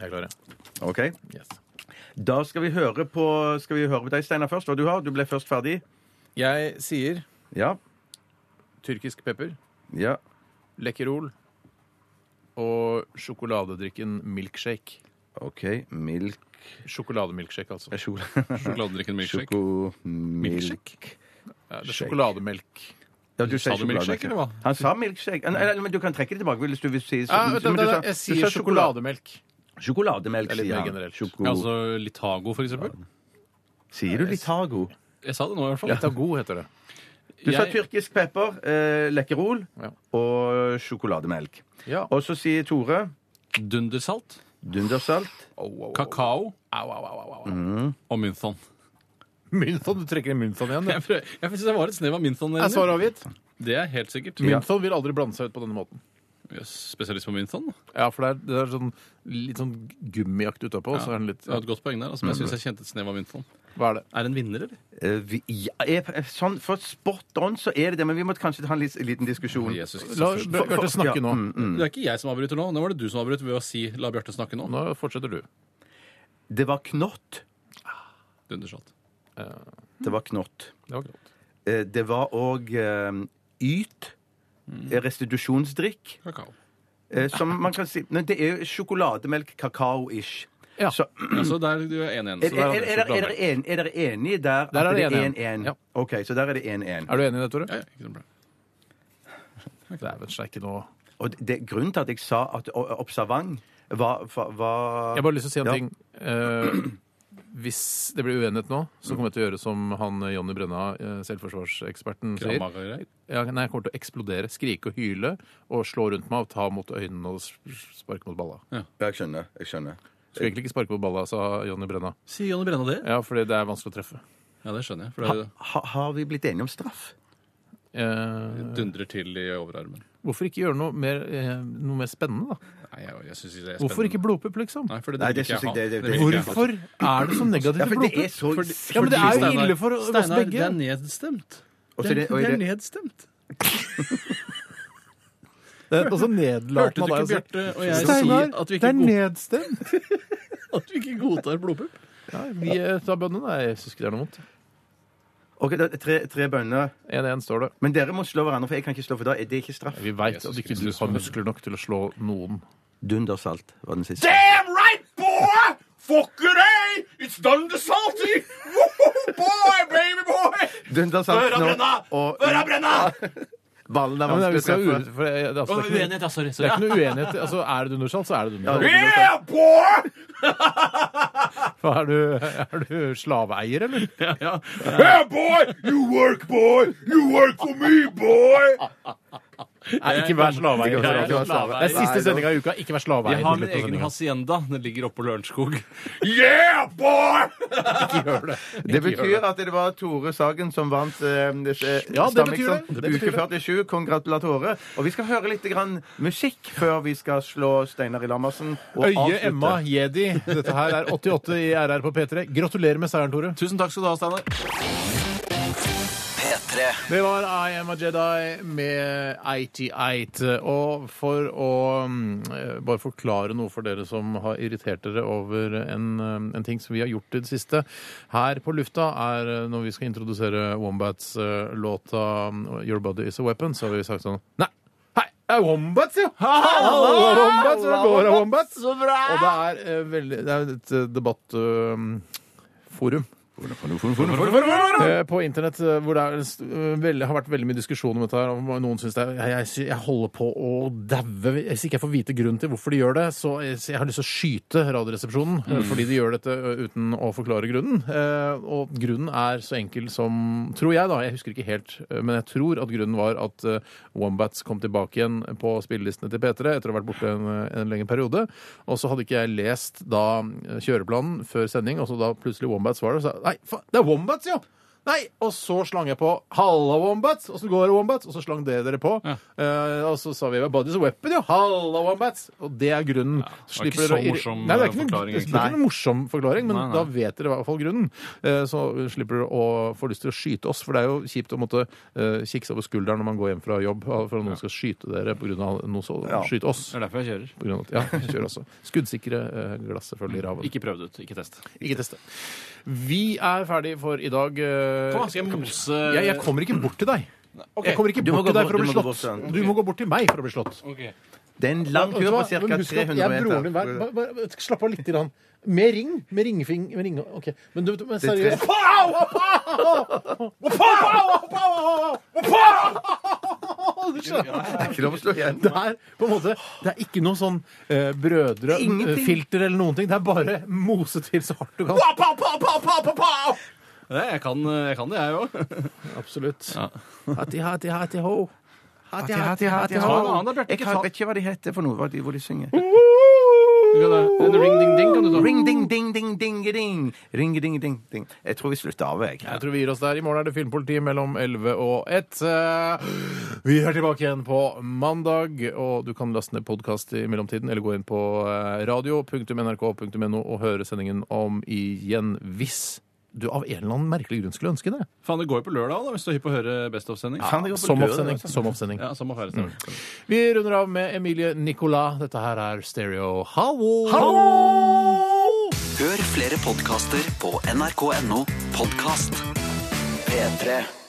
Speaker 4: Jeg klarer det.
Speaker 5: Ok?
Speaker 4: Yes.
Speaker 5: Da skal vi høre på, skal vi høre på deg, Steinar, først. Hva du har. Du ble først ferdig.
Speaker 4: Jeg sier
Speaker 5: Ja.
Speaker 4: tyrkisk pepper,
Speaker 5: Ja.
Speaker 4: Lekkerol og sjokoladedrikken milkshake.
Speaker 5: OK. Milk
Speaker 4: Sjokolademilkshake, altså.
Speaker 6: Sjokoladedrikken milkshake.
Speaker 5: Sjokomilk.
Speaker 4: Ja, det er Sjokolademelk.
Speaker 5: Ja, du
Speaker 6: Sa du milkshake, eller hva?
Speaker 5: Han sa milkshake. Nei, nei, men du kan trekke det tilbake hvis du vil si
Speaker 4: Ja, Ah, vent,
Speaker 5: men
Speaker 4: vent,
Speaker 5: du
Speaker 4: vent,
Speaker 5: sa-
Speaker 4: jeg
Speaker 5: du sa
Speaker 4: sier sjokolademelk.
Speaker 5: Sjokolademelk,
Speaker 4: Det er litt
Speaker 5: sier
Speaker 4: mer
Speaker 5: han.
Speaker 4: generelt.
Speaker 5: Sjoko-
Speaker 6: Ja, altså Litago, for eksempel.
Speaker 5: Sier du Litago?
Speaker 6: Jeg sa det nå, i hvert fall.
Speaker 4: Litt av god heter det.
Speaker 5: Du sa
Speaker 6: Jeg-
Speaker 5: tyrkisk pepper, eh, lekkerol
Speaker 4: Ja.
Speaker 5: og sjokolademelk.
Speaker 4: Ja.
Speaker 5: Og så sier Tore
Speaker 6: Dundersalt,
Speaker 5: dundersalt.
Speaker 6: kakao og mynthon.
Speaker 4: Mynthon, du trekker inn Mynthon igjen.
Speaker 6: Jeg, prøver- jeg synes det var et snev av mynthon. der
Speaker 4: Er
Speaker 6: inne.
Speaker 4: svaret avgitt?
Speaker 6: Det er helt sikkert.
Speaker 4: Mynthon vil aldri blande seg ut på denne måten.
Speaker 6: Jøss, Spesialist på mynthon. da.
Speaker 4: Ja, for det er, det er sånn, litt sånn gummiaktig utapå. Så er den litt,
Speaker 6: Det var et godt poeng der, altså, men jeg synes jeg kjente et snev av mynthon.
Speaker 4: Hva er det?
Speaker 6: Er det en vinner, eller?
Speaker 5: Eh, vi, ja, jeg, sånn, for spot on så er det det, men vi må kanskje ta en litt, liten diskusjon.
Speaker 6: Jesus Kristus.
Speaker 4: La Bjarte snakke nå.
Speaker 5: Mm,
Speaker 6: Det er ikke jeg som avbryter nå. Nå var det du som avbrøt ved å si 'la Bjarte snakke nå'.
Speaker 4: Nå fortsetter du.
Speaker 5: Det var knott.
Speaker 6: Dundersalt.
Speaker 5: Det var knott.
Speaker 4: Det var grått.
Speaker 5: Eh, det var òg eh, yt. Restitusjonsdrikk.
Speaker 6: Kakao.
Speaker 5: Eh, som man kan si Nei, det er jo sjokolademelk, kakao-ish.
Speaker 4: Ja.
Speaker 5: Så,
Speaker 6: Altså, der du er enig, enig.
Speaker 5: er,
Speaker 6: så
Speaker 5: er,
Speaker 6: der
Speaker 5: er,
Speaker 6: har
Speaker 5: er,
Speaker 6: du
Speaker 5: er,
Speaker 6: sjokolademelk.
Speaker 5: dere en- er dere enige der
Speaker 4: Der er
Speaker 5: at
Speaker 4: det
Speaker 5: det er 1-1?
Speaker 4: 1-1. Ja.
Speaker 5: OK, så der er det 1-1.
Speaker 4: Er du enig i det, Tore?
Speaker 6: Ja, ja, ikke noe problem.
Speaker 4: Dæven steike, nå
Speaker 5: Og det, det, grunnen til at jeg sa at o- observant var, var, var
Speaker 4: Jeg har bare lyst til å si en
Speaker 5: Ja.
Speaker 4: ting. Eh, hvis det blir uenighet nå, så kommer jeg til å gjøre som han eh, Jonny Brenna, eh, selvforsvarseksperten, sier.
Speaker 6: Kramagere.
Speaker 4: Ja, nei, jeg kommer til å eksplodere, skrike og hyle og slå rundt meg og ta mot øynene og s- sparke mot balla.
Speaker 5: Ja, Jeg skjønner. jeg skjønner.
Speaker 4: Skulle egentlig ikke sparke mot balla, sa Jonny Brenna.
Speaker 6: Sier Jonny Brenna det?
Speaker 4: Ja, fordi det er vanskelig å treffe.
Speaker 6: Ja, det skjønner jeg. For det
Speaker 5: Ha, har vi blitt enige om straff?
Speaker 4: Eh,
Speaker 6: dundrer til i overarmen.
Speaker 4: hvorfor ikke gjøre eh, noe mer, eh, noe mer spennende, da?
Speaker 6: Nei, jeg, jeg synes ikke det er
Speaker 4: Hvorfor
Speaker 6: spennende.
Speaker 4: ikke blodpupp, liksom?
Speaker 6: Nei, for det,
Speaker 5: Nei,
Speaker 6: vil
Speaker 5: det synes
Speaker 6: ikke jeg
Speaker 5: jeg-
Speaker 6: ha.
Speaker 5: det- det-
Speaker 6: vil ikke jeg ha.
Speaker 4: Hvorfor er det så negativt
Speaker 5: Ja,
Speaker 4: til
Speaker 5: for det er
Speaker 4: blodpupp?
Speaker 5: så
Speaker 4: Ja, men det er jo
Speaker 6: Steinar-
Speaker 4: ille for for oss
Speaker 6: Steinar, det
Speaker 4: begge.
Speaker 6: er
Speaker 5: Og
Speaker 6: nedstemt.
Speaker 5: så
Speaker 6: Det,
Speaker 5: er det- og er
Speaker 6: det er
Speaker 5: det-
Speaker 6: nedstemt.
Speaker 4: Det er også
Speaker 6: Hørte
Speaker 4: nedlatende
Speaker 6: du
Speaker 4: av deg.
Speaker 6: ikke Bjarte og
Speaker 4: å si.
Speaker 6: jeg si
Speaker 4: Steinar,
Speaker 6: at vi
Speaker 4: det
Speaker 6: ikke,
Speaker 4: er
Speaker 6: god,
Speaker 4: nedstemt.
Speaker 6: at vi ikke godtar blodpupp?
Speaker 4: Nei, vi eh, tar bøndene. Nei, jeg syns ikke det er noe vondt.
Speaker 5: Ok, da, tre, tre bønner.
Speaker 4: 1-1 står det.
Speaker 5: Men dere må slå hverandre, for jeg kan ikke slå, for da er det ikke straff.
Speaker 4: Vi veit at ikke du har muskler nok til å slå noen.
Speaker 5: Dundersalt var den siste.
Speaker 3: Damn right, boy! Fucker deg! It's done the salty! Woo, boy, baby boy!
Speaker 5: Dundersalt nå. Og
Speaker 3: brenna!
Speaker 5: ballen er
Speaker 4: Ja, men
Speaker 5: vanskelig å
Speaker 4: skal
Speaker 5: treffe.
Speaker 4: u- for det, er- det, er altså, det, er ikke noe-
Speaker 6: ja. Sorry.
Speaker 4: det er ikke noe uenighet. Altså, er det dundersalt, så er det dundersalt.
Speaker 3: Yeah, boy!
Speaker 4: Hva Er, du- er du slaveeier, eller?
Speaker 6: Ja, ja.
Speaker 3: Yeah, boy! You work, boy! You work for me, boy!
Speaker 4: Nei, ikke vær slaveeier.
Speaker 5: Ikke vær
Speaker 4: Det er
Speaker 5: slaveeier.
Speaker 4: det er siste sendinga i uka. Ikke vær slaveeier.
Speaker 6: Jeg
Speaker 4: i
Speaker 6: har min
Speaker 4: løpet av
Speaker 6: egen
Speaker 4: sendingen.
Speaker 6: hacienda. Den ligger oppå Lørenskog.
Speaker 3: Yeah, boy!
Speaker 5: Det betyr at det var Tore Sagen som vant eh, det-
Speaker 4: Ja, det betyr
Speaker 5: Stamikson.
Speaker 4: det. Det betyr
Speaker 5: uke
Speaker 4: det.
Speaker 5: 47. Kongratulatore. Og vi skal høre litt grann musikk før vi skal slå Steinar Ilammersen og
Speaker 4: Øye
Speaker 5: avslutte.
Speaker 4: Emma Jedi. Dette her er 88 i RR på P3. Gratulerer med seieren, Tore.
Speaker 6: Tusen takk skal du ha, Steinar.
Speaker 9: P3
Speaker 4: Det var I Am A Jedi med 88. Og for å mm, eh, bare forklare noe for dere som har irritert dere over en, eh, en ting som vi har gjort i det siste her på lufta, er eh, når vi skal introdusere Wombats-låta mm, Your Body Is A Weapon, så har vi sagt sånn Nei! Hei, det er Wombats, jo! Hallo, Wombats! Det går av Wombats!
Speaker 6: Så bra!
Speaker 4: Og det er, eh, veldig, det er et eh, debattforum eh, på internett eh, hvor det er, en st- eh, veldig, har vært veldig mye diskusjon om dette. her, og Noen syns det er, jeg, jeg, sy- jeg holder på å daue hvis ikke jeg får vite grunnen til hvorfor de gjør det. Så jeg, så jeg har lyst til å skyte Radioresepsjonen eh, fordi de gjør dette ø, uten å forklare grunnen. Eh, og grunnen er så enkel som Tror jeg, da. Jeg husker ikke helt. eh, Men jeg tror at grunnen var at eh, Wombats kom tilbake igjen på spillelistene til P3 etter å ha vært borte en, en lengre periode. Og så hadde ikke jeg lest da eh, kjøreplanen før sending, og så da plutselig Wombats var der, og sa jeg, Nei, faen, det er Wombats, jo! Nei! Og så slang jeg på 'Halla, Wombats', åssen går det, Wombats? Og så slang dere dere på. Eh, og så sa vi 'Buddy's Weapon', jo! Halla, Wombats! Og det er grunnen.
Speaker 6: det var ikke
Speaker 4: Slipper dere å
Speaker 6: så
Speaker 4: irri-
Speaker 6: morsom,
Speaker 4: Nei, det er
Speaker 6: eh,
Speaker 4: ikke noe,
Speaker 6: forklaring,
Speaker 4: det er ikke noe morsom forklaring, men
Speaker 6: Nei, nei.
Speaker 4: da vet dere i hvert fall grunnen. Eh, Så slipper dere å få lyst til å skyte oss, for det er jo kjipt å måtte eh, kikke seg over skulderen når man går hjem fra jobb for at noen skal skyte dere på grunn av noe så Skyte oss.
Speaker 6: Det er derfor jeg kjører.
Speaker 4: På grunn av, at- ja, kjør også. Skuddsikre eh, glass, selvfølgelig. Raven.
Speaker 6: Mm. Ikke prøv det ut. Ikke test.
Speaker 4: Ikke teste. Vi er ferdig for i dag. eh,
Speaker 6: Kom, da, skal jeg mose
Speaker 4: jeg, jeg kommer ikke bort til deg. Jeg kommer ikke
Speaker 5: Du må
Speaker 4: bort til
Speaker 5: gå
Speaker 4: deg for å
Speaker 5: bort- du må gå
Speaker 4: bli
Speaker 5: bort
Speaker 4: slått.
Speaker 5: til den.
Speaker 4: Du må gå bort til meg for å bli slått.
Speaker 6: Ok.
Speaker 5: Det er en lang tur
Speaker 4: Vet du
Speaker 5: på
Speaker 4: hva?
Speaker 5: ca.
Speaker 4: Men husk at jeg
Speaker 5: 300
Speaker 4: er broren din. Bare,
Speaker 5: meter.
Speaker 4: bare, bare, slapp av litt. Grann. Med ring. Med ringfing... Med ring, ok. Men du, men
Speaker 5: er
Speaker 4: seriøst Du skjønner.
Speaker 5: Det er ikke lov å slå igjen.
Speaker 4: Det er på en måte Det er ikke noe sånn eh,
Speaker 5: Ingenting.
Speaker 4: brødrefilter eller noen ting. Det er bare mose til så hardt du kan.
Speaker 6: Nei, jeg kan, jeg kan det, jeg òg.
Speaker 4: Absolutt.
Speaker 6: Ja.
Speaker 4: Hatti, hatti, hatti, ho. Hatti, hatti, hatti,
Speaker 6: Ta en
Speaker 4: ho.
Speaker 6: annen, da, Bjarte.
Speaker 5: Jeg
Speaker 6: Ikke
Speaker 5: kan-
Speaker 6: ta-
Speaker 5: vet ikke hva de heter for noe, hva de, hvor de synger.
Speaker 6: En ring, ding, ding kan du ta.
Speaker 5: Ring, ding, ding, ding, ding, ding. Ring, ding, ding, ding. Jeg tror vi slutter av, jeg.
Speaker 4: Jeg tror vi gir oss der. I morgen er det Filmpolitiet mellom 11 og 1. Eh, Vi er tilbake igjen på mandag, og du kan laste ned podkast i mellomtiden, eller gå inn på eh, radio.nrk.no og høre sendingen om igjen hvis du av en eller annen merkelig grunn skulle ønske det.
Speaker 6: Faen, det går jo på lørdag også, da, hvis du er hypp på å høre Best of-sending.
Speaker 5: Faen, det går på
Speaker 4: Som
Speaker 5: døra,
Speaker 4: oppsending.
Speaker 5: altså.
Speaker 4: Som oppsending.
Speaker 6: Ja, samme affære. samme.
Speaker 4: Vi runder av med Emilie Nicolas. Dette her er Stereo. Hallo!
Speaker 9: Hør flere podcaster på nrk.no Podcast P3